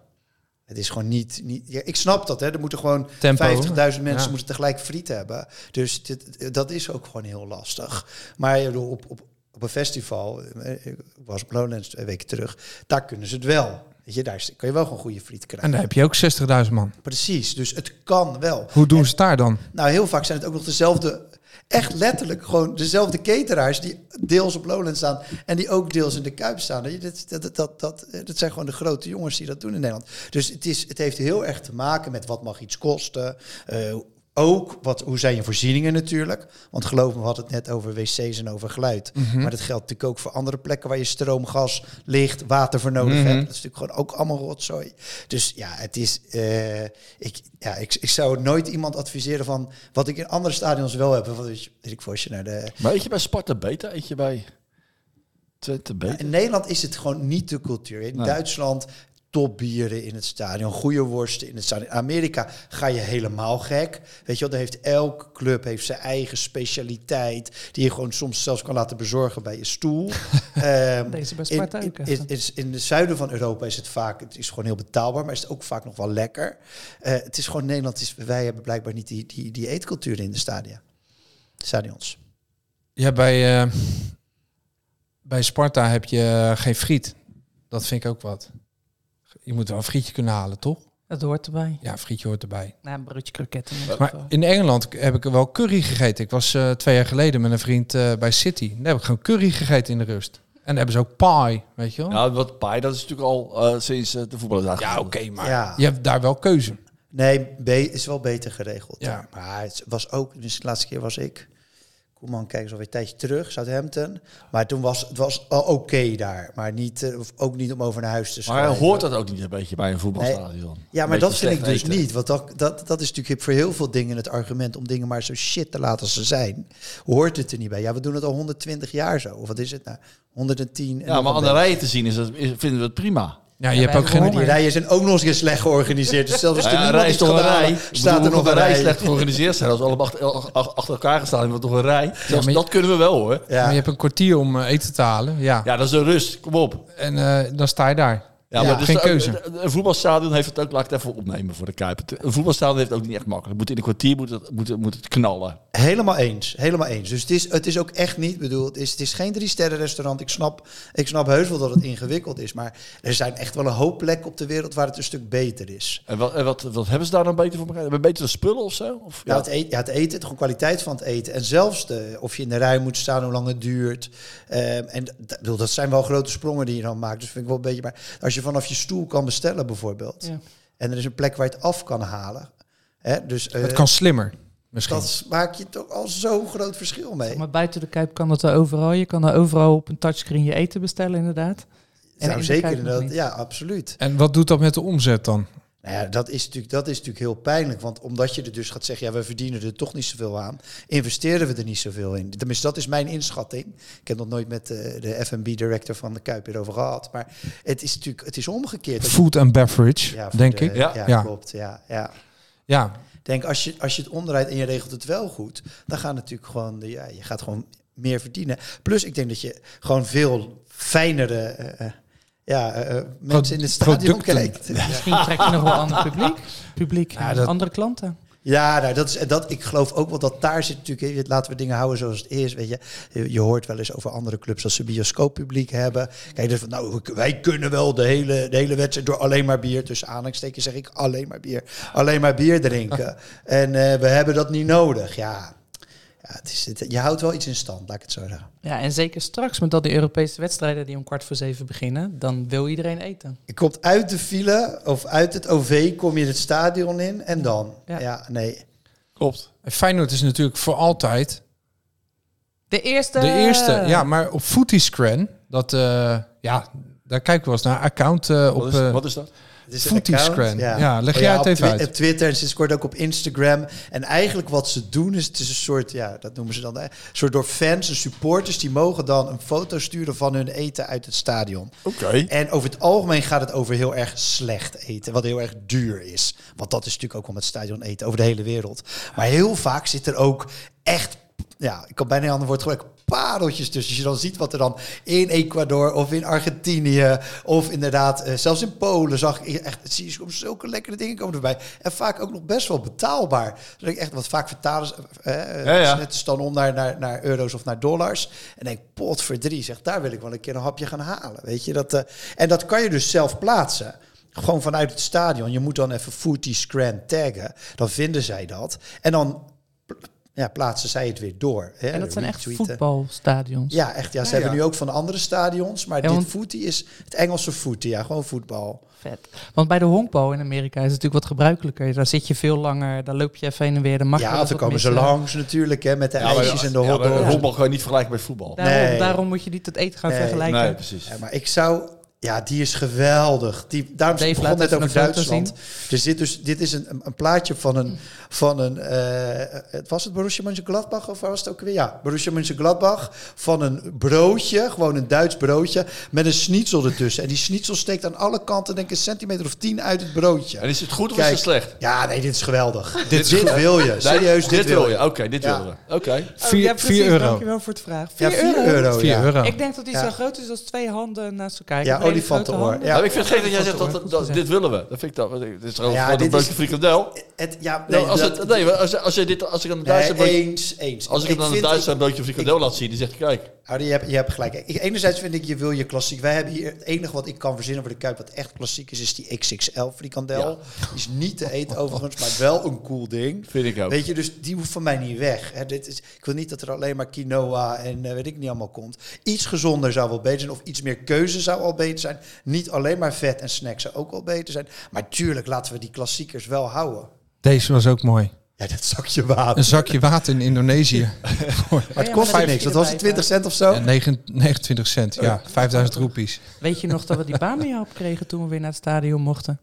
[SPEAKER 7] Het is gewoon niet... niet ja, ik snap dat, hè. Er moeten gewoon 50.000
[SPEAKER 5] Tempo.
[SPEAKER 7] mensen
[SPEAKER 5] Ja.
[SPEAKER 7] moeten tegelijk friet hebben. Dus dit, dat is ook gewoon heel lastig. Maar ik bedoel, op, op, op een festival... eh, Ik was op Lowlands twee weken terug. Daar kunnen ze het wel. Weet je, daar is- kun je wel gewoon goede friet krijgen.
[SPEAKER 5] En daar heb je ook 60.000 man.
[SPEAKER 7] Precies, dus het kan wel.
[SPEAKER 5] Hoe doen ze het daar dan?
[SPEAKER 7] Nou, heel vaak zijn het ook nog dezelfde, echt letterlijk gewoon dezelfde cateraars die deels op Lowland staan en die ook deels in de Kuip staan. Weet je, Dat, dat, dat, dat, eh, dat, zijn gewoon de grote jongens die dat doen in Nederland. Dus het, is, het heeft heel erg te maken met wat mag iets kosten. eh, ook wat, hoe zijn je voorzieningen natuurlijk. Want geloof me, we hadden het net over wc's en over geluid.
[SPEAKER 5] Mhm.
[SPEAKER 7] Maar dat geldt natuurlijk ook voor andere plekken waar je stroom, gas, licht, water voor nodig
[SPEAKER 5] Mhm.
[SPEAKER 7] hebt. Dat is natuurlijk gewoon ook allemaal rotzooi. Dus ja, het is. eh, ik, ja, ik, ik zou nooit iemand adviseren van wat ik in andere stadions wel heb. Wat weet je- weet ik voor als je naar de.
[SPEAKER 2] Maar eet je bij Sparta beter? Eet je bij Twente beter?
[SPEAKER 7] In Nederland is het gewoon niet de cultuur. In
[SPEAKER 2] Nee.
[SPEAKER 7] Duitsland topbieren in het stadion, goede worsten in het stadion. In Amerika ga je helemaal gek. Weet je wel, daar heeft elke club heeft zijn eigen specialiteit... die je gewoon soms zelfs kan laten bezorgen bij je stoel. Ehm,
[SPEAKER 6] Deze bij
[SPEAKER 7] in-
[SPEAKER 6] Sparta
[SPEAKER 7] in,
[SPEAKER 6] ook echt.
[SPEAKER 7] in, is- in het zuiden van Europa is het vaak, het is gewoon heel betaalbaar, maar is het ook vaak nog wel lekker. Eh, het is gewoon Nederland, is, wij hebben blijkbaar niet die, die, die eetcultuur in de stadia. Stadions.
[SPEAKER 5] Ja, bij, eh, bij Sparta heb je eh, geen friet. Dat vind ik ook wat. Je moet wel een frietje kunnen halen, toch?
[SPEAKER 6] Dat hoort erbij.
[SPEAKER 5] Ja, een frietje hoort erbij.
[SPEAKER 6] Nou, een broodje kroketten. in ieder
[SPEAKER 5] Maar
[SPEAKER 6] geval.
[SPEAKER 5] in Engeland heb ik wel curry gegeten. Ik was eh, twee jaar geleden met een vriend eh, bij City. Daar heb ik gewoon curry gegeten in de rust. En daar hebben ze ook pie, weet je wel?
[SPEAKER 2] Nou, wat paai, dat is natuurlijk al eh, sinds eh, de voetballerdag. Ja, oké,
[SPEAKER 5] maar
[SPEAKER 7] Ja.
[SPEAKER 5] Je hebt daar wel keuze.
[SPEAKER 7] Nee, B is wel beter geregeld.
[SPEAKER 5] Ja.
[SPEAKER 7] Ja. Maar het was ook, dus de laatste keer was ik. Koeman, kijk eens alweer een tijdje terug, Southampton. Maar toen was het was al oké daar. Maar niet, eh, of ook niet om over naar huis te
[SPEAKER 2] Maar
[SPEAKER 7] schrijven.
[SPEAKER 2] hoort dat ook niet een beetje bij een
[SPEAKER 7] Nee.
[SPEAKER 2] voetbalstadion?
[SPEAKER 7] Ja, maar
[SPEAKER 2] Beetje
[SPEAKER 7] dat vind ik
[SPEAKER 2] slecht
[SPEAKER 7] dus
[SPEAKER 2] eten.
[SPEAKER 7] niet. Want dat, dat, dat is natuurlijk voor heel veel dingen het argument om dingen maar zo shit te laten als ze zijn. Hoort het er niet bij? Ja, we doen het al 120 jaar zo. Of wat is het nou? 110. en
[SPEAKER 2] Ja,
[SPEAKER 7] nog
[SPEAKER 2] maar aan
[SPEAKER 7] een
[SPEAKER 2] de
[SPEAKER 7] beetje.
[SPEAKER 2] rijen te zien is, dat, is- vinden we het prima.
[SPEAKER 5] Ja, je hebt ook
[SPEAKER 7] Maar die
[SPEAKER 5] geen...
[SPEAKER 7] rijen zijn ook nog eens een keer slecht georganiseerd. Dus zelfs
[SPEAKER 2] Ja,
[SPEAKER 7] als er
[SPEAKER 2] een
[SPEAKER 7] niemand
[SPEAKER 2] rij is
[SPEAKER 7] iets
[SPEAKER 2] toch
[SPEAKER 7] gaat
[SPEAKER 2] een
[SPEAKER 7] halen,
[SPEAKER 2] rij?
[SPEAKER 7] staat er nog een rij.
[SPEAKER 2] slecht georganiseerd zijn. Als we allemaal achter, ach- ach- achter elkaar gaan staan, hebben we toch een rij. Zelfs
[SPEAKER 5] maar je-
[SPEAKER 2] dat kunnen we wel hoor.
[SPEAKER 7] Ja.
[SPEAKER 5] Maar je hebt een kwartier om eh, eten te halen, ja.
[SPEAKER 2] Ja, dat is een rust. Kom op.
[SPEAKER 5] En eh, dan sta je daar.
[SPEAKER 2] Ja,
[SPEAKER 7] Ja.
[SPEAKER 2] maar dus
[SPEAKER 5] Geen
[SPEAKER 2] ook-
[SPEAKER 5] keuze.
[SPEAKER 2] Een voetbalstadion heeft het ook, laat ik het even opnemen voor de Kuip. Het- Een voetbalstadion heeft het ook niet echt makkelijk. Moet in een kwartier moet het, moet het, moet het knallen.
[SPEAKER 7] Helemaal eens, helemaal eens. Dus het is, het is ook echt niet bedoeld. Het is, het is geen drie sterren restaurant. Ik snap, ik snap heus wel dat het ingewikkeld is. Maar er zijn echt wel een hoop plekken op de wereld waar het een stuk beter is.
[SPEAKER 2] En wat, en wat, wat hebben ze daar dan beter voor elkaar? Hebben we betere spullen of zo? Of,
[SPEAKER 7] Ja, Nou, het, eten, ja, het eten, gewoon kwaliteit van het eten. En zelfs de, of je in de rij moet staan, hoe lang het duurt. Ehm, en d- d- bedoel, dat zijn wel grote sprongen die je dan maakt. Dus vind ik wel een beetje. Maar als je vanaf je stoel kan bestellen bijvoorbeeld.
[SPEAKER 6] Ja.
[SPEAKER 7] En er is een plek waar je het af kan halen. Hè, dus eh,
[SPEAKER 5] Het kan slimmer, misschien.
[SPEAKER 7] dat maak je toch al zo'n groot verschil mee.
[SPEAKER 6] Maar buiten de Kuip kan dat wel overal. Je kan daar overal op een touchscreen je eten bestellen, inderdaad. En in
[SPEAKER 7] Nou,
[SPEAKER 6] de
[SPEAKER 7] zeker
[SPEAKER 6] Kuip nog
[SPEAKER 7] inderdaad.
[SPEAKER 6] niet.
[SPEAKER 7] Ja, absoluut.
[SPEAKER 5] En wat doet dat met de omzet dan?
[SPEAKER 7] Nou ja, dat is, natuurlijk, dat is natuurlijk heel pijnlijk. Want omdat je er dus gaat zeggen, ja, we verdienen er toch niet zoveel aan, investeren we er niet zoveel in. Tenminste, dat is mijn inschatting. Ik heb nog nooit met eh, de FB director van de Kuip hierover gehad. Maar het is natuurlijk, het is omgekeerd. Dat je-
[SPEAKER 5] Food and beverage,
[SPEAKER 7] Ja, voor
[SPEAKER 5] denk
[SPEAKER 7] de-
[SPEAKER 5] ik.
[SPEAKER 7] Ja,
[SPEAKER 5] Ja.
[SPEAKER 7] klopt. Ja, ja.
[SPEAKER 5] Ja,
[SPEAKER 7] Denk, als je, als je het omdraait en je regelt het wel goed, dan gaan natuurlijk gewoon, de, ja, je gaat gewoon meer verdienen. Plus, ik denk dat je gewoon veel fijnere eh, eh, ja, eh, eh, mensen in het stadion
[SPEAKER 5] producten.
[SPEAKER 7] kijkt.
[SPEAKER 6] Misschien trek je nog wel ander publiek. Publiek,
[SPEAKER 5] Ja, dat-
[SPEAKER 6] andere klanten.
[SPEAKER 7] Ja, nou, dat is, en dat, ik geloof ook wel dat daar zit natuurlijk... hè, Laten we dingen houden zoals het is, weet je. Je je hoort wel eens over andere clubs dat ze bioscooppubliek hebben. Kijk, dus van, nou, we- wij kunnen wel de hele, de hele wedstrijd door alleen maar bier... tussen aanhalingstekens zeg ik alleen maar bier. Alleen maar bier drinken. En eh, we hebben dat niet nodig, ja. ja het is, het- je houdt wel iets in stand, laat ik het zo zeggen.
[SPEAKER 6] Ja, en zeker straks met al die Europese wedstrijden die om kwart voor zeven beginnen, dan wil iedereen eten.
[SPEAKER 7] Je komt uit de file of uit het OV, kom je het stadion in en dan.
[SPEAKER 6] Ja.
[SPEAKER 7] ja nee.
[SPEAKER 2] Klopt.
[SPEAKER 5] En Feyenoord is natuurlijk voor altijd
[SPEAKER 6] De eerste.
[SPEAKER 5] de eerste. Ja, maar op Footyscran, dat eh, ja, daar kijken we eens naar. Account eh, op
[SPEAKER 2] Wat is,
[SPEAKER 5] eh,
[SPEAKER 2] wat is dat?
[SPEAKER 7] Het is een
[SPEAKER 5] Footiscran.
[SPEAKER 7] account, Oh
[SPEAKER 5] Oh Ja, leg jij het
[SPEAKER 7] op
[SPEAKER 5] even
[SPEAKER 7] Twi-
[SPEAKER 5] uit.
[SPEAKER 7] Op Twitter en sinds kort ook op Instagram. En eigenlijk wat ze doen is, het is een soort, ja, dat noemen ze dan, hè, een soort door fans en supporters, die mogen dan een foto sturen van hun eten uit het stadion.
[SPEAKER 2] Oké.
[SPEAKER 7] En over het algemeen gaat het over heel erg slecht eten, wat heel erg duur is. Want dat is natuurlijk ook om het stadion eten over de hele wereld. Maar heel vaak zit er ook echt, ja, ik kan bijna een ander woord gebruiken, pareltjes tussen. Als je dan ziet wat er dan in Ecuador of in Argentinië of inderdaad eh, zelfs in Polen zag ik echt zie je soms zulke lekkere dingen komen erbij. En vaak ook nog best wel betaalbaar. Dus ik denk echt, wat vaak vertalen ze, eh,
[SPEAKER 2] Ja, ja.
[SPEAKER 7] ze net is dan om naar, naar, naar euro's of naar dollars. En denk, pot voor drie, zeg, daar wil ik wel een keer een hapje gaan halen. Weet je? Dat, eh, en dat kan je dus zelf plaatsen. Gewoon vanuit het stadion. Je moet dan even footy scran taggen. Dan vinden zij dat. En dan pl- ja, plaatsen zij het weer door. Hè?
[SPEAKER 6] En dat zijn echt
[SPEAKER 7] Retweeten.
[SPEAKER 6] voetbalstadions.
[SPEAKER 7] Ja, echt. Ja, ze
[SPEAKER 6] Ja,
[SPEAKER 7] hebben
[SPEAKER 6] ja.
[SPEAKER 7] nu ook van de andere stadions. Maar
[SPEAKER 6] Ja,
[SPEAKER 7] dit
[SPEAKER 6] want-
[SPEAKER 7] footy is het Engelse footy. Ja, gewoon voetbal.
[SPEAKER 6] Vet. Want bij de honkbal in Amerika is het natuurlijk wat gebruikelijker. Daar zit je veel langer, daar loop je even heen en weer. Dan mag je
[SPEAKER 7] ja,
[SPEAKER 6] wel
[SPEAKER 7] want
[SPEAKER 6] eens
[SPEAKER 7] dan
[SPEAKER 6] wat
[SPEAKER 7] komen ze
[SPEAKER 6] missen.
[SPEAKER 7] langs natuurlijk. Hè, met de
[SPEAKER 2] maar-
[SPEAKER 7] ijsjes en de
[SPEAKER 2] ja, maar
[SPEAKER 7] hotdogs.
[SPEAKER 2] Honkbal kan je niet vergelijken met voetbal.
[SPEAKER 6] Daarom,
[SPEAKER 7] Nee.
[SPEAKER 6] daarom moet je niet het eten gaan
[SPEAKER 7] Nee.
[SPEAKER 6] vergelijken. Oh,
[SPEAKER 2] Nee, precies.
[SPEAKER 7] Ja, maar ik zou... Ja, die is geweldig. Die, daarom
[SPEAKER 6] Dave,
[SPEAKER 7] begon
[SPEAKER 6] laat
[SPEAKER 7] net
[SPEAKER 6] even
[SPEAKER 7] over
[SPEAKER 6] een foto
[SPEAKER 7] Duitsland. Er zit dus, dit is een, een plaatje van een... Van een eh, het was het Borussia Mönchengladbach of waar was het ook weer? Ja, Borussia Mönchengladbach. Van een broodje, gewoon een Duits broodje... met een schnitzel ertussen. En die schnitzel steekt aan alle kanten denk ik een centimeter of tien uit het broodje.
[SPEAKER 2] En is het goed of
[SPEAKER 7] Kijk,
[SPEAKER 2] is het slecht?
[SPEAKER 7] Ja, nee, dit is geweldig.
[SPEAKER 2] Dit
[SPEAKER 7] dit
[SPEAKER 2] is goed.
[SPEAKER 7] wil je.
[SPEAKER 2] Nee,
[SPEAKER 7] Serieus, dit, wil je.
[SPEAKER 2] Oké, dit
[SPEAKER 7] Ja.
[SPEAKER 2] wil je. Oké.
[SPEAKER 5] Vier-
[SPEAKER 11] ja, precies,
[SPEAKER 5] vier euro.
[SPEAKER 11] Dankjewel voor het vraag.
[SPEAKER 7] Ja, 4 euro.
[SPEAKER 5] Vier
[SPEAKER 7] oh ja.
[SPEAKER 5] euro.
[SPEAKER 11] Ik denk dat die
[SPEAKER 7] Ja.
[SPEAKER 11] zo groot is als twee handen naast elkaar.
[SPEAKER 7] Ja,
[SPEAKER 11] Een hele
[SPEAKER 7] olifantenoor.
[SPEAKER 11] grote handen.
[SPEAKER 7] Ja.
[SPEAKER 2] Nou, ik vind het gek dat jij zegt dat,
[SPEAKER 6] Goed
[SPEAKER 2] dat,
[SPEAKER 6] gezegd.
[SPEAKER 2] dit willen we. Dat vind ik dat. Het is gewoon
[SPEAKER 7] Ja,
[SPEAKER 2] gewoon een
[SPEAKER 7] dit
[SPEAKER 2] broodje
[SPEAKER 7] is-
[SPEAKER 2] frikandel.
[SPEAKER 7] Het, ja,
[SPEAKER 2] Nee,
[SPEAKER 7] nee,
[SPEAKER 2] Nou, als,
[SPEAKER 7] dat-
[SPEAKER 2] het, nee, maar als, als, je dit, als ik aan de
[SPEAKER 7] Nee,
[SPEAKER 2] Duitser broodje-
[SPEAKER 7] eens, eens.
[SPEAKER 2] als ik hem aan de
[SPEAKER 7] vind-
[SPEAKER 2] Duitser een broodje frikandel laat zien, die zegt kijk.
[SPEAKER 7] Ja, je, hebt, je hebt gelijk. Ik- enerzijds vind ik, je wil je klassiek. Wij hebben hier, het enige wat ik kan verzinnen voor de Kuip wat echt klassiek is, is die XXL frikandel. Die is niet te eten overigens, maar wel een cool ding.
[SPEAKER 2] Vind ik ook.
[SPEAKER 7] Weet je, dus die hoeft van mij niet weg. Hè, dit is, ik wil niet dat er alleen maar quinoa en eh, weet ik niet allemaal komt. Iets gezonder zou wel beter zijn, of iets meer keuze zou al beter zijn. Niet alleen maar vet en snacks zou ook wel beter zijn. Maar tuurlijk, laten we die klassiekers wel houden.
[SPEAKER 5] Deze was ook mooi.
[SPEAKER 7] Ja, dat zakje water.
[SPEAKER 5] Een zakje water in Indonesië.
[SPEAKER 7] Maar het kostte
[SPEAKER 6] maar dat zit
[SPEAKER 7] niks. Dat was het
[SPEAKER 6] erbij,
[SPEAKER 7] 20 cent of zo.
[SPEAKER 5] Ja, negen- 29 cent, ja. 5000 roepies.
[SPEAKER 6] Weet je nog dat we die Bamiap kregen toen we weer naar het stadion mochten?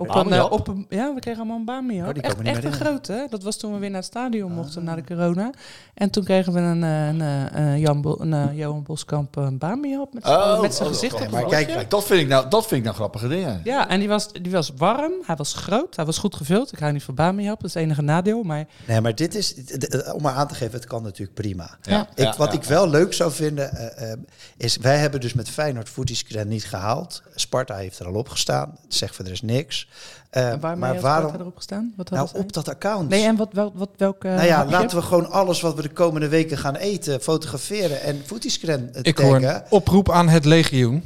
[SPEAKER 6] Op een, eh,
[SPEAKER 2] Bamiap?
[SPEAKER 6] op een, ja, we kregen allemaal een Bamiap.
[SPEAKER 7] Oh, die
[SPEAKER 6] echt
[SPEAKER 7] komen we niet
[SPEAKER 6] echt
[SPEAKER 7] meer Ah.
[SPEAKER 6] een
[SPEAKER 7] in.
[SPEAKER 6] grote. hè? Dat was toen we weer naar het stadion mochten na de corona. En toen kregen we een, eh, een, eh, eh, Jan Bo- een eh, Johan Boskamp een Bamiap met, z'n-
[SPEAKER 2] Oh,
[SPEAKER 6] met zijn
[SPEAKER 2] oh,
[SPEAKER 6] gezicht
[SPEAKER 2] oh,
[SPEAKER 6] op
[SPEAKER 7] maar
[SPEAKER 6] een
[SPEAKER 7] kijk,
[SPEAKER 6] bordje.
[SPEAKER 2] Kijk, dat vind ik nou, dat vind ik nou grappige dingen.
[SPEAKER 6] Ja, en die was, die was warm, hij was groot, hij was goed gevuld. Ik hou niet van Bamiap, dat is het enige nadeel. Maar
[SPEAKER 7] Nee, maar dit is, d- d- om maar aan te geven, het kan natuurlijk prima.
[SPEAKER 2] Ja.
[SPEAKER 7] Ik,
[SPEAKER 2] Ja,
[SPEAKER 7] wat
[SPEAKER 2] ja,
[SPEAKER 7] ik wel leuk zou vinden, eh, eh, is wij hebben dus met Feyenoord Footiescreen niet gehaald. Sparta heeft er al op gestaan, Het zegt verder is niks. Eh,
[SPEAKER 6] En waarmee
[SPEAKER 7] maar
[SPEAKER 6] had
[SPEAKER 7] waarom?
[SPEAKER 6] Sparta erop gestaan? Wat
[SPEAKER 7] Nou,
[SPEAKER 6] hadden zij?
[SPEAKER 7] op dat account.
[SPEAKER 6] Nee, en eh, wat, wel- wat, welke...
[SPEAKER 7] nou ja, laten we gewoon alles wat we de komende weken gaan eten, fotograferen en Footiescreen eh,
[SPEAKER 5] Ik hoor een
[SPEAKER 7] taggen.
[SPEAKER 5] oproep aan het legioen.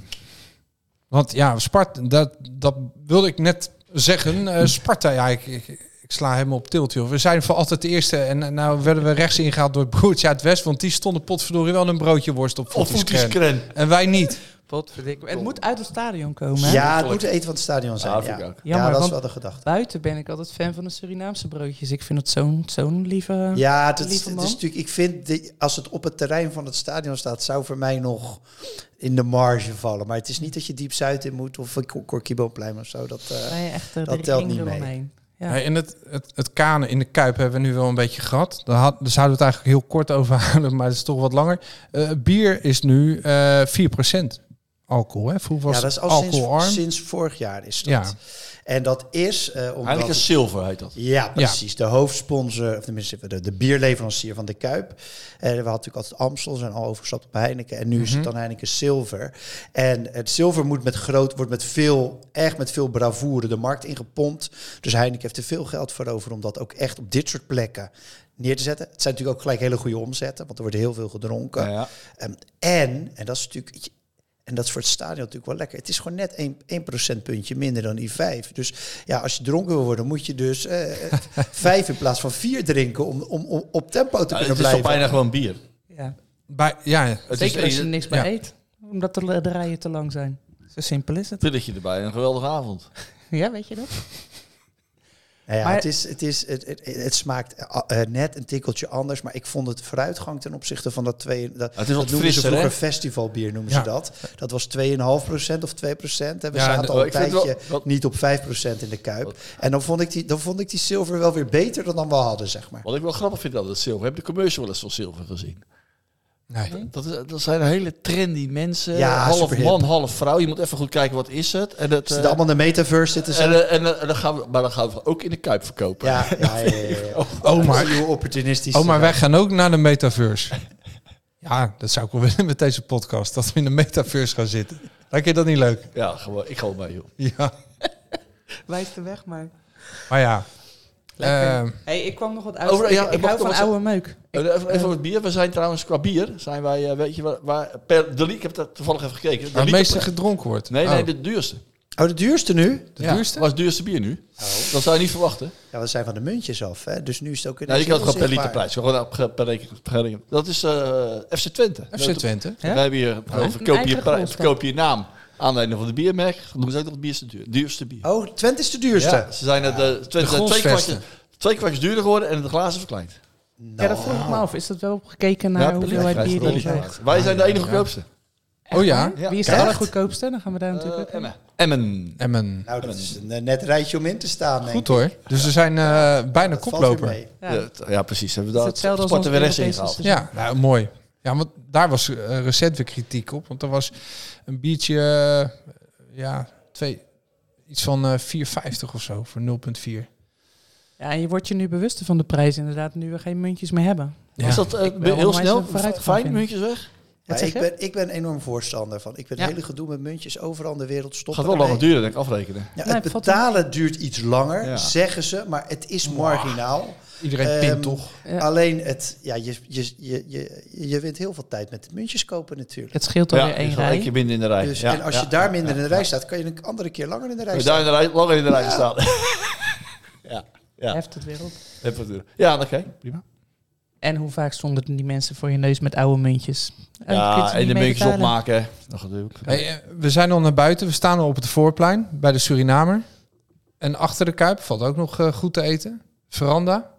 [SPEAKER 5] Want ja, Sparta, dat, dat wilde ik net zeggen. Eh, Sparta, ja, ik, ik, ik sla helemaal op tilt, joh. We zijn voor altijd de eerste. En eh, nou werden we rechts ingehaald door het broertje uit West. Want die stonden potverdorie wel een broodje worst op
[SPEAKER 2] Of
[SPEAKER 5] voetjes.
[SPEAKER 2] voetjescren.
[SPEAKER 5] En wij niet.
[SPEAKER 6] Potverdikke. Het moet uit het stadion komen. hè?
[SPEAKER 7] Ja, het moet eten van het stadion zijn.
[SPEAKER 2] Ja,
[SPEAKER 7] Ja,
[SPEAKER 2] vind
[SPEAKER 7] ja.
[SPEAKER 2] ik ook.
[SPEAKER 6] Jammer,
[SPEAKER 7] dat is
[SPEAKER 6] want-
[SPEAKER 7] wel de gedachte.
[SPEAKER 6] Buiten ben ik altijd fan van de Surinaamse broodjes. Ik vind het zo'n zo'n lieve...
[SPEAKER 7] Ja, het, is-
[SPEAKER 6] lieve
[SPEAKER 7] het
[SPEAKER 6] man.
[SPEAKER 7] is natuurlijk. Ik vind die- als het op het terrein van het stadion staat, zou voor mij nog in de marge vallen. Maar het is niet dat je diep zuid in moet of een Cor- Corquiboplein of zo. Dat, eh,
[SPEAKER 6] Ben je echt eh,
[SPEAKER 7] Dat
[SPEAKER 6] de
[SPEAKER 7] telt
[SPEAKER 6] ring
[SPEAKER 7] niet mee.
[SPEAKER 6] eromheen. Ja.
[SPEAKER 5] Nee, en het, het, het kanen in de Kuip hebben we nu wel een beetje gehad. Daar, had, daar zouden we het eigenlijk heel kort over houden, maar het is toch wat langer. Eh, bier is nu eh 4% alcohol. Hè? Vroeger was
[SPEAKER 7] ja, dat is
[SPEAKER 5] het
[SPEAKER 7] al
[SPEAKER 5] alcoholarm.
[SPEAKER 7] sinds, sinds vorig jaar is dat.
[SPEAKER 5] Ja.
[SPEAKER 7] En dat is eh omdat
[SPEAKER 2] Eigenlijk een zilver heet dat.
[SPEAKER 7] Ja, precies. De hoofdsponsor, of tenminste de, de bierleverancier van de Kuip. Eh, we hadden natuurlijk altijd Amstel, zijn al overgestapt op Heineken. En nu is
[SPEAKER 2] Mhm.
[SPEAKER 7] het dan Heineken Silver. En het zilver moet met groot, wordt met veel, echt met veel bravoure de markt ingepompt. Dus Heineken heeft er veel geld voor over om dat ook echt op dit soort plekken neer te zetten. Het zijn natuurlijk ook gelijk hele goede omzetten, want er wordt heel veel gedronken.
[SPEAKER 2] Ja, ja.
[SPEAKER 7] Ehm, en, en dat is natuurlijk... En dat is voor het stadion natuurlijk wel lekker. Het is gewoon net 1, 1 procentpuntje minder dan I5. Dus ja, als je dronken wil worden, moet je dus eh, eh, vijf in plaats van vier drinken om, om, om op tempo te
[SPEAKER 2] Ja,
[SPEAKER 7] kunnen
[SPEAKER 2] het is toch
[SPEAKER 7] blijven.
[SPEAKER 2] bijna gewoon bier.
[SPEAKER 6] Ja.
[SPEAKER 5] Bij, ja,
[SPEAKER 2] Het
[SPEAKER 6] Zeker als
[SPEAKER 2] is
[SPEAKER 6] je er
[SPEAKER 2] een
[SPEAKER 6] niks meer
[SPEAKER 5] ja.
[SPEAKER 6] eet. Omdat de, de rijen te lang zijn. Zo simpel is het.
[SPEAKER 2] pilletje erbij en een geweldige avond.
[SPEAKER 6] Ja, weet je dat?
[SPEAKER 7] Nou ja,
[SPEAKER 6] Maar-
[SPEAKER 7] het, is, het, is, het, het, het smaakt eh, ah, eh, net een tikkeltje anders. Maar ik vond het vooruitgang ten opzichte van dat twee... Dat,
[SPEAKER 2] wat
[SPEAKER 7] dat noemen
[SPEAKER 2] frisser,
[SPEAKER 7] ze vroeger
[SPEAKER 2] hè?
[SPEAKER 7] festivalbier, noemen
[SPEAKER 5] Ja.
[SPEAKER 7] ze dat. Dat was 2,5% of 2%. Hè. We
[SPEAKER 5] Ja,
[SPEAKER 7] zaten
[SPEAKER 5] de-
[SPEAKER 7] al een
[SPEAKER 2] oh, ik vind het
[SPEAKER 7] tijdje
[SPEAKER 2] wel- wat-
[SPEAKER 7] niet op 5% in de Kuip. En dan vond, ik die, dan vond ik die zilver wel weer beter dan, dan we hadden, zeg maar.
[SPEAKER 2] Wat ik wel grappig vind aan dat zilver. Heb je de commercial wel eens van zilver gezien?
[SPEAKER 7] Hm?
[SPEAKER 5] nee.
[SPEAKER 2] Dat, is, dat zijn hele trendy mensen.
[SPEAKER 7] Ja,
[SPEAKER 2] half
[SPEAKER 7] superhip.
[SPEAKER 2] man, half vrouw. Je moet even goed kijken wat is het. En het,
[SPEAKER 7] Ze
[SPEAKER 2] eh,
[SPEAKER 7] zitten allemaal in de metaverse zitten ze.
[SPEAKER 2] en, eh, en, eh, en dan gaan we, maar dan gaan we ook in de kuip verkopen.
[SPEAKER 7] Ja, ja, ja, ja, ja.
[SPEAKER 5] Oh, maar-
[SPEAKER 7] Heel opportunistisch.
[SPEAKER 5] Oh, maar wij gaan ook naar de metaverse. Ja, dat zou ik wel willen met deze podcast. Dat we in de metaverse gaan zitten. Lijkt je dat niet leuk?
[SPEAKER 2] Ja, gewoon, ik ga bij joh.
[SPEAKER 5] Ja.
[SPEAKER 6] Wijs de weg maar.
[SPEAKER 5] Maar ja.
[SPEAKER 6] Lekker.
[SPEAKER 5] Ehm,
[SPEAKER 6] hey, ik kwam nog wat uit.
[SPEAKER 2] Over- ja,
[SPEAKER 6] ik,
[SPEAKER 2] mag
[SPEAKER 6] ik hou
[SPEAKER 2] ik nog
[SPEAKER 6] van
[SPEAKER 2] wat
[SPEAKER 6] oude meuk.
[SPEAKER 2] zeggen? Eh, Even, even over het bier. We zijn trouwens qua bier, zijn wij, eh, weet je waar, waar per de li- ik heb dat toevallig even gekeken. De
[SPEAKER 5] waar het
[SPEAKER 2] liter-
[SPEAKER 5] meeste gedronken wordt.
[SPEAKER 2] Nee,
[SPEAKER 5] Oh.
[SPEAKER 2] nee, de duurste.
[SPEAKER 7] Oh, de duurste nu?
[SPEAKER 5] De
[SPEAKER 2] Ja,
[SPEAKER 5] duurste?
[SPEAKER 2] Wat is het duurste bier nu? Dat zou je niet verwachten.
[SPEAKER 7] Ja, we zijn van de muntjes af, hè? dus nu is het ook...
[SPEAKER 2] Nou, je kan het gewoon per liter
[SPEAKER 7] zichtbaar.
[SPEAKER 2] prijs. Gewoon op- per rekening. per rekening. Dat is eh, FC Twente.
[SPEAKER 5] FC Twente.
[SPEAKER 2] We hebben hier, gewoon verkoop, je,
[SPEAKER 6] eigen
[SPEAKER 2] pri-
[SPEAKER 6] grondstof.
[SPEAKER 2] verkoop je naam aan de een van de biermerk. Dan doen ze ook nog het bierste duur, duurste bier.
[SPEAKER 7] Oh, Twente is de duurste.
[SPEAKER 2] Ja, ze zijn, het, eh, Twente zijn twee,
[SPEAKER 5] grondsvesten.
[SPEAKER 2] kwartjes, twee kwartjes duurder geworden en de glazen verkleind.
[SPEAKER 6] Ja, dat vroeg ik me af. Is dat wel opgekeken naar
[SPEAKER 2] Nou. Ja, per
[SPEAKER 6] hoeveelheid
[SPEAKER 2] liter.
[SPEAKER 6] bier die je
[SPEAKER 2] Ja,
[SPEAKER 6] krijgt?
[SPEAKER 2] Wij zijn
[SPEAKER 7] Ah,
[SPEAKER 2] de enige goedkoopste.
[SPEAKER 5] Oh ja.
[SPEAKER 2] Ja.
[SPEAKER 6] Wie is de allergoedkoopste? Dan gaan we daar natuurlijk ook
[SPEAKER 2] Eh,
[SPEAKER 6] heen.
[SPEAKER 2] Emmen. Emmen.
[SPEAKER 5] Emmen.
[SPEAKER 7] Nou, dat is een eh, net rijtje om in te staan. denk
[SPEAKER 5] Goed
[SPEAKER 7] ik.
[SPEAKER 5] hoor. Dus we zijn eh, bijna
[SPEAKER 7] Dat valt weer
[SPEAKER 5] koploper.
[SPEAKER 7] mee.
[SPEAKER 6] Ja.
[SPEAKER 2] Ja, t- ja, precies. Hebben we
[SPEAKER 6] Het
[SPEAKER 2] daar
[SPEAKER 6] is hetzelfde als
[SPEAKER 2] sporten
[SPEAKER 6] ons
[SPEAKER 2] weer eens
[SPEAKER 6] Europese
[SPEAKER 2] ingehaald.
[SPEAKER 5] Ja, nou, mooi. Ja, want daar was eh, recent weer kritiek op. Want er was een biertje, eh, ja, twee, iets van eh 4,50 of zo voor 0,4.
[SPEAKER 6] Ja, en je wordt je nu bewuster van de prijs inderdaad, nu we geen muntjes meer hebben.
[SPEAKER 5] Ja.
[SPEAKER 2] Is dat eh,
[SPEAKER 6] ben
[SPEAKER 2] heel
[SPEAKER 6] onwijs
[SPEAKER 2] snel?
[SPEAKER 6] vooruitgang
[SPEAKER 2] Fijn,
[SPEAKER 6] vinden.
[SPEAKER 2] muntjes weg?
[SPEAKER 7] Maar
[SPEAKER 6] zeg
[SPEAKER 7] ik,
[SPEAKER 6] je?
[SPEAKER 7] ben, ik ben enorm voorstander van. Ik ben
[SPEAKER 6] Ja.
[SPEAKER 7] het hele gedoe met muntjes overal in de wereld stoppen.
[SPEAKER 2] Gaat wel langer
[SPEAKER 7] ermee.
[SPEAKER 2] duren, denk ik, afrekenen.
[SPEAKER 7] Ja,
[SPEAKER 6] Nee,
[SPEAKER 7] het
[SPEAKER 6] het valt
[SPEAKER 7] betalen duurt iets langer,
[SPEAKER 2] Ja.
[SPEAKER 7] zeggen ze, maar het is marginaal.
[SPEAKER 5] Iedereen
[SPEAKER 7] Ehm,
[SPEAKER 5] pint toch?
[SPEAKER 6] Ja.
[SPEAKER 7] Alleen, het, ja, je, je, je, je, je wint heel veel tijd met de muntjes kopen natuurlijk.
[SPEAKER 6] Het scheelt alweer
[SPEAKER 2] je
[SPEAKER 6] één
[SPEAKER 2] gaat dus één
[SPEAKER 6] rij.
[SPEAKER 2] keer binnen in de rij.
[SPEAKER 7] Dus,
[SPEAKER 2] ja,
[SPEAKER 7] en als je
[SPEAKER 2] ja.
[SPEAKER 7] daar minder in de rij staat, kan je een andere keer langer in de rij
[SPEAKER 2] Als je
[SPEAKER 7] staan.
[SPEAKER 2] daar in de rij, langer in de rij staat. ja, ja.
[SPEAKER 6] Heft het weer op.
[SPEAKER 2] Heb het weer. Ja, oké, prima.
[SPEAKER 6] En hoe vaak stonden die mensen voor je neus met oude muntjes? En dat kun je
[SPEAKER 2] Ja,
[SPEAKER 6] ze
[SPEAKER 2] en
[SPEAKER 6] niet
[SPEAKER 2] de
[SPEAKER 6] mee
[SPEAKER 2] muntjes
[SPEAKER 6] betalen.
[SPEAKER 2] opmaken. Dat natuurlijk.
[SPEAKER 5] Hey, eh, we zijn al naar buiten. We staan al op het voorplein bij de Surinamer. En achter de Kuip valt ook nog eh, goed te eten. Veranda.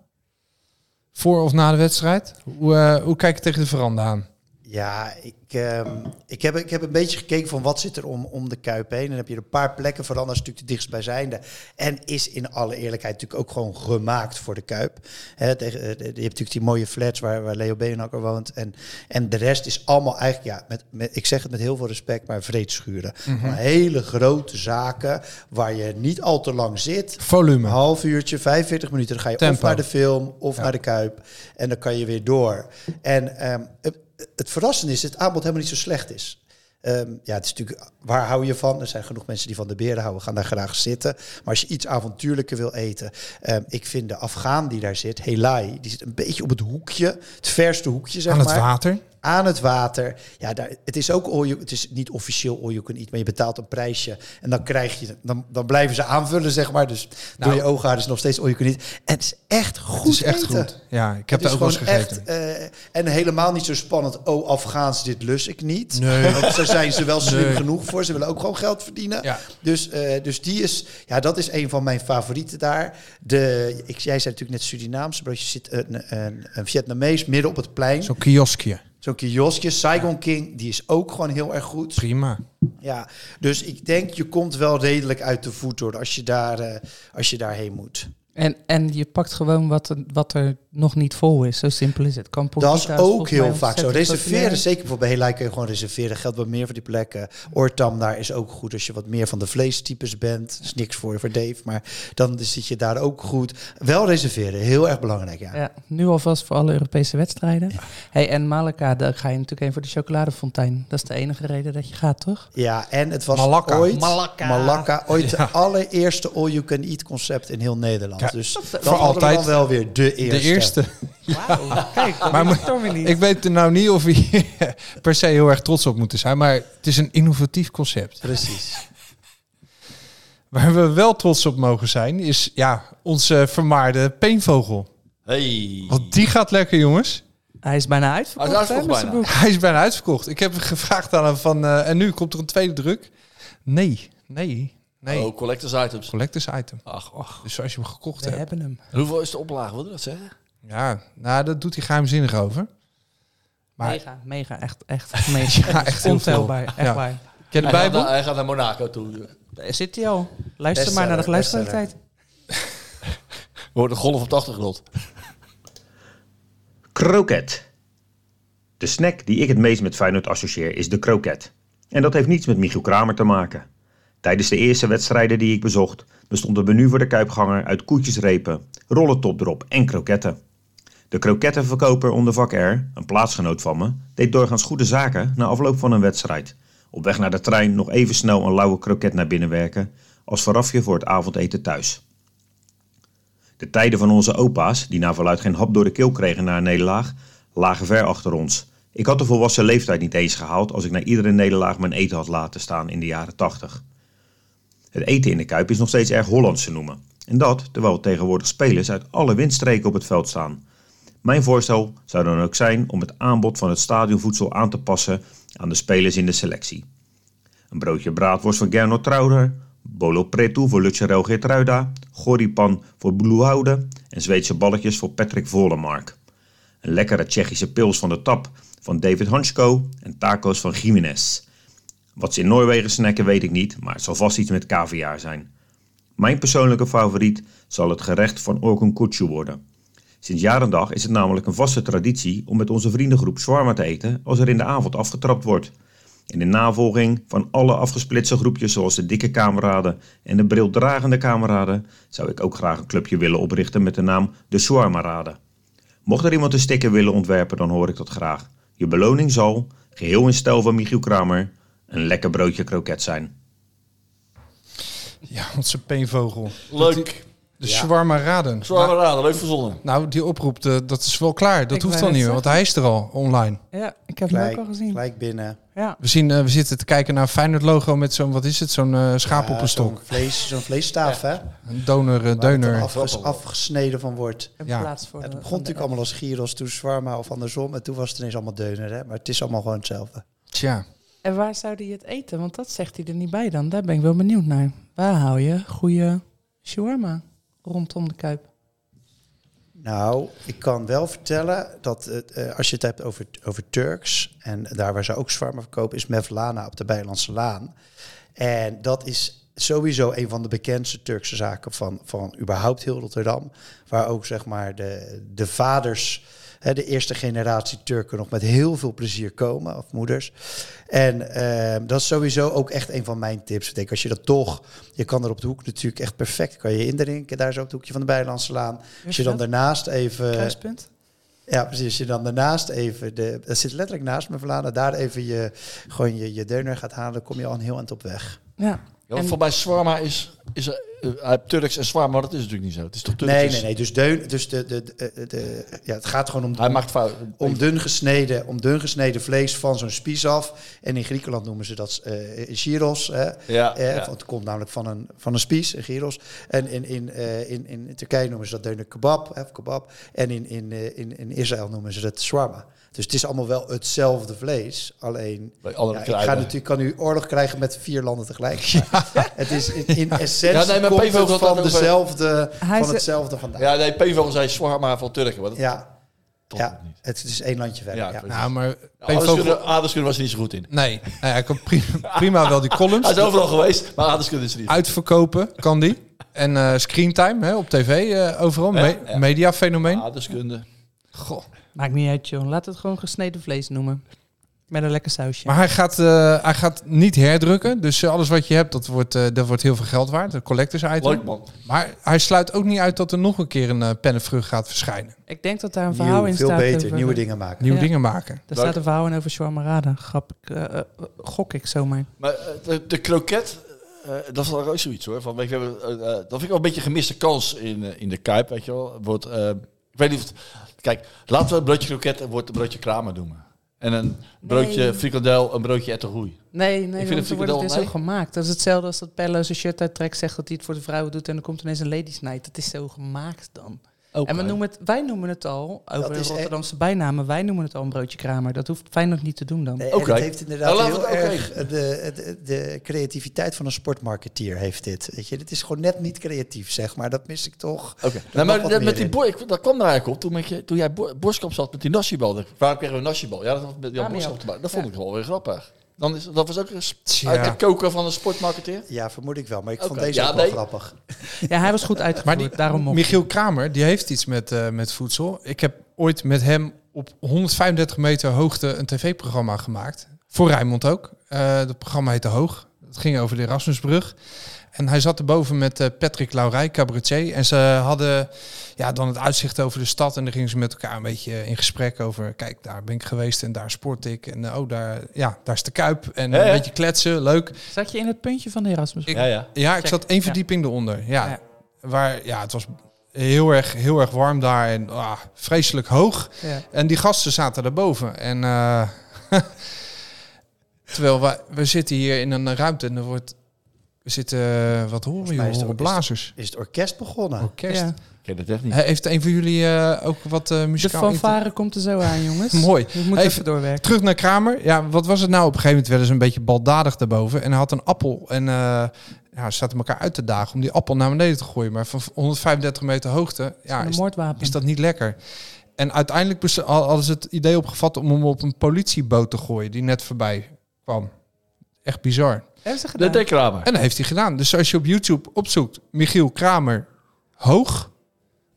[SPEAKER 5] Voor of na de wedstrijd. Hoe, eh, hoe kijk je tegen de veranda aan?
[SPEAKER 7] Ja, ik, ehm, ik, heb, ik heb een beetje gekeken van wat zit er om, om de Kuip heen. En dan heb je er een paar plekken voor, anders natuurlijk de dichtstbijzijnde. En is in alle eerlijkheid natuurlijk ook gewoon gemaakt voor de Kuip. Hè, tegen, eh, de- je hebt natuurlijk die mooie flats waar, waar Leo Beenhakker woont. En, en de rest is allemaal eigenlijk, ja, met, met, ik zeg het met heel veel respect, maar vreedschuren. Gewoon Hele grote zaken waar je niet al te lang zit. Een
[SPEAKER 5] Volume.
[SPEAKER 7] half uurtje, 45 minuten. Dan ga je of
[SPEAKER 5] Tempo.
[SPEAKER 7] naar de film of naar de Kuip. En dan kan je weer door. En ehm, het, het verrassende is dat het aanbod helemaal niet zo slecht is. Ehm, ja, het is natuurlijk, waar hou je van? Er zijn genoeg mensen die van de beren houden, gaan daar graag zitten. Maar als je iets avontuurlijker wil eten. ehm, ik vind de Afghaan die daar zit, Helai, die zit een beetje op het hoekje. Het verste hoekje, zeg
[SPEAKER 5] Aan het
[SPEAKER 7] maar
[SPEAKER 5] water.
[SPEAKER 7] aan het water. Ja, daar, het is ook all you, het is niet officieel all you can eat, maar je betaalt een prijsje en dan krijg je dan, dan blijven ze aanvullen zeg maar. Dus door je ogen is nog steeds all you can eat. En het is echt goed.
[SPEAKER 5] Nou. Het is echt
[SPEAKER 7] eten.
[SPEAKER 5] goed. Ja, ik heb
[SPEAKER 7] Het is
[SPEAKER 5] daar ook wel eens
[SPEAKER 7] gewoon
[SPEAKER 5] gegeten.
[SPEAKER 7] echt eh, en helemaal niet zo spannend. Oh, Afghaans, dit lus ik niet.
[SPEAKER 5] Nee.
[SPEAKER 7] Want daar zijn ze wel slim
[SPEAKER 5] Nee.
[SPEAKER 7] genoeg voor. Ze willen ook gewoon geld verdienen.
[SPEAKER 5] Ja.
[SPEAKER 7] Dus, eh, dus die is, ja, dat is een van mijn favorieten daar. De, ik, jij zei natuurlijk net Surinaamse broodje. Zit een, een, een Vietnamees midden op het plein.
[SPEAKER 5] Zo'n kioskje.
[SPEAKER 7] Zo'n kioskje, Saigon King, die is ook gewoon heel erg goed.
[SPEAKER 5] Prima.
[SPEAKER 7] Ja, dus ik denk je komt wel redelijk uit de voet door als je, daar, eh, als je daarheen moet.
[SPEAKER 6] En, en je pakt gewoon wat, er- wat er nog niet vol is. Zo simpel is het. Campobita
[SPEAKER 7] dat is ook
[SPEAKER 6] volgens mij
[SPEAKER 7] heel vaak zo.
[SPEAKER 6] ontzettend
[SPEAKER 7] Reserveren,
[SPEAKER 6] populair.
[SPEAKER 7] zeker voor bij Helai kun je gewoon reserveren. Geldt wat meer voor die plekken. Oortam daar is ook goed als je wat meer van de vleestypes bent. Is niks voor, voor Dave, maar dan zit je daar ook goed. Wel reserveren, heel erg belangrijk. Ja.
[SPEAKER 6] Ja, nu alvast voor alle Europese wedstrijden. Hey, en Malaka, daar ga je natuurlijk heen voor de chocoladefontein. Dat is de enige reden dat je gaat, toch?
[SPEAKER 7] Ja, en het was
[SPEAKER 5] Malakka.
[SPEAKER 7] ooit
[SPEAKER 6] Malakka.
[SPEAKER 7] Malakka, ooit de allereerste all-you-can-eat concept in heel Nederland.
[SPEAKER 5] Ja,
[SPEAKER 7] dus
[SPEAKER 6] eh,
[SPEAKER 7] dat
[SPEAKER 5] voor
[SPEAKER 7] was altijd
[SPEAKER 5] altijd
[SPEAKER 7] dan wel weer de eerste.
[SPEAKER 5] De eerste.
[SPEAKER 6] Kijk, dat
[SPEAKER 5] Maar
[SPEAKER 6] maar
[SPEAKER 5] moet-
[SPEAKER 6] is Tommy niet.
[SPEAKER 5] Ik weet er nou niet of we per se heel erg trots op moeten zijn, maar het is een innovatief concept.
[SPEAKER 7] Precies.
[SPEAKER 5] Waar we wel trots op mogen zijn, is ja, onze vermaarde peenvogel.
[SPEAKER 2] Hey.
[SPEAKER 5] Want die gaat lekker, jongens.
[SPEAKER 6] Hij is bijna
[SPEAKER 2] Hij
[SPEAKER 6] uitverkocht.
[SPEAKER 2] is uitverkocht
[SPEAKER 6] hè, met zijn
[SPEAKER 2] bijna.
[SPEAKER 5] Hij is bijna uitverkocht. Ik heb gevraagd aan hem van, eh, en nu komt er een tweede druk. Nee, nee, nee.
[SPEAKER 2] Oh, collectors items.
[SPEAKER 5] Collectors item.
[SPEAKER 2] Ach, ach.
[SPEAKER 5] Dus als je hem gekocht
[SPEAKER 6] boek. We
[SPEAKER 5] hebt.
[SPEAKER 6] hebben hem.
[SPEAKER 2] En hoeveel is de oplage, wil je dat zeggen?
[SPEAKER 5] Ja, nou, dat doet hij geheimzinnig over. Maar-
[SPEAKER 6] Mega, mega, echt, echt, mega.
[SPEAKER 5] Ja, echt heel
[SPEAKER 6] ontelbaar,
[SPEAKER 5] veel.
[SPEAKER 6] echt
[SPEAKER 5] Ja.
[SPEAKER 6] waar.
[SPEAKER 5] Ken je de
[SPEAKER 2] hij,
[SPEAKER 5] Bijbel?
[SPEAKER 2] Gaat naar, hij gaat naar Monaco toe.
[SPEAKER 6] Daar zit hij al. Luister
[SPEAKER 7] Bestseller,
[SPEAKER 6] maar naar de
[SPEAKER 7] bestseller.
[SPEAKER 6] geluidskwaliteit.
[SPEAKER 2] Hoort een golf op de achtergrond.
[SPEAKER 12] Kroket. De snack die ik het meest met Feyenoord associeer is de kroket. En dat heeft niets met Michiel Kramer te maken. Tijdens de eerste wedstrijden die ik bezocht, bestond een menu voor de kuipganger uit koetjesrepen, rollen topdrop en kroketten. De krokettenverkoper onder vak R, een plaatsgenoot van me, deed doorgaans goede zaken na afloop van een wedstrijd. Op weg naar de trein nog even snel een lauwe kroket naar binnen werken als voorafje voor het avondeten thuis. De tijden van onze opa's, die naar verluid geen hap door de keel kregen na een nederlaag, lagen ver achter ons. Ik had de volwassen leeftijd niet eens gehaald als ik na iedere nederlaag mijn eten had laten staan in de jaren 80. Het eten in de Kuip is nog steeds erg Hollands te noemen. En dat terwijl tegenwoordig spelers uit alle windstreken op het veld staan. Mijn voorstel zou dan ook zijn om het aanbod van het stadionvoedsel aan te passen aan de spelers in de selectie. Een broodje braadworst voor Gernot Trouder, bolo preto voor Lucharel Geertruida, goripan voor Bloehoude en Zweedse balletjes voor Patrick Volemark. Een lekkere Tsjechische pils van de tap van David Hansko en tacos van Jiménez. Wat ze in Noorwegen snacken weet ik niet, maar het zal vast iets met caviar zijn. Mijn persoonlijke favoriet zal het gerecht van Orkun Kutsu worden. Sinds jaar en dag is het namelijk een vaste traditie om met onze vriendengroep shawarma te eten als er in de avond afgetrapt wordt. En in navolging van alle afgesplitste groepjes zoals de dikke kameraden en de brildragende kameraden zou ik ook graag een clubje willen oprichten met de naam de Shawarmaraden. Mocht er iemand een sticker willen ontwerpen, dan hoor ik dat graag. Je beloning zal, geheel in stijl van Michiel Kramer, een lekker broodje kroket zijn.
[SPEAKER 5] Ja, wat een peenvogel.
[SPEAKER 2] Leuk.
[SPEAKER 5] Dat die- De
[SPEAKER 2] Ja.
[SPEAKER 5] Shawarma Raden.
[SPEAKER 2] Zwaar raden, leuk verzonnen.
[SPEAKER 5] Nou, die oproep, eh, dat is wel klaar. Dat
[SPEAKER 6] Ik
[SPEAKER 5] hoeft dan
[SPEAKER 6] wou net
[SPEAKER 5] niet meer, want hij is er al online.
[SPEAKER 6] Ja, ik heb hem
[SPEAKER 7] Gelijk,
[SPEAKER 6] ook al gezien.
[SPEAKER 7] gelijk binnen.
[SPEAKER 6] Ja.
[SPEAKER 5] We, zien, eh, we zitten te kijken naar een Feyenoord logo met zo'n, wat is het, zo'n eh, schaap op
[SPEAKER 7] Ja,
[SPEAKER 5] een stok.
[SPEAKER 7] Zo'n vlees, zo'n vleesstaaf, hè?
[SPEAKER 5] Een doner, eh, deuner.
[SPEAKER 7] Af, afgesneden van wordt.
[SPEAKER 6] En
[SPEAKER 5] Ja.
[SPEAKER 6] plaats voor
[SPEAKER 7] Het
[SPEAKER 6] de-
[SPEAKER 7] begon
[SPEAKER 6] van de-
[SPEAKER 7] natuurlijk allemaal als gyros, toen zwarma of andersom. En toen was het ineens allemaal deuner, hè? Maar het is allemaal gewoon hetzelfde.
[SPEAKER 5] Tja.
[SPEAKER 6] En waar zou hij het eten? Want dat zegt hij er niet bij dan. Daar ben ik wel benieuwd naar. Waar hou je goede shawarma rondom de Kuip?
[SPEAKER 7] Nou, ik kan wel vertellen dat eh, eh, als je het hebt over, over Turks... en daar waar ze ook zwarma verkopen, is Mevlana op de Bijlandse Laan. En dat is sowieso een van de bekendste Turkse zaken van, van überhaupt heel Rotterdam. Waar ook zeg maar de, de vaders, hè, de eerste generatie Turken, nog met heel veel plezier komen, of moeders. En ehm, dat is sowieso ook echt een van mijn tips. Ik denk, als je dat toch, je kan er op de hoek natuurlijk echt perfect, kan je indrinken, daar zo op het hoekje van de Bijlandse Laan. Als je dan daarnaast even...
[SPEAKER 6] Kruispunt?
[SPEAKER 7] Ja, precies. Als je dan daarnaast even, de, dat zit letterlijk naast me, Vlaana, daar even je, gewoon je, je deuner gaat halen, dan kom je al een heel eind op weg.
[SPEAKER 6] Ja.
[SPEAKER 2] Ja, want voor mij zwarma is, is eh, eh, Turks en zwarma, maar dat is natuurlijk niet zo. Het is toch Turks?
[SPEAKER 7] Nee, nee, nee. Dus, deun, dus de, de, de, de- ja, het gaat gewoon om,
[SPEAKER 2] Hij maakt fout.
[SPEAKER 7] om, dun gesneden, om dun gesneden vlees van zo'n spies af. En in Griekenland noemen ze dat eh gyros. Hè?
[SPEAKER 2] Ja,
[SPEAKER 7] Eh,
[SPEAKER 2] ja.
[SPEAKER 7] want het komt namelijk van een, van een spies, een gyros. En in, in, eh, in, in Turkije noemen ze dat deuner kebab. Hè, of kebab. En in, in, eh, in, in Israël noemen ze dat shawarma. Dus het is allemaal wel hetzelfde vlees, alleen
[SPEAKER 2] Bij andere
[SPEAKER 7] ja, ik
[SPEAKER 2] kruiden.
[SPEAKER 7] ga natuurlijk kan nu oorlog krijgen met vier landen tegelijk. Maar Het is in, in essentie
[SPEAKER 2] Ja, nee, maar
[SPEAKER 7] komt
[SPEAKER 2] Pevo
[SPEAKER 7] het
[SPEAKER 2] had
[SPEAKER 7] van
[SPEAKER 2] dat over-
[SPEAKER 7] dezelfde,
[SPEAKER 6] Hij
[SPEAKER 7] van
[SPEAKER 6] ze-
[SPEAKER 7] hetzelfde vandaan.
[SPEAKER 2] Ja, nee, Pevel zei zwarma van Turken. Maar dat
[SPEAKER 7] Ja,
[SPEAKER 2] toch
[SPEAKER 7] ja
[SPEAKER 2] niet.
[SPEAKER 7] het is één landje verder.
[SPEAKER 2] Ja,
[SPEAKER 7] Ja,
[SPEAKER 2] precies.
[SPEAKER 5] Nou, maar
[SPEAKER 2] Aardeskunde,
[SPEAKER 5] peenvogel...
[SPEAKER 2] aardeskunde was er niet zo goed in.
[SPEAKER 5] Nee, nou ja, ik kan prima, prima wel die columns.
[SPEAKER 2] Hij is overal geweest, maar aardeskunde is er niet.
[SPEAKER 5] Uitverkopen kan die. En eh screentime hè, op tv eh, overal.
[SPEAKER 2] Ja,
[SPEAKER 5] Me-
[SPEAKER 2] ja. Ah.
[SPEAKER 5] Mediafenomeen.
[SPEAKER 2] Aardeskunde.
[SPEAKER 5] Goh.
[SPEAKER 6] Maakt niet uit, John. Laat het gewoon gesneden vlees noemen. Met een lekker sausje.
[SPEAKER 5] Maar hij gaat, eh, hij gaat niet herdrukken. Dus eh, alles wat je hebt, dat wordt, eh, dat wordt heel veel geld waard. Een collectors item.
[SPEAKER 2] Leuk man.
[SPEAKER 5] Maar hij sluit ook niet uit dat er nog een keer een eh pennenvrucht gaat verschijnen.
[SPEAKER 6] ik denk dat daar een verhaal
[SPEAKER 7] Nieuw,
[SPEAKER 6] in
[SPEAKER 7] veel
[SPEAKER 6] staat.
[SPEAKER 7] beter,
[SPEAKER 6] over-
[SPEAKER 7] nieuwe dingen maken.
[SPEAKER 5] Nieuwe
[SPEAKER 6] Ja.
[SPEAKER 5] dingen maken.
[SPEAKER 6] Daar staat een verhaal in over shawarma Grap ik, eh, eh, gok ik zomaar.
[SPEAKER 2] Maar eh, de, de kroket, eh, dat is wel ook zoiets hoor. Van, weet je, we hebben, eh, eh, dat vind ik wel een beetje een gemiste kans in, eh, in de Kuip, weet je wel. Wordt, eh, ik weet niet of het- Kijk, laten we het broodje kroket en wordt een broodje kramer noemen. En een broodje frikandel, een broodje ettergoei.
[SPEAKER 6] Nee, nee,
[SPEAKER 2] vind
[SPEAKER 6] want dan
[SPEAKER 2] het
[SPEAKER 6] wordt het
[SPEAKER 2] frikandel
[SPEAKER 6] weer
[SPEAKER 2] nee.
[SPEAKER 6] zo gemaakt. Dat is hetzelfde als dat Pello zijn shirt uittrekt, zegt dat hij het voor de vrouwen doet en dan komt ineens een ladies night. Dat is zo gemaakt dan. En we noemen het, wij noemen het al, over
[SPEAKER 7] is echt-
[SPEAKER 6] Rotterdamse bijnamen, wij noemen het al een broodje kramer. Dat hoeft Feyenoord niet te doen dan.
[SPEAKER 7] Nee,
[SPEAKER 2] Oké.
[SPEAKER 7] en het heeft inderdaad
[SPEAKER 2] Nou, laten we
[SPEAKER 7] heel
[SPEAKER 2] het ook
[SPEAKER 7] erg de, de, de creativiteit van een sportmarketeer heeft dit. Weet je, dit is gewoon net niet creatief, zeg maar. Dat mis ik toch.
[SPEAKER 2] Oké.
[SPEAKER 7] Er
[SPEAKER 2] Nou,
[SPEAKER 7] mag
[SPEAKER 2] maar
[SPEAKER 7] wat
[SPEAKER 2] dat-
[SPEAKER 7] meer
[SPEAKER 2] met die
[SPEAKER 7] in.
[SPEAKER 2] boy, ik- dat kwam er eigenlijk op toen, met je, toen jij Bo- Borskamp zat met die nasjebal. Dacht ik, Waarom kregen we een nasjebal? Ja, dat was met Jan
[SPEAKER 6] Ah, maar
[SPEAKER 2] Borskamp.
[SPEAKER 6] ja.
[SPEAKER 2] erbij. Dat vond ik wel weer grappig. Dan is, dat was ook een sp-
[SPEAKER 5] Tja.
[SPEAKER 2] uit de koker van een sportmarketeer.
[SPEAKER 7] Ja, vermoed ik wel. Maar ik vond
[SPEAKER 2] Oké.
[SPEAKER 7] deze
[SPEAKER 2] Ja,
[SPEAKER 7] ook wel
[SPEAKER 2] nee.
[SPEAKER 7] grappig.
[SPEAKER 6] Ja, hij was goed uitgevoerd, daarom mocht
[SPEAKER 5] Michiel Kramer, die heeft iets met, eh, met voedsel. Ik heb ooit met hem op 135 meter hoogte een tv-programma gemaakt. Voor Rijnmond ook. Eh dat programma heette Hoog. Het ging over de Erasmusbrug. En hij zat erboven met eh, Patrick Laurij, cabaretier. En ze hadden ja, dan het uitzicht over de stad. En dan gingen ze met elkaar een beetje in gesprek over... kijk, daar ben ik geweest en daar sport ik. En eh, oh, daar, ja, daar is de Kuip. En
[SPEAKER 2] Ja,
[SPEAKER 5] een
[SPEAKER 2] ja.
[SPEAKER 5] beetje kletsen, leuk.
[SPEAKER 6] Zat je in het puntje van de Erasmus?
[SPEAKER 5] Ik-
[SPEAKER 2] Ja, ja.
[SPEAKER 5] Ja, ik
[SPEAKER 6] Check.
[SPEAKER 5] zat één
[SPEAKER 6] Ja.
[SPEAKER 5] verdieping eronder. Ja. Waar, ja, het was heel erg, heel erg warm daar en ah, vreselijk hoog.
[SPEAKER 6] Ja.
[SPEAKER 5] En die gasten zaten daarboven. En eh, terwijl we, we zitten hier in een ruimte en er wordt... We zitten, eh, wat horen
[SPEAKER 7] mij
[SPEAKER 5] jullie?
[SPEAKER 7] is er-
[SPEAKER 5] Horen blazers.
[SPEAKER 7] Is het orkest begonnen?
[SPEAKER 5] Orkest.
[SPEAKER 6] Ja.
[SPEAKER 2] ken dat echt niet.
[SPEAKER 5] He- Heeft een van jullie eh, ook wat eh
[SPEAKER 6] De
[SPEAKER 5] muzikaal...
[SPEAKER 6] fanfare komt er zo aan, jongens.
[SPEAKER 5] Mooi.
[SPEAKER 6] We moeten
[SPEAKER 5] Even-
[SPEAKER 6] even doorwerken.
[SPEAKER 5] Terug naar Kramer. Ja, wat was het nou? Op een gegeven moment werden ze een beetje baldadig daarboven. En hij had een appel. En eh ja, ze zaten elkaar uit te dagen om die appel naar beneden te gooien. Maar van 135 meter hoogte ja,
[SPEAKER 6] Een
[SPEAKER 5] is,
[SPEAKER 6] moordwapen.
[SPEAKER 5] is dat niet lekker. En uiteindelijk bes- al- hadden ze het idee opgevat om hem op een politieboot te gooien. Die net voorbij kwam. Echt bizar.
[SPEAKER 6] Hebben ze gedaan?
[SPEAKER 2] De dekramer.
[SPEAKER 5] En dat heeft hij gedaan. Dus als je op YouTube opzoekt Michiel Kramer Hoog,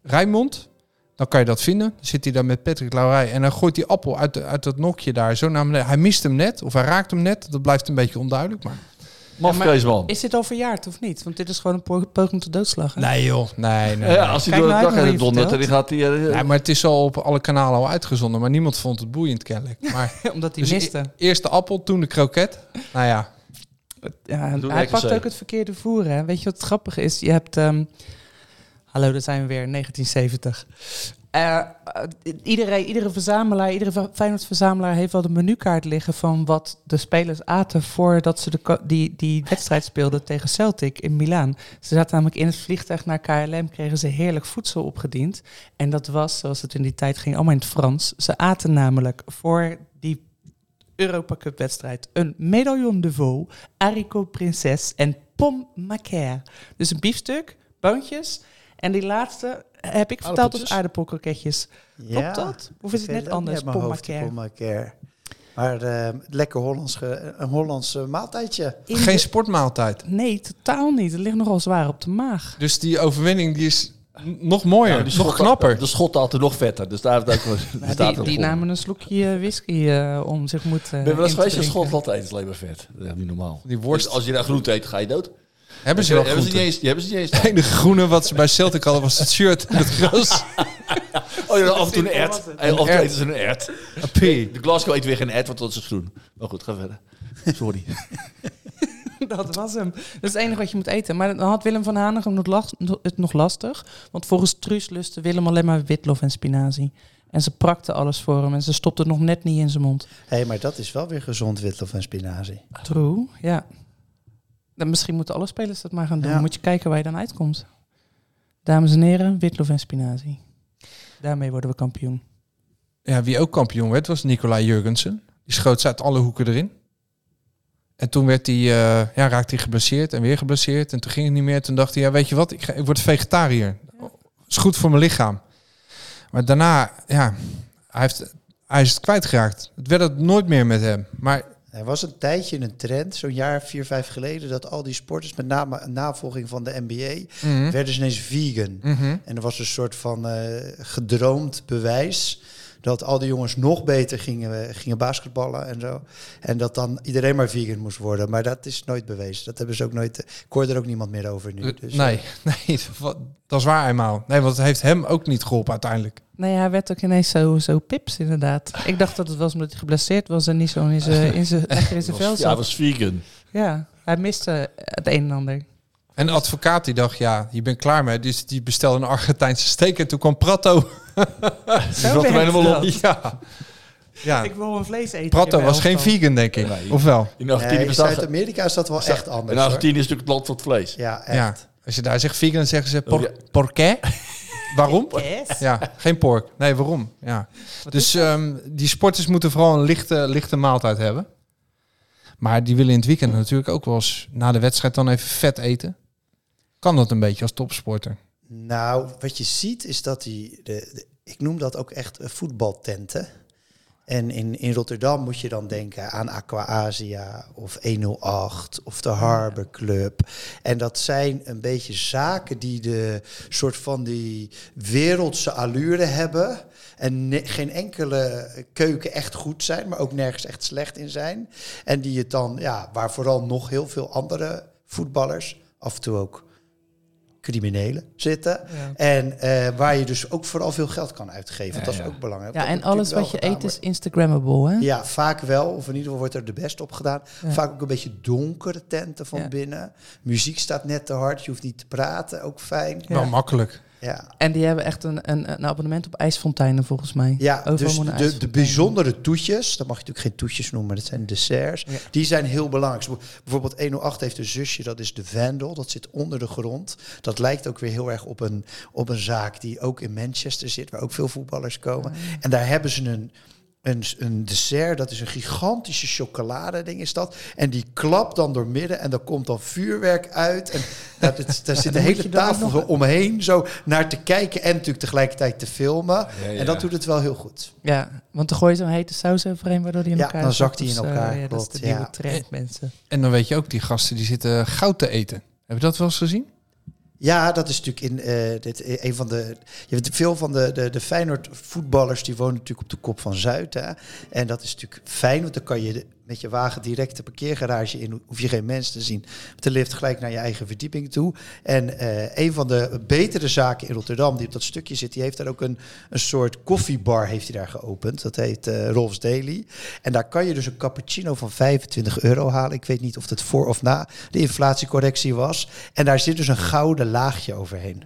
[SPEAKER 5] Rijnmond, dan kan je dat vinden. Dan zit hij daar met Patrick Laurij en hij gooit die appel uit, de- uit dat nokje daar zo naar beneden. Hij mist hem net of hij raakt hem net. Dat blijft een beetje onduidelijk, maar...
[SPEAKER 2] Mafkeesman.
[SPEAKER 6] Is dit al verjaard of niet? Want dit is gewoon een po- poging tot doodslag. Hè?
[SPEAKER 5] Nee joh, nee, nee.
[SPEAKER 2] Ja, als hij
[SPEAKER 6] Kijk
[SPEAKER 2] door
[SPEAKER 6] nou,
[SPEAKER 2] de dag
[SPEAKER 6] ik heb
[SPEAKER 2] heen
[SPEAKER 6] nog
[SPEAKER 2] dondert, dan
[SPEAKER 6] niet
[SPEAKER 2] gaat hij... eh,
[SPEAKER 5] Nee, maar het is al op alle kanalen al uitgezonden, maar niemand vond het boeiend kennelijk. Maar
[SPEAKER 6] Omdat hij
[SPEAKER 5] dus
[SPEAKER 6] miste.
[SPEAKER 5] e- eerst de appel, toen de kroket. Nou ja,
[SPEAKER 6] Ja,
[SPEAKER 2] Doe
[SPEAKER 6] hij
[SPEAKER 2] lekker
[SPEAKER 6] pakt
[SPEAKER 2] zo.
[SPEAKER 6] ook het verkeerde voer. Hè? Weet je wat het grappige is? Je hebt. ehm, hallo, daar zijn we weer, 1970. Eh, eh, iedereen, iedere verzamelaar, iedere va- Feyenoord-verzamelaar heeft wel de menukaart liggen van wat de spelers aten voordat ze de, ko- die, die wedstrijd speelden tegen Celtic in Milaan. Ze zaten namelijk in het vliegtuig naar KLM, kregen ze heerlijk voedsel opgediend. En dat was, zoals het in die tijd ging, allemaal in het Frans. Ze aten namelijk voor die Europa Cup wedstrijd een medaillon de veau, haricot prinses en pomme macaire. Dus een biefstuk, boontjes en die laatste heb ik verteld als
[SPEAKER 2] Aardappeltjes?
[SPEAKER 6] aardappelkroketjes. Klopt dat? Of is het net anders? Pomme macaire.
[SPEAKER 7] Pommaker. Maar eh, lekker Hollands ge- een Hollands eh, maaltijdje.
[SPEAKER 6] In
[SPEAKER 5] geen
[SPEAKER 6] de-
[SPEAKER 5] sportmaaltijd.
[SPEAKER 6] Nee, totaal niet. Het ligt nogal zwaar op de maag.
[SPEAKER 5] Dus die overwinning die is n- nog mooier,
[SPEAKER 2] ja, die
[SPEAKER 5] nog
[SPEAKER 2] schotten-
[SPEAKER 5] knapper.
[SPEAKER 2] De schotten altijd nog vetter. Dus daar heeft het ook die staat
[SPEAKER 6] Die,
[SPEAKER 2] erop
[SPEAKER 6] die
[SPEAKER 2] onder.
[SPEAKER 6] namen een slokje eh, whisky eh, om zich moet.
[SPEAKER 2] Ik ben wel eens geweest in Schotland, eten is alleen maar vet. Dat is echt niet normaal.
[SPEAKER 5] Die worst.
[SPEAKER 2] Dus als je daar groente eet, ga je dood.
[SPEAKER 5] Hebben ze wel
[SPEAKER 2] hebben ze
[SPEAKER 5] groenten?
[SPEAKER 2] niet eens. Die hebben ze niet
[SPEAKER 5] Het
[SPEAKER 2] eens.
[SPEAKER 5] enige groene wat ze bij Celtic hadden was het shirt en het gras.
[SPEAKER 2] Oh ja, af en toe een ert. En Af en toe
[SPEAKER 5] ert.
[SPEAKER 2] eten ze een ert.
[SPEAKER 5] Een pea.
[SPEAKER 2] De Glasgow eet weer geen ert, want dat is groen. Maar goed, ga verder. Sorry.
[SPEAKER 6] Dat was hem. Dat is het enige wat je moet eten. Maar dan had Willem van Hanegem nog las- het nog lastig. Want volgens Truus lustte Willem alleen maar witlof en spinazie. En ze prakte alles voor hem en ze stopte het nog net niet in zijn mond.
[SPEAKER 7] Hé, maar dat is wel weer gezond witlof en spinazie.
[SPEAKER 6] True, ja. Dan misschien moeten alle spelers dat maar gaan doen.
[SPEAKER 7] Ja.
[SPEAKER 6] Moet je kijken waar je dan uitkomt. Dames en heren, witlof en spinazie. Daarmee worden we kampioen.
[SPEAKER 5] Ja, wie ook kampioen werd, was Nicolai Jurgensen. Die schoot ze uit alle hoeken erin. En toen werd die, eh, ja, raakte hij geblesseerd en weer geblesseerd. En toen ging het niet meer. Toen dacht hij, ja, weet je wat, ik, ga, ik word vegetariër. Is goed voor mijn lichaam. Maar daarna, ja, hij, heeft, hij is het kwijtgeraakt. Het werd het nooit meer met hem. Maar
[SPEAKER 7] Er was een tijdje een trend, zo'n jaar, vier, vijf geleden, dat al die sporters, met name navolging van de NBA,
[SPEAKER 5] mhm,
[SPEAKER 7] werden ze ineens vegan.
[SPEAKER 5] mhm.
[SPEAKER 7] En er was een soort van eh, gedroomd bewijs dat al die jongens nog beter gingen, gingen basketballen en zo. En dat dan iedereen maar vegan moest worden. Maar dat is nooit bewezen. Dat hebben ze ook nooit. Ik hoor er ook niemand meer over nu. Dus, eh,
[SPEAKER 5] nee, nee, wat- dat is waar eenmaal. Nee, want het heeft hem ook niet geholpen uiteindelijk.
[SPEAKER 6] Nee, Nou hij werd ook ineens zo, zo pips, inderdaad. Ik dacht dat het was omdat hij geblesseerd was en niet zo in zijn in zijn- lekker in zijn vel
[SPEAKER 2] Ja, hij
[SPEAKER 6] zat.
[SPEAKER 2] was vegan.
[SPEAKER 6] Ja, hij miste het een en ander.
[SPEAKER 5] En de advocaat die dacht, ja, je bent klaar mee. Dus die bestelde een Argentijnse steek. En toen kwam Prato.
[SPEAKER 6] Zo werkt dat.
[SPEAKER 5] Ja. ja.
[SPEAKER 6] Ik wil een vlees eten.
[SPEAKER 5] Prato was geen vegan, denk ik.
[SPEAKER 2] Nee.
[SPEAKER 5] Of wel?
[SPEAKER 2] In Argentinië
[SPEAKER 7] nee, in
[SPEAKER 2] bestaat...
[SPEAKER 7] Zuid-Amerika is dat wel echt
[SPEAKER 2] in
[SPEAKER 7] anders. hoor.
[SPEAKER 2] Argentinië is natuurlijk het land van het vlees.
[SPEAKER 7] Ja, echt.
[SPEAKER 5] nou, Ja. Als je daar zegt vegan, dan zeggen ze por
[SPEAKER 2] Oh, ja.
[SPEAKER 5] porqué. waarom?
[SPEAKER 6] Yes.
[SPEAKER 5] Ja, geen pork. Nee, waarom? Ja. Dus ehm, die sporters moeten vooral een lichte, lichte maaltijd hebben. Maar die willen in het weekend natuurlijk ook wel eens na de wedstrijd dan even vet eten. Kan dat een beetje als topsporter?
[SPEAKER 7] Nou, wat je ziet is dat die, de, de- ik noem dat ook echt eh, voetbaltenten. En in, in Rotterdam moet je dan denken aan Aqua Asia of 108 of de Harbor Club. En dat zijn een beetje zaken die de soort van die wereldse allure hebben. En ne- geen enkele keuken echt goed zijn, maar ook nergens echt slecht in zijn. En die het dan, ja, waar vooral nog heel veel andere voetballers af en toe ook criminelen zitten. En eh, waar je dus ook vooral veel geld kan uitgeven. Want dat is ook belangrijk.
[SPEAKER 6] Ja,
[SPEAKER 7] Dat
[SPEAKER 6] en
[SPEAKER 7] moet
[SPEAKER 6] alles
[SPEAKER 7] natuurlijk wel
[SPEAKER 6] wat je eet
[SPEAKER 7] gedaan
[SPEAKER 6] is Instagrammable, hè?
[SPEAKER 7] ja, vaak wel. Of in ieder geval wordt er de best op gedaan.
[SPEAKER 6] Hm? Ja.
[SPEAKER 7] Vaak ook een beetje donkere tenten van binnen. Muziek staat net te hard. Je hoeft niet te praten. Ook fijn.
[SPEAKER 5] Wel makkelijk.
[SPEAKER 7] Ja.
[SPEAKER 6] En die hebben echt een, een, een abonnement op ijsfonteinen, volgens mij.
[SPEAKER 7] Ja,
[SPEAKER 6] Overal
[SPEAKER 7] dus
[SPEAKER 6] moet een
[SPEAKER 7] de, de
[SPEAKER 6] ijsfontein.
[SPEAKER 7] bijzondere toetjes, dat mag je natuurlijk geen toetjes noemen, maar dat zijn desserts. Die zijn heel belangrijk. Zo Bijvoorbeeld 108 heeft een zusje, dat is de Vandal, dat zit onder de grond. Dat lijkt ook weer heel erg op een, op een zaak die ook in Manchester zit, waar ook veel voetballers komen.
[SPEAKER 6] Ah.
[SPEAKER 7] En daar hebben ze een, een, een dessert, dat is een gigantische chocoladeding is dat. En die klapt dan door midden en daar komt dan vuurwerk uit. En daar, dat- daar zit de
[SPEAKER 6] Dan moet
[SPEAKER 7] hele
[SPEAKER 6] je daar ook
[SPEAKER 7] tafel
[SPEAKER 6] nog-
[SPEAKER 7] zo omheen zo naar te kijken en natuurlijk tegelijkertijd te filmen.
[SPEAKER 6] Ja, ja.
[SPEAKER 7] En dat doet het wel heel goed.
[SPEAKER 6] Ja, want dan gooi je zo'n hete saus overheen, waardoor die in
[SPEAKER 7] Ja,
[SPEAKER 6] elkaar
[SPEAKER 7] dan
[SPEAKER 6] zakt
[SPEAKER 7] zakt die
[SPEAKER 6] of
[SPEAKER 7] in
[SPEAKER 6] zo.
[SPEAKER 7] elkaar,
[SPEAKER 6] Ja, dat is
[SPEAKER 7] klopt,
[SPEAKER 6] de
[SPEAKER 7] ja.
[SPEAKER 6] nieuwe trend, mensen.
[SPEAKER 5] En dan weet je ook, die gasten die zitten goud te eten. Heb je dat wel eens gezien?
[SPEAKER 7] Ja, dat is natuurlijk in eh, dit, eh, een van de. Je weet, veel van de, de, de Feyenoord voetballers die wonen natuurlijk op de kop van Zuid. Hè? En dat is natuurlijk fijn, want dan kan je de- met je wagen direct de parkeergarage in. Hoef je geen mens te zien. Met de lift gelijk naar je eigen verdieping toe. En eh, een van de betere zaken in Rotterdam, die op dat stukje zit, die heeft daar ook een, een soort koffiebar heeft hij daar geopend. Dat heet eh Rolf's Daily. En daar kan je dus een cappuccino van 25 euro halen. Ik weet niet of dat voor of na de inflatiecorrectie was. En daar zit dus een gouden laagje overheen.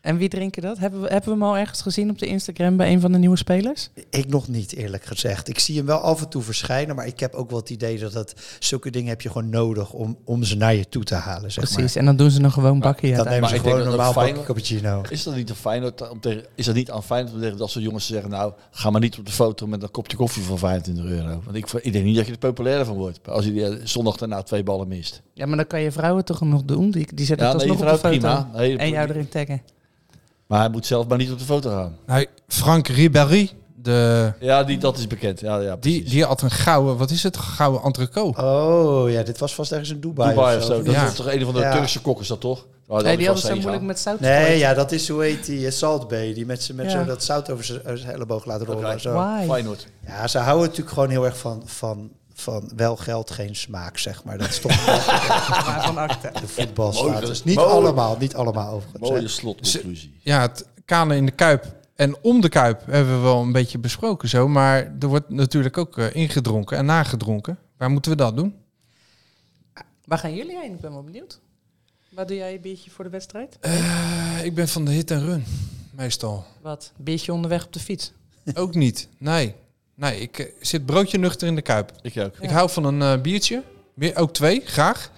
[SPEAKER 6] En wie drinken dat? Hebben we, hebben we hem al ergens gezien op de Instagram bij een van de nieuwe spelers?
[SPEAKER 7] Ik nog niet, eerlijk gezegd. Ik zie hem wel af en toe verschijnen, maar ik heb ook wel het idee dat, dat zulke dingen heb je gewoon nodig om, om ze naar je toe te halen. Zeg
[SPEAKER 6] Precies,
[SPEAKER 7] maar.
[SPEAKER 6] en dan doen ze nog gewoon bakje
[SPEAKER 7] dan
[SPEAKER 6] uiteindelijk.
[SPEAKER 7] nemen ze
[SPEAKER 2] ik denk
[SPEAKER 7] gewoon een
[SPEAKER 2] dat
[SPEAKER 7] normaal
[SPEAKER 2] dat
[SPEAKER 7] bakje
[SPEAKER 2] Feyenoord-
[SPEAKER 7] cappuccino.
[SPEAKER 2] Is dat niet, een Feyenoord om tegen, is dat niet aan Feyenoord om tegen dat soort jongens te zeggen... nou, ga maar niet op de foto met een kopje koffie van 25 euro. Want ik, ik denk niet dat je er populair van wordt. Als je die zondag daarna twee ballen mist.
[SPEAKER 6] Ja, maar dan kan je vrouwen toch nog doen? Die, die zetten
[SPEAKER 2] Ja,
[SPEAKER 6] het
[SPEAKER 2] nee,
[SPEAKER 6] alsnog op de
[SPEAKER 2] vrouwen
[SPEAKER 6] foto.
[SPEAKER 2] prima. Nee,
[SPEAKER 6] en jou
[SPEAKER 2] prima.
[SPEAKER 6] erin taggen.
[SPEAKER 2] Maar hij moet zelf maar niet op de foto gaan.
[SPEAKER 5] Nou, Frank Ribéry, de,
[SPEAKER 2] Ja, die, dat is bekend. Ja, ja,
[SPEAKER 5] die, die had een gouden, wat is het, gouden entrecote.
[SPEAKER 7] Oh ja, dit was vast ergens in Dubai,
[SPEAKER 2] Dubai of zo. Dat
[SPEAKER 5] Ja.
[SPEAKER 2] is toch een van de
[SPEAKER 7] Ja.
[SPEAKER 2] Turkse kokken, is dat toch? Waar
[SPEAKER 6] Nee,
[SPEAKER 2] ik
[SPEAKER 6] die hadden
[SPEAKER 2] wel
[SPEAKER 6] zo
[SPEAKER 2] eens heen
[SPEAKER 6] moeilijk
[SPEAKER 2] ga.
[SPEAKER 6] met zout.
[SPEAKER 7] Nee,
[SPEAKER 6] gegooid.
[SPEAKER 7] ja, dat is hoe heet die eh, Salt Bay, die met, z'n- met
[SPEAKER 6] Ja.
[SPEAKER 7] zo dat zout over zijn- over zijn elleboog laat rollen.
[SPEAKER 2] Oké.
[SPEAKER 7] Zo.
[SPEAKER 6] Why?
[SPEAKER 2] Feyenoord.
[SPEAKER 7] Ja, ze houden natuurlijk gewoon heel erg van, van, van wel geld, geen smaak, zeg maar. Dat is toch wel
[SPEAKER 6] van acte.
[SPEAKER 7] de
[SPEAKER 2] Mooi,
[SPEAKER 7] voetbalstatus.
[SPEAKER 2] dat-
[SPEAKER 7] Niet
[SPEAKER 2] mooi.
[SPEAKER 7] allemaal, niet allemaal overigens.
[SPEAKER 2] Mooie
[SPEAKER 7] hè.
[SPEAKER 2] slotconclusie.
[SPEAKER 5] Ja, het kanen in de kuip en om de kuip hebben we wel een beetje besproken zo. Maar er wordt natuurlijk ook eh, ingedronken en nagedronken. Waar moeten we dat doen?
[SPEAKER 6] Waar gaan jullie heen? Ik ben wel benieuwd. Waar doe jij je biertje voor de wedstrijd?
[SPEAKER 5] Eh, ik ben van de hit en run, meestal.
[SPEAKER 6] Wat? Biertje onderweg op de fiets?
[SPEAKER 5] Ook niet. Nee. Nee, ik eh, zit broodje nuchter in de kuip.
[SPEAKER 2] Ik ook.
[SPEAKER 5] Ik hou van een eh, biertje. Meer- Ook twee, graag.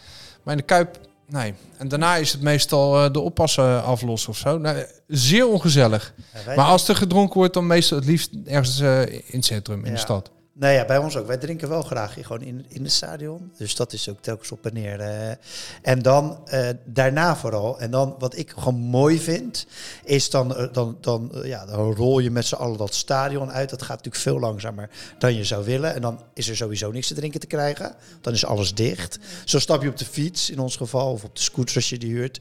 [SPEAKER 5] Maar in de kuip, nee. En daarna is het meestal eh, de oppassen aflossen of zo. Nou, eh, zeer ongezellig.
[SPEAKER 7] Ja, wij-
[SPEAKER 5] Maar als er gedronken wordt, dan meestal het liefst ergens eh, in het centrum, in
[SPEAKER 7] Ja.
[SPEAKER 5] de stad.
[SPEAKER 7] Nou ja, bij ons ook. Wij drinken wel graag hier gewoon in, in het stadion. Dus dat is ook telkens op en neer. eh. En dan eh, daarna vooral. En dan wat ik gewoon mooi vind, is dan, eh, dan, dan, eh, ja, dan rol je met z'n allen dat stadion uit. Dat gaat natuurlijk veel langzamer dan je zou willen. En dan is er sowieso niks te drinken te krijgen. Dan is alles dicht. Zo stap je op de fiets in ons geval, of op de scooter als je die huurt.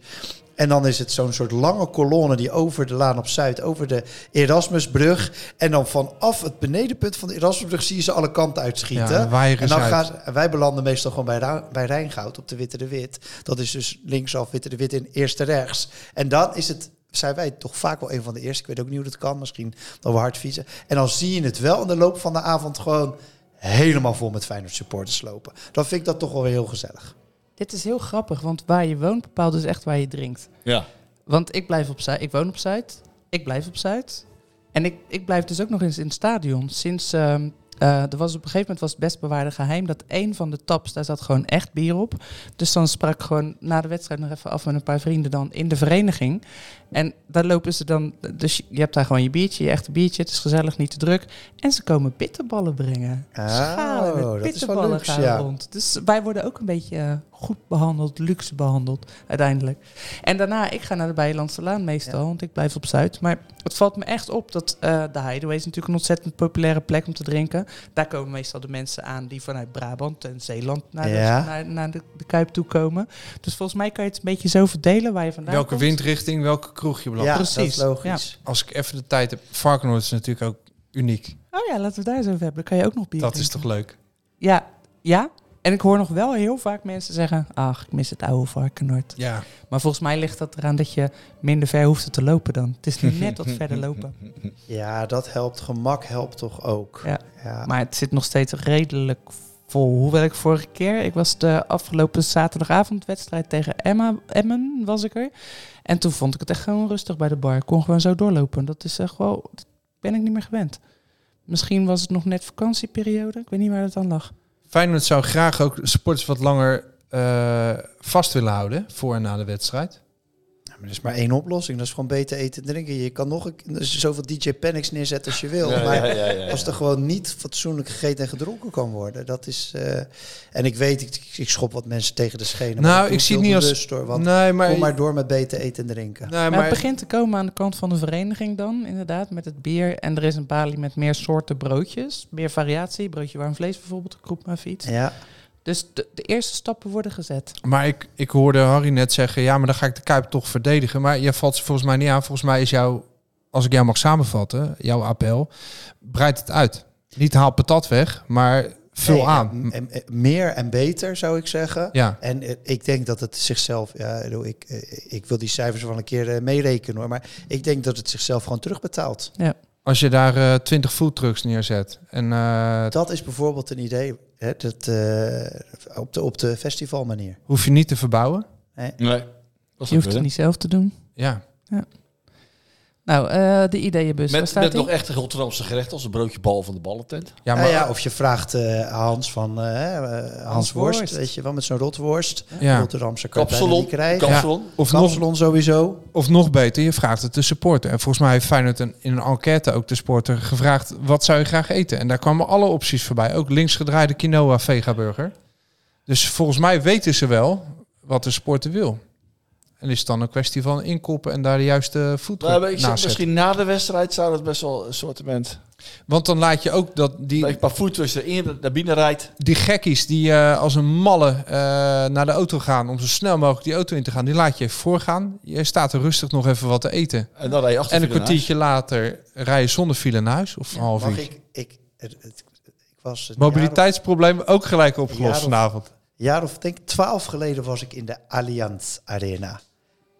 [SPEAKER 7] En dan is het zo'n soort lange kolonne die over de laan op Zuid, over de Erasmusbrug. En dan vanaf het benedenpunt van de Erasmusbrug zie je ze alle kanten uitschieten.
[SPEAKER 5] Ja, dan waaien
[SPEAKER 7] en dan
[SPEAKER 5] ze uit.
[SPEAKER 7] gaan, en wij belanden meestal gewoon bij, Ra- bij Rijngoud op de Witte de Wit. Dat is dus linksaf Witte de Wit in eerste rechts. En dan is het, zijn wij toch vaak wel een van de eerste. Ik weet ook niet hoe dat kan, misschien dat we hard fietsen. En dan zie je het wel in de loop van de avond gewoon helemaal vol met Feyenoord supporters lopen. Dan vind ik dat toch wel weer heel gezellig.
[SPEAKER 6] Dit is heel grappig, want waar je woont bepaalt dus echt waar je drinkt.
[SPEAKER 2] Ja.
[SPEAKER 6] Want ik blijf op Zuid. Ik woon op Zuid. Ik blijf op Zuid. En ik, ik blijf dus ook nog eens in het stadion. Sinds ehm, eh, er was op een gegeven moment was het best bewaarde geheim dat één van de taps, daar zat gewoon echt bier op. Dus dan sprak ik gewoon na de wedstrijd nog even af met een paar vrienden dan in de vereniging. En daar lopen ze dan. Dus je- je hebt daar gewoon je biertje, je echte biertje. Het is gezellig, niet te druk. En ze komen bitterballen brengen. Schalen
[SPEAKER 7] Ah, dat is wel
[SPEAKER 6] met bitterballen
[SPEAKER 7] luxe,
[SPEAKER 6] gaan
[SPEAKER 7] ja.
[SPEAKER 6] rond. Dus wij worden ook een beetje eh, goed behandeld, luxe behandeld uiteindelijk. En daarna, ik ga naar de Bijlandse Laan meestal, want ik blijf op Zuid. Maar het valt me echt op dat eh, de Hideaway is natuurlijk een ontzettend populaire plek om te drinken. Daar komen meestal de mensen aan die vanuit Brabant en Zeeland naar,
[SPEAKER 7] Ja.
[SPEAKER 6] de, naar, naar de, de Kuip toe komen. Dus volgens mij kan je het een beetje zo verdelen waar je vandaan
[SPEAKER 5] Welke
[SPEAKER 6] komt.
[SPEAKER 5] windrichting, welke kroeg je belandt.
[SPEAKER 7] Ja,
[SPEAKER 6] precies.
[SPEAKER 7] dat is logisch.
[SPEAKER 5] Als ik even de tijd heb. Varkenoord is natuurlijk ook uniek.
[SPEAKER 6] Oh ja, laten we het daar eens over hebben. Dan kan je ook nog bier
[SPEAKER 5] Dat is toch
[SPEAKER 6] drinken.
[SPEAKER 5] leuk?
[SPEAKER 6] Ja, ja. En En ik hoor nog wel heel vaak mensen zeggen... Ach, ik mis het oude varkenoord.
[SPEAKER 5] Ja.
[SPEAKER 6] Maar volgens mij ligt dat eraan dat je minder ver hoeft te lopen dan. Het is nu net wat verder lopen.
[SPEAKER 7] Ja, dat helpt. Gemak helpt toch ook.
[SPEAKER 6] Ja. Maar het zit nog steeds redelijk vol. Hoewel ik vorige keer, ik was de afgelopen zaterdagavond wedstrijd tegen Emma, Emmen, was ik er. En toen vond ik het echt gewoon rustig bij de bar. Ik kon gewoon zo doorlopen. Dat is echt wel, dat ben ik niet meer gewend. Misschien was het nog net vakantieperiode. Ik weet niet waar dat dan lag.
[SPEAKER 5] Feyenoord zou graag ook sporters wat langer eh, vast willen houden voor en na de wedstrijd.
[SPEAKER 7] maar er is maar één oplossing. Dat is gewoon beter eten en drinken. Je kan nog een, er is zoveel DJ Panics neerzetten als je wil.
[SPEAKER 2] Ja,
[SPEAKER 7] maar
[SPEAKER 2] ja, ja, ja, ja.
[SPEAKER 7] als er gewoon niet fatsoenlijk gegeten en gedronken kan worden. Dat is, eh, en ik weet, ik, ik schop wat mensen tegen de schenen. maar
[SPEAKER 5] Nou,
[SPEAKER 7] doe
[SPEAKER 5] ik zie het
[SPEAKER 7] heel
[SPEAKER 5] niet als-
[SPEAKER 7] bewust, hoor, want
[SPEAKER 5] Nee, maar-
[SPEAKER 7] Kom maar door met beter eten en drinken.
[SPEAKER 5] Nee,
[SPEAKER 6] maar, het begint te komen aan de kant van de vereniging dan, inderdaad, met het bier. En er is een balie met meer soorten broodjes, meer variatie. Broodje warm vlees bijvoorbeeld, kroep maar fiets.
[SPEAKER 7] Ja.
[SPEAKER 6] Dus de, de eerste stappen worden gezet.
[SPEAKER 5] Maar ik, ik hoorde Harry net zeggen, ja, maar dan ga ik de Kuip toch verdedigen. Maar jij valt ze volgens mij niet aan. Volgens mij is jouw, als ik jou mag samenvatten, jouw appel, breid het uit. Niet haal patat weg, maar vul
[SPEAKER 7] Nee,
[SPEAKER 5] aan.
[SPEAKER 7] en- en- en meer en beter, zou ik zeggen.
[SPEAKER 5] Ja.
[SPEAKER 7] En eh, ik denk dat het zichzelf... Ja, ik bedoel, ik, eh, ik wil die cijfers wel een keer eh, meerekenen, hoor. Maar ik denk dat het zichzelf gewoon terugbetaalt.
[SPEAKER 5] Als je daar eh, 20 foodtrucks neerzet. En, eh,
[SPEAKER 7] Dat is bijvoorbeeld een idee hè, dat, eh, op, de, op de festivalmanier.
[SPEAKER 5] hoef je niet te verbouwen.
[SPEAKER 7] Nee.
[SPEAKER 2] Nee.
[SPEAKER 6] Je hoeft het niet zelf te doen.
[SPEAKER 5] Ja.
[SPEAKER 6] ja. Nou, eh, de ideeënbus, waar
[SPEAKER 2] Met,
[SPEAKER 6] staat
[SPEAKER 2] met
[SPEAKER 6] die?
[SPEAKER 2] nog echte Rotterdamse gerechten als een broodje bal van de ballentent.
[SPEAKER 5] Ja,
[SPEAKER 7] Ja, ja, of je vraagt eh, Hans van eh, eh, Hans,
[SPEAKER 2] Hans
[SPEAKER 7] Worst,
[SPEAKER 2] Worst.
[SPEAKER 7] weet je wel, met zo'n rotworst.
[SPEAKER 5] Ja.
[SPEAKER 7] Rotterdamse kan je bijna
[SPEAKER 2] Kapsalon.
[SPEAKER 7] niet krijgen.
[SPEAKER 2] Kapsalon.
[SPEAKER 7] Ja.
[SPEAKER 5] Of
[SPEAKER 7] Kapsalon sowieso.
[SPEAKER 5] Of nog beter, je vraagt het de supporter. En volgens mij heeft Feyenoord een, in een enquête ook de supporter gevraagd... wat zou je graag eten? En daar kwamen alle opties voorbij. Ook linksgedraaide quinoa vega burger. Dus volgens mij weten ze wel wat de supporter wil. En is het dan een kwestie van inkoppen en daar de juiste voet
[SPEAKER 2] Nou, Maar
[SPEAKER 5] naast
[SPEAKER 2] ik zeg,
[SPEAKER 5] zetten.
[SPEAKER 2] misschien na de wedstrijd zou dat best wel een assortiment.
[SPEAKER 5] Want dan laat je ook dat die...
[SPEAKER 2] Dat je een paar voetjes erin naar binnen rijdt.
[SPEAKER 5] Die gekkies die eh, als een malle eh, naar de auto gaan om zo snel mogelijk die auto in te gaan, die laat je even voorgaan. Je staat er rustig nog even wat te eten.
[SPEAKER 2] En dan rij je achter
[SPEAKER 5] En een
[SPEAKER 2] file naar
[SPEAKER 5] kwartiertje later rij je zonder file naar huis of een half
[SPEAKER 7] Mag
[SPEAKER 5] uur.
[SPEAKER 7] ik, ik, het- het- ik was een
[SPEAKER 5] Mobiliteitsprobleem ook gelijk
[SPEAKER 7] Een
[SPEAKER 5] opgelost
[SPEAKER 7] jaar of-
[SPEAKER 5] vanavond.
[SPEAKER 7] jaar of denk twaalf geleden was ik in de Allianz Arena.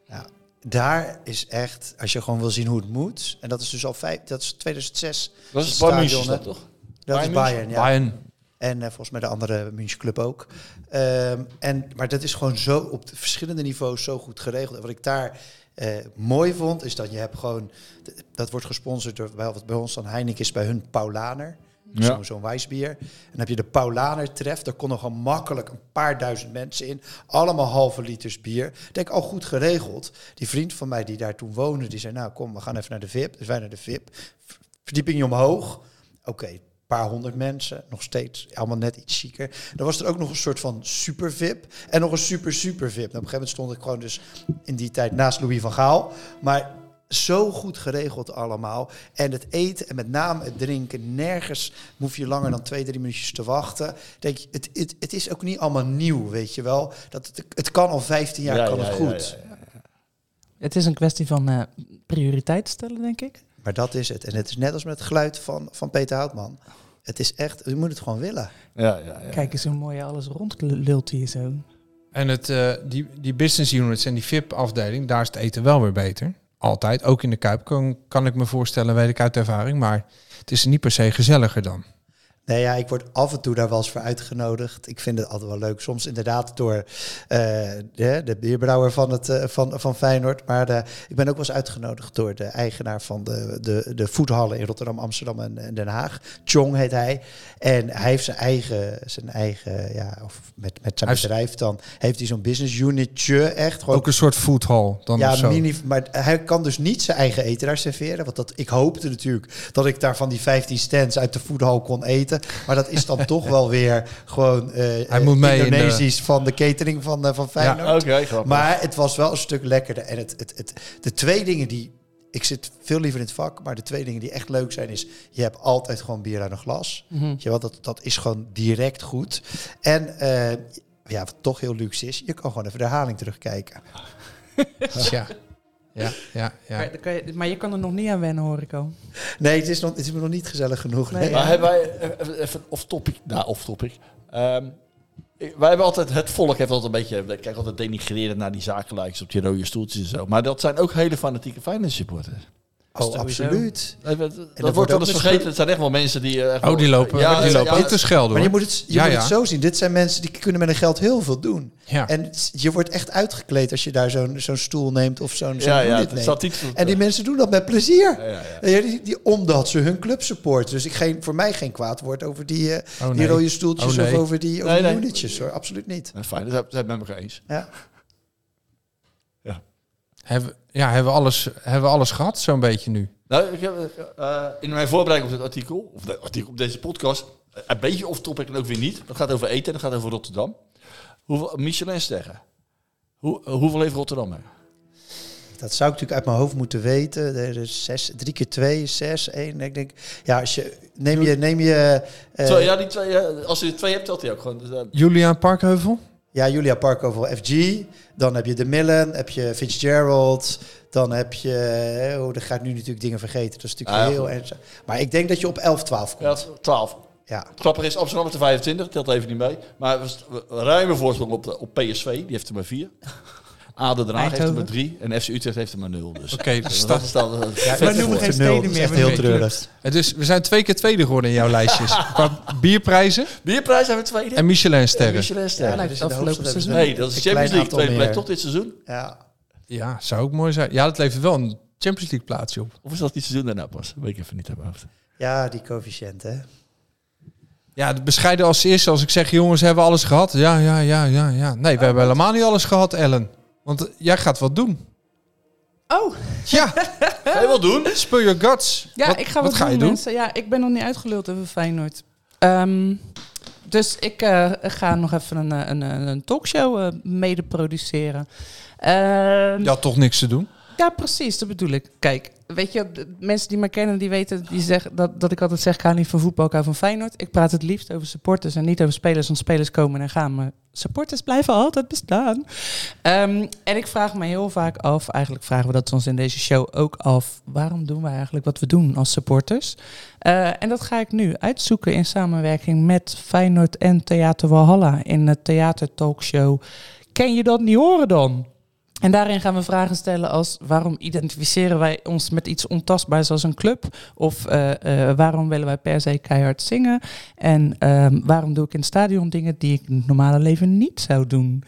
[SPEAKER 7] Nou, daar is echt, als je gewoon wil zien hoe het moet, en dat is dus al vijf, dat is 2006.
[SPEAKER 2] Dat is
[SPEAKER 7] stadion,
[SPEAKER 2] Bayern München, is
[SPEAKER 7] hè?
[SPEAKER 2] dat toch?
[SPEAKER 7] Dat
[SPEAKER 2] Bayern
[SPEAKER 7] is
[SPEAKER 2] München?
[SPEAKER 7] Bayern, ja.
[SPEAKER 5] Bayern.
[SPEAKER 7] En eh, volgens mij de andere München club ook. Ehm, en, maar dat is gewoon zo op de verschillende niveaus zo goed geregeld. En wat ik daar eh, mooi vond, is dat je hebt gewoon... d- Dat wordt gesponsord door, bij, wat bij ons dan Heineken is bij hun Paulaner.
[SPEAKER 2] Ja.
[SPEAKER 7] Zo'n zo'n wijsbier. En dan heb je de Paulaner tref. Daar konden gewoon makkelijk een paar duizend mensen in. Allemaal halve liters bier. Ik denk, al goed geregeld. Die vriend van mij die daar toen woonde, die zei... Nou, kom, we gaan even naar de VIP. Dus wij naar de VIP. V- Verdieping omhoog. Oké, een paar honderd mensen. Nog steeds allemaal net iets zieker. Dan was er ook nog een soort van super VIP. En nog een super super VIP. En op een gegeven moment stond ik gewoon dus in die tijd naast Louis van Gaal. Maar zo goed geregeld allemaal. En het eten en met name het drinken. Nergens hoef je langer dan twee, drie minuutjes te wachten. Denk, je, het, het, het is ook niet allemaal nieuw, weet je wel. Dat het, het kan al 15 jaar,
[SPEAKER 2] Ja,
[SPEAKER 7] kan
[SPEAKER 2] ja,
[SPEAKER 7] het
[SPEAKER 2] ja,
[SPEAKER 7] goed.
[SPEAKER 2] ja,
[SPEAKER 6] Het is een kwestie van eh, prioriteit stellen, denk ik.
[SPEAKER 7] Maar dat is het. En het is net als met het geluid van, van Peter Houtman. Het is echt, je moet het gewoon willen.
[SPEAKER 2] Ja, ja, ja.
[SPEAKER 6] Kijk eens hoe mooi alles rondlult hier zo.
[SPEAKER 5] En het, eh, die, die business units en die VIP-afdeling, daar is het eten wel weer beter. Altijd, ook in de Kuip kan, kan ik me voorstellen, weet ik uit ervaring. Maar het is niet per se gezelliger dan.
[SPEAKER 7] Nee, ja, ik word af en toe daar wel eens voor uitgenodigd. Ik vind het altijd wel leuk. Soms inderdaad door eh, de, de bierbrouwer van, het, eh, van, van Feyenoord. Maar eh, ik ben ook wel eens uitgenodigd door de eigenaar van de, de, de voethallen in Rotterdam, Amsterdam en, en Den Haag. Chong heet hij. En hij heeft zijn eigen, zijn eigen ja, of met, met
[SPEAKER 5] Hij
[SPEAKER 7] zijn
[SPEAKER 5] heeft-
[SPEAKER 7] bedrijf dan, heeft hij zo'n business unitje echt. Gewoon
[SPEAKER 5] Ook een soort food hall dan of
[SPEAKER 7] ja,
[SPEAKER 5] zo.
[SPEAKER 7] mini, maar hij kan dus niet zijn eigen eten daar serveren. Want dat, ik hoopte natuurlijk dat ik daar van die 15 stands uit de foodhall kon eten. Maar dat is dan toch wel weer gewoon eh, eh,
[SPEAKER 5] moet mee in de-
[SPEAKER 7] Indonesisch van de catering van, eh, van Feyenoord.
[SPEAKER 2] Oké, grappig.
[SPEAKER 7] maar het was wel een stuk lekkerder. En het, het, het, de twee dingen die... Ik zit veel liever in het vak, maar de twee dingen die echt leuk zijn is... je hebt altijd gewoon bier aan een glas.
[SPEAKER 6] Mhm.
[SPEAKER 7] Weet je wel, dat, dat is gewoon direct goed. En eh, ja, wat toch heel luxe is, je kan gewoon even de herhaling terugkijken.
[SPEAKER 5] Ja, ja, ja. ja.
[SPEAKER 6] Maar, dan kan je, maar je kan er nog niet aan wennen, hoor ik al.
[SPEAKER 7] Nee, het is, nog, het is me nog niet gezellig genoeg. Nee.
[SPEAKER 2] Maar hebben wij, even, even off-topic, nou off-topic. Ehm, Ik- Wij hebben altijd, het volk heeft altijd een beetje, ik kijk altijd denigrerend naar die zakenlijkers op die rode stoeltjes en zo. Maar dat zijn ook hele fanatieke Feyenoord supporters.
[SPEAKER 7] Oh, absoluut.
[SPEAKER 2] Dat,
[SPEAKER 7] wordt
[SPEAKER 2] wordt wel
[SPEAKER 7] ook
[SPEAKER 2] eens
[SPEAKER 7] mis-
[SPEAKER 2] vergeten, het zijn echt wel mensen die... eh, echt
[SPEAKER 5] Oh,
[SPEAKER 2] wel-
[SPEAKER 7] ja.
[SPEAKER 5] te schelden,
[SPEAKER 7] Maar je
[SPEAKER 5] hoor.
[SPEAKER 7] moet, het, je
[SPEAKER 5] Ja,
[SPEAKER 7] moet
[SPEAKER 5] ja.
[SPEAKER 7] het zo zien. Dit zijn mensen die kunnen met hun geld heel veel doen.
[SPEAKER 5] Ja.
[SPEAKER 7] En het- je wordt echt uitgekleed als je daar zo'n zo'n stoel neemt of zo'n zo'n
[SPEAKER 2] Ja, ja,
[SPEAKER 7] unit
[SPEAKER 2] het
[SPEAKER 7] neemt.
[SPEAKER 2] staat iets voor-
[SPEAKER 7] en die mensen doen dat met plezier.
[SPEAKER 2] Ja, ja,
[SPEAKER 7] Ja, die, die, omdat ze hun club supporten. Dus ik geen, voor mij geen kwaad woord over die, eh,
[SPEAKER 2] Oh, nee.
[SPEAKER 7] die rode stoeltjes
[SPEAKER 2] Oh, nee.
[SPEAKER 7] of over die, over
[SPEAKER 2] Nee,
[SPEAKER 7] die
[SPEAKER 2] nee.
[SPEAKER 7] unitjes. Hoor. Absoluut niet.
[SPEAKER 2] En Feyenoord, dat zijn we met elkaar eens.
[SPEAKER 7] Ja.
[SPEAKER 5] Hebben, ja, hebben we alles, hebben we alles gehad zo'n beetje nu?
[SPEAKER 2] Nou, ik heb, eh, in mijn voorbereiding op dit artikel, of de, artikel op deze podcast, eh, een beetje off-topic en ook weer niet. Dat gaat over eten, dat gaat over Rotterdam. Hoeveel Michelin-sterren? Hoe, eh, hoeveel heeft Rotterdam er?
[SPEAKER 7] Dat zou ik natuurlijk uit mijn hoofd moeten weten. Er is zes, drie keer twee, is zes, één. Ik denk, ja, als je, neem je... Neem je eh,
[SPEAKER 2] Zo, ja, die twee, eh, als je twee hebt, telt hij ook gewoon. Dus, eh,
[SPEAKER 5] Julian Parkheuvel?
[SPEAKER 7] Ja, Julia Parkoval FG. Dan heb je de Millen, heb je Fitzgerald. Dan heb je... Oh, dan ga ik nu natuurlijk dingen vergeten. Dat is natuurlijk
[SPEAKER 2] Ah, ja,
[SPEAKER 7] heel
[SPEAKER 2] goed.
[SPEAKER 7] ernstig. Maar ik denk dat je op 11, 12 komt.
[SPEAKER 2] ja, het is 12.
[SPEAKER 7] Ja.
[SPEAKER 2] Klapper is Amsterdam met de 25, telt even niet mee. Maar we st- we- ruime voorsprong op, de- op PSV, die heeft er maar 4. Aden Den Haag heeft er
[SPEAKER 5] Eindhoven.
[SPEAKER 2] maar 3 en FC Utrecht heeft er maar 0. Dus.
[SPEAKER 5] Oké,
[SPEAKER 2] dat
[SPEAKER 5] stad-
[SPEAKER 2] is dan, eh, vet
[SPEAKER 5] maar
[SPEAKER 2] voor.
[SPEAKER 5] noemen geen
[SPEAKER 7] steden meer,
[SPEAKER 5] echt
[SPEAKER 7] we noemen geen clubs.
[SPEAKER 5] En dus we zijn twee keer tweede geworden in jouw lijstjes. Qua bierprijzen
[SPEAKER 2] Bierprijs hebben we tweede.
[SPEAKER 5] en Michelinsterren.
[SPEAKER 2] Michelinsterren.
[SPEAKER 7] Ja, dat is in de
[SPEAKER 2] Afgelopen
[SPEAKER 7] hoofdstad hebben ze
[SPEAKER 2] Nee,
[SPEAKER 7] een-
[SPEAKER 2] dat is
[SPEAKER 7] een
[SPEAKER 2] Champions League.
[SPEAKER 7] klein aantal
[SPEAKER 2] Tweede plek
[SPEAKER 7] meer.
[SPEAKER 2] tot dit seizoen.
[SPEAKER 7] Ja.
[SPEAKER 5] Ja, zou ook mooi zijn. Ja, dat levert wel een Champions League plaatsje op.
[SPEAKER 2] Of is dat die seizoen daarna pas? Weet ik even niet uit mijn hoofd.
[SPEAKER 7] ja, die coëfficiënt, hè.
[SPEAKER 5] Ja, de bescheiden als eerste. Als ik zeg, jongens, hebben we alles gehad? Ja, ja, ja, ja, ja. Nee, we hebben helemaal niet alles gehad, Ellen. Want eh, jij gaat wat doen.
[SPEAKER 6] Oh,
[SPEAKER 5] Ja.
[SPEAKER 2] Ga je wat doen?
[SPEAKER 5] Speel your guts.
[SPEAKER 6] ja,
[SPEAKER 5] Wat-
[SPEAKER 6] ik ga wat,
[SPEAKER 5] Wat ga
[SPEAKER 6] doen,
[SPEAKER 5] je doen?
[SPEAKER 6] mensen. Ja, ik ben nog niet uitgeluld over Feyenoord. Ehm, dus ik eh, ga nog even een, eh, een, eh, een talkshow eh, mede produceren. Ehm,
[SPEAKER 5] Je had toch niks te doen?
[SPEAKER 6] Ja, precies, dat bedoel ik. Kijk, weet je, de mensen die mij kennen, die weten die zeggen dat, dat ik altijd zeg, ik hou niet van voetbal, ik hou van Feyenoord. Ik praat het liefst over supporters en niet over spelers, want spelers komen en gaan. Maar supporters blijven altijd bestaan. Ehm, en ik vraag me heel vaak af, eigenlijk vragen we dat ons in deze show ook af, waarom doen wij eigenlijk wat we doen als supporters? Eh, en dat ga ik nu uitzoeken in samenwerking met Feyenoord en Theater Walhalla in het theatertalkshow Ken je dat niet horen dan? En daarin gaan we vragen stellen als waarom identificeren wij ons met iets ontastbaars als een club? Of eh, eh, waarom willen wij per se keihard zingen? En ehm, waarom doe ik in het stadion dingen die ik in het normale leven niet zou doen?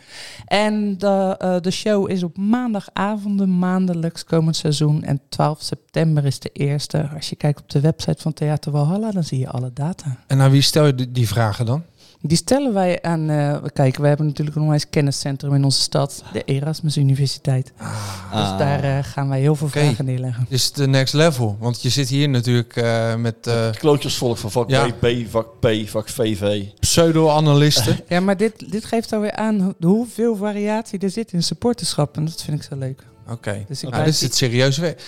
[SPEAKER 6] En de, eh, de show is op maandagavonden, maandelijks komend seizoen. En 12 september is de eerste. Als je kijkt op de website van Theater Walhalla, dan zie je alle data.
[SPEAKER 5] En aan wie stel je die- die vragen dan?
[SPEAKER 6] Die stellen wij aan. eh, kijk, we hebben natuurlijk een onwijs kenniscentrum in onze stad, de Erasmus Universiteit.
[SPEAKER 5] Ah.
[SPEAKER 6] Dus daar eh, gaan wij heel veel
[SPEAKER 5] Oké.
[SPEAKER 6] vragen neerleggen.
[SPEAKER 5] Dit is de next level. Want je zit hier natuurlijk eh, met eh,
[SPEAKER 2] Klootjesvolk van vak
[SPEAKER 5] Ja.
[SPEAKER 2] B, vak P, vak VV.
[SPEAKER 5] pseudo-analisten.
[SPEAKER 6] Ja, maar dit, dit geeft alweer aan ho- hoeveel variatie er zit in supporterschap. En dat vind ik zo leuk.
[SPEAKER 5] Oké,
[SPEAKER 6] Dus ik
[SPEAKER 5] nou,
[SPEAKER 6] blijf
[SPEAKER 5] dit is
[SPEAKER 6] die-
[SPEAKER 5] het serieuze werk.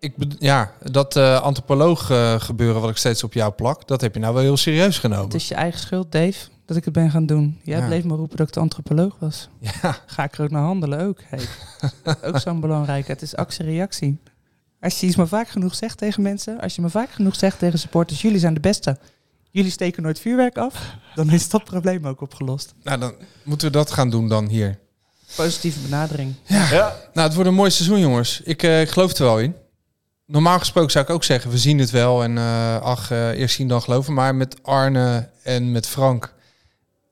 [SPEAKER 5] Ik bedo- ja, dat eh, antropoloog eh, gebeuren wat ik steeds op jou plak, dat heb je nou wel heel serieus genomen.
[SPEAKER 6] Het is je eigen schuld, Dave, dat ik het ben gaan doen. Jij
[SPEAKER 5] Ja.
[SPEAKER 6] bleef me roepen dat ik de antropoloog was.
[SPEAKER 5] Ja.
[SPEAKER 6] Ga ik er ook naar handelen ook. Hey. ook zo'n belangrijke. Het is actie-reactie. Als je iets maar vaak genoeg zegt tegen mensen, als je maar vaak genoeg zegt tegen supporters, jullie zijn de beste. Jullie steken nooit vuurwerk af, dan is dat probleem ook opgelost.
[SPEAKER 5] Nou, dan moeten we dat gaan doen dan hier.
[SPEAKER 6] Positieve benadering.
[SPEAKER 5] Nou, het wordt een mooi seizoen, jongens. Ik, eh, ik geloof er wel in. Normaal gesproken zou ik ook zeggen, we zien het wel. En eh, ach, eh, eerst zien dan geloven. Maar met Arne en met Frank,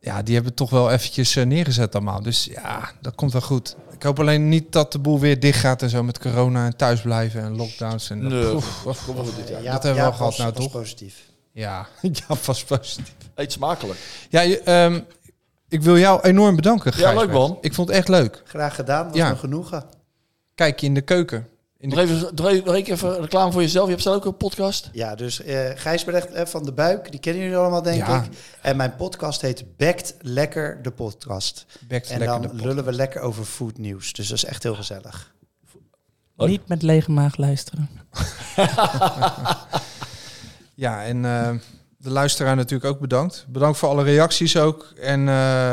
[SPEAKER 5] ja, die hebben het toch wel eventjes eh, neergezet allemaal. Dus ja, dat komt wel goed. Ik hoop alleen niet dat de boel weer dicht gaat en zo met corona en thuisblijven en lockdowns. En
[SPEAKER 2] Nee,
[SPEAKER 5] Oef, oef,
[SPEAKER 2] kom maar goed dit jaar.
[SPEAKER 5] dat hebben we wel
[SPEAKER 7] was-
[SPEAKER 5] gehad nou,
[SPEAKER 7] was
[SPEAKER 5] toch?
[SPEAKER 7] positief.
[SPEAKER 5] Ja, ja, vast positief.
[SPEAKER 2] Eet smakelijk.
[SPEAKER 5] Ja, je, ehm, ik wil jou enorm bedanken,
[SPEAKER 2] Ja, leuk,
[SPEAKER 5] Gijsbert.
[SPEAKER 2] man.
[SPEAKER 5] Ik vond het echt leuk.
[SPEAKER 7] Graag gedaan, was
[SPEAKER 5] Ja.
[SPEAKER 7] me genoegen.
[SPEAKER 5] Kijk je in de keuken. In de
[SPEAKER 2] Nog even, nog even- nog één keer even reclame voor jezelf. Je hebt zelf ook een podcast.
[SPEAKER 7] Ja, dus eh Gijsbrecht eh, van de Buik, die kennen jullie allemaal, denk
[SPEAKER 5] Ja.
[SPEAKER 7] ik. En mijn podcast heet Bekt Lekker de Podcast.
[SPEAKER 5] Bekt
[SPEAKER 7] en
[SPEAKER 5] Lekker
[SPEAKER 7] dan
[SPEAKER 5] de Podcast.
[SPEAKER 7] lullen we lekker over foodnieuws. Dus dat is echt heel gezellig.
[SPEAKER 2] Leuk.
[SPEAKER 6] Niet met lege maag luisteren.
[SPEAKER 5] Ja, en eh, de luisteraar natuurlijk ook bedankt. Bedankt voor alle reacties ook. En eh,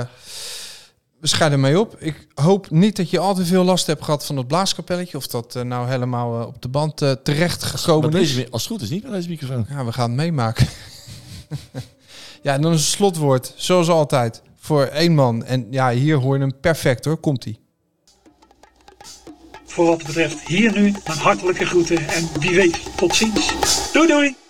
[SPEAKER 5] we scheiden mee op. Ik hoop niet dat je al te veel last hebt gehad van dat blaaskapelletje. Of dat eh, nou helemaal eh, op de band eh, terecht
[SPEAKER 2] Met
[SPEAKER 5] gekomen
[SPEAKER 2] deze
[SPEAKER 5] is.
[SPEAKER 2] mi- als het goed is niet met deze microfoon.
[SPEAKER 5] Ja, we gaan het meemaken. ja, en dan is het slotwoord, zoals altijd, voor één man. En ja, hier hoor je hem perfect hoor. Komt-ie.
[SPEAKER 3] Voor wat betreft hier nu, een hartelijke groeten en wie weet, tot ziens. Doei doei!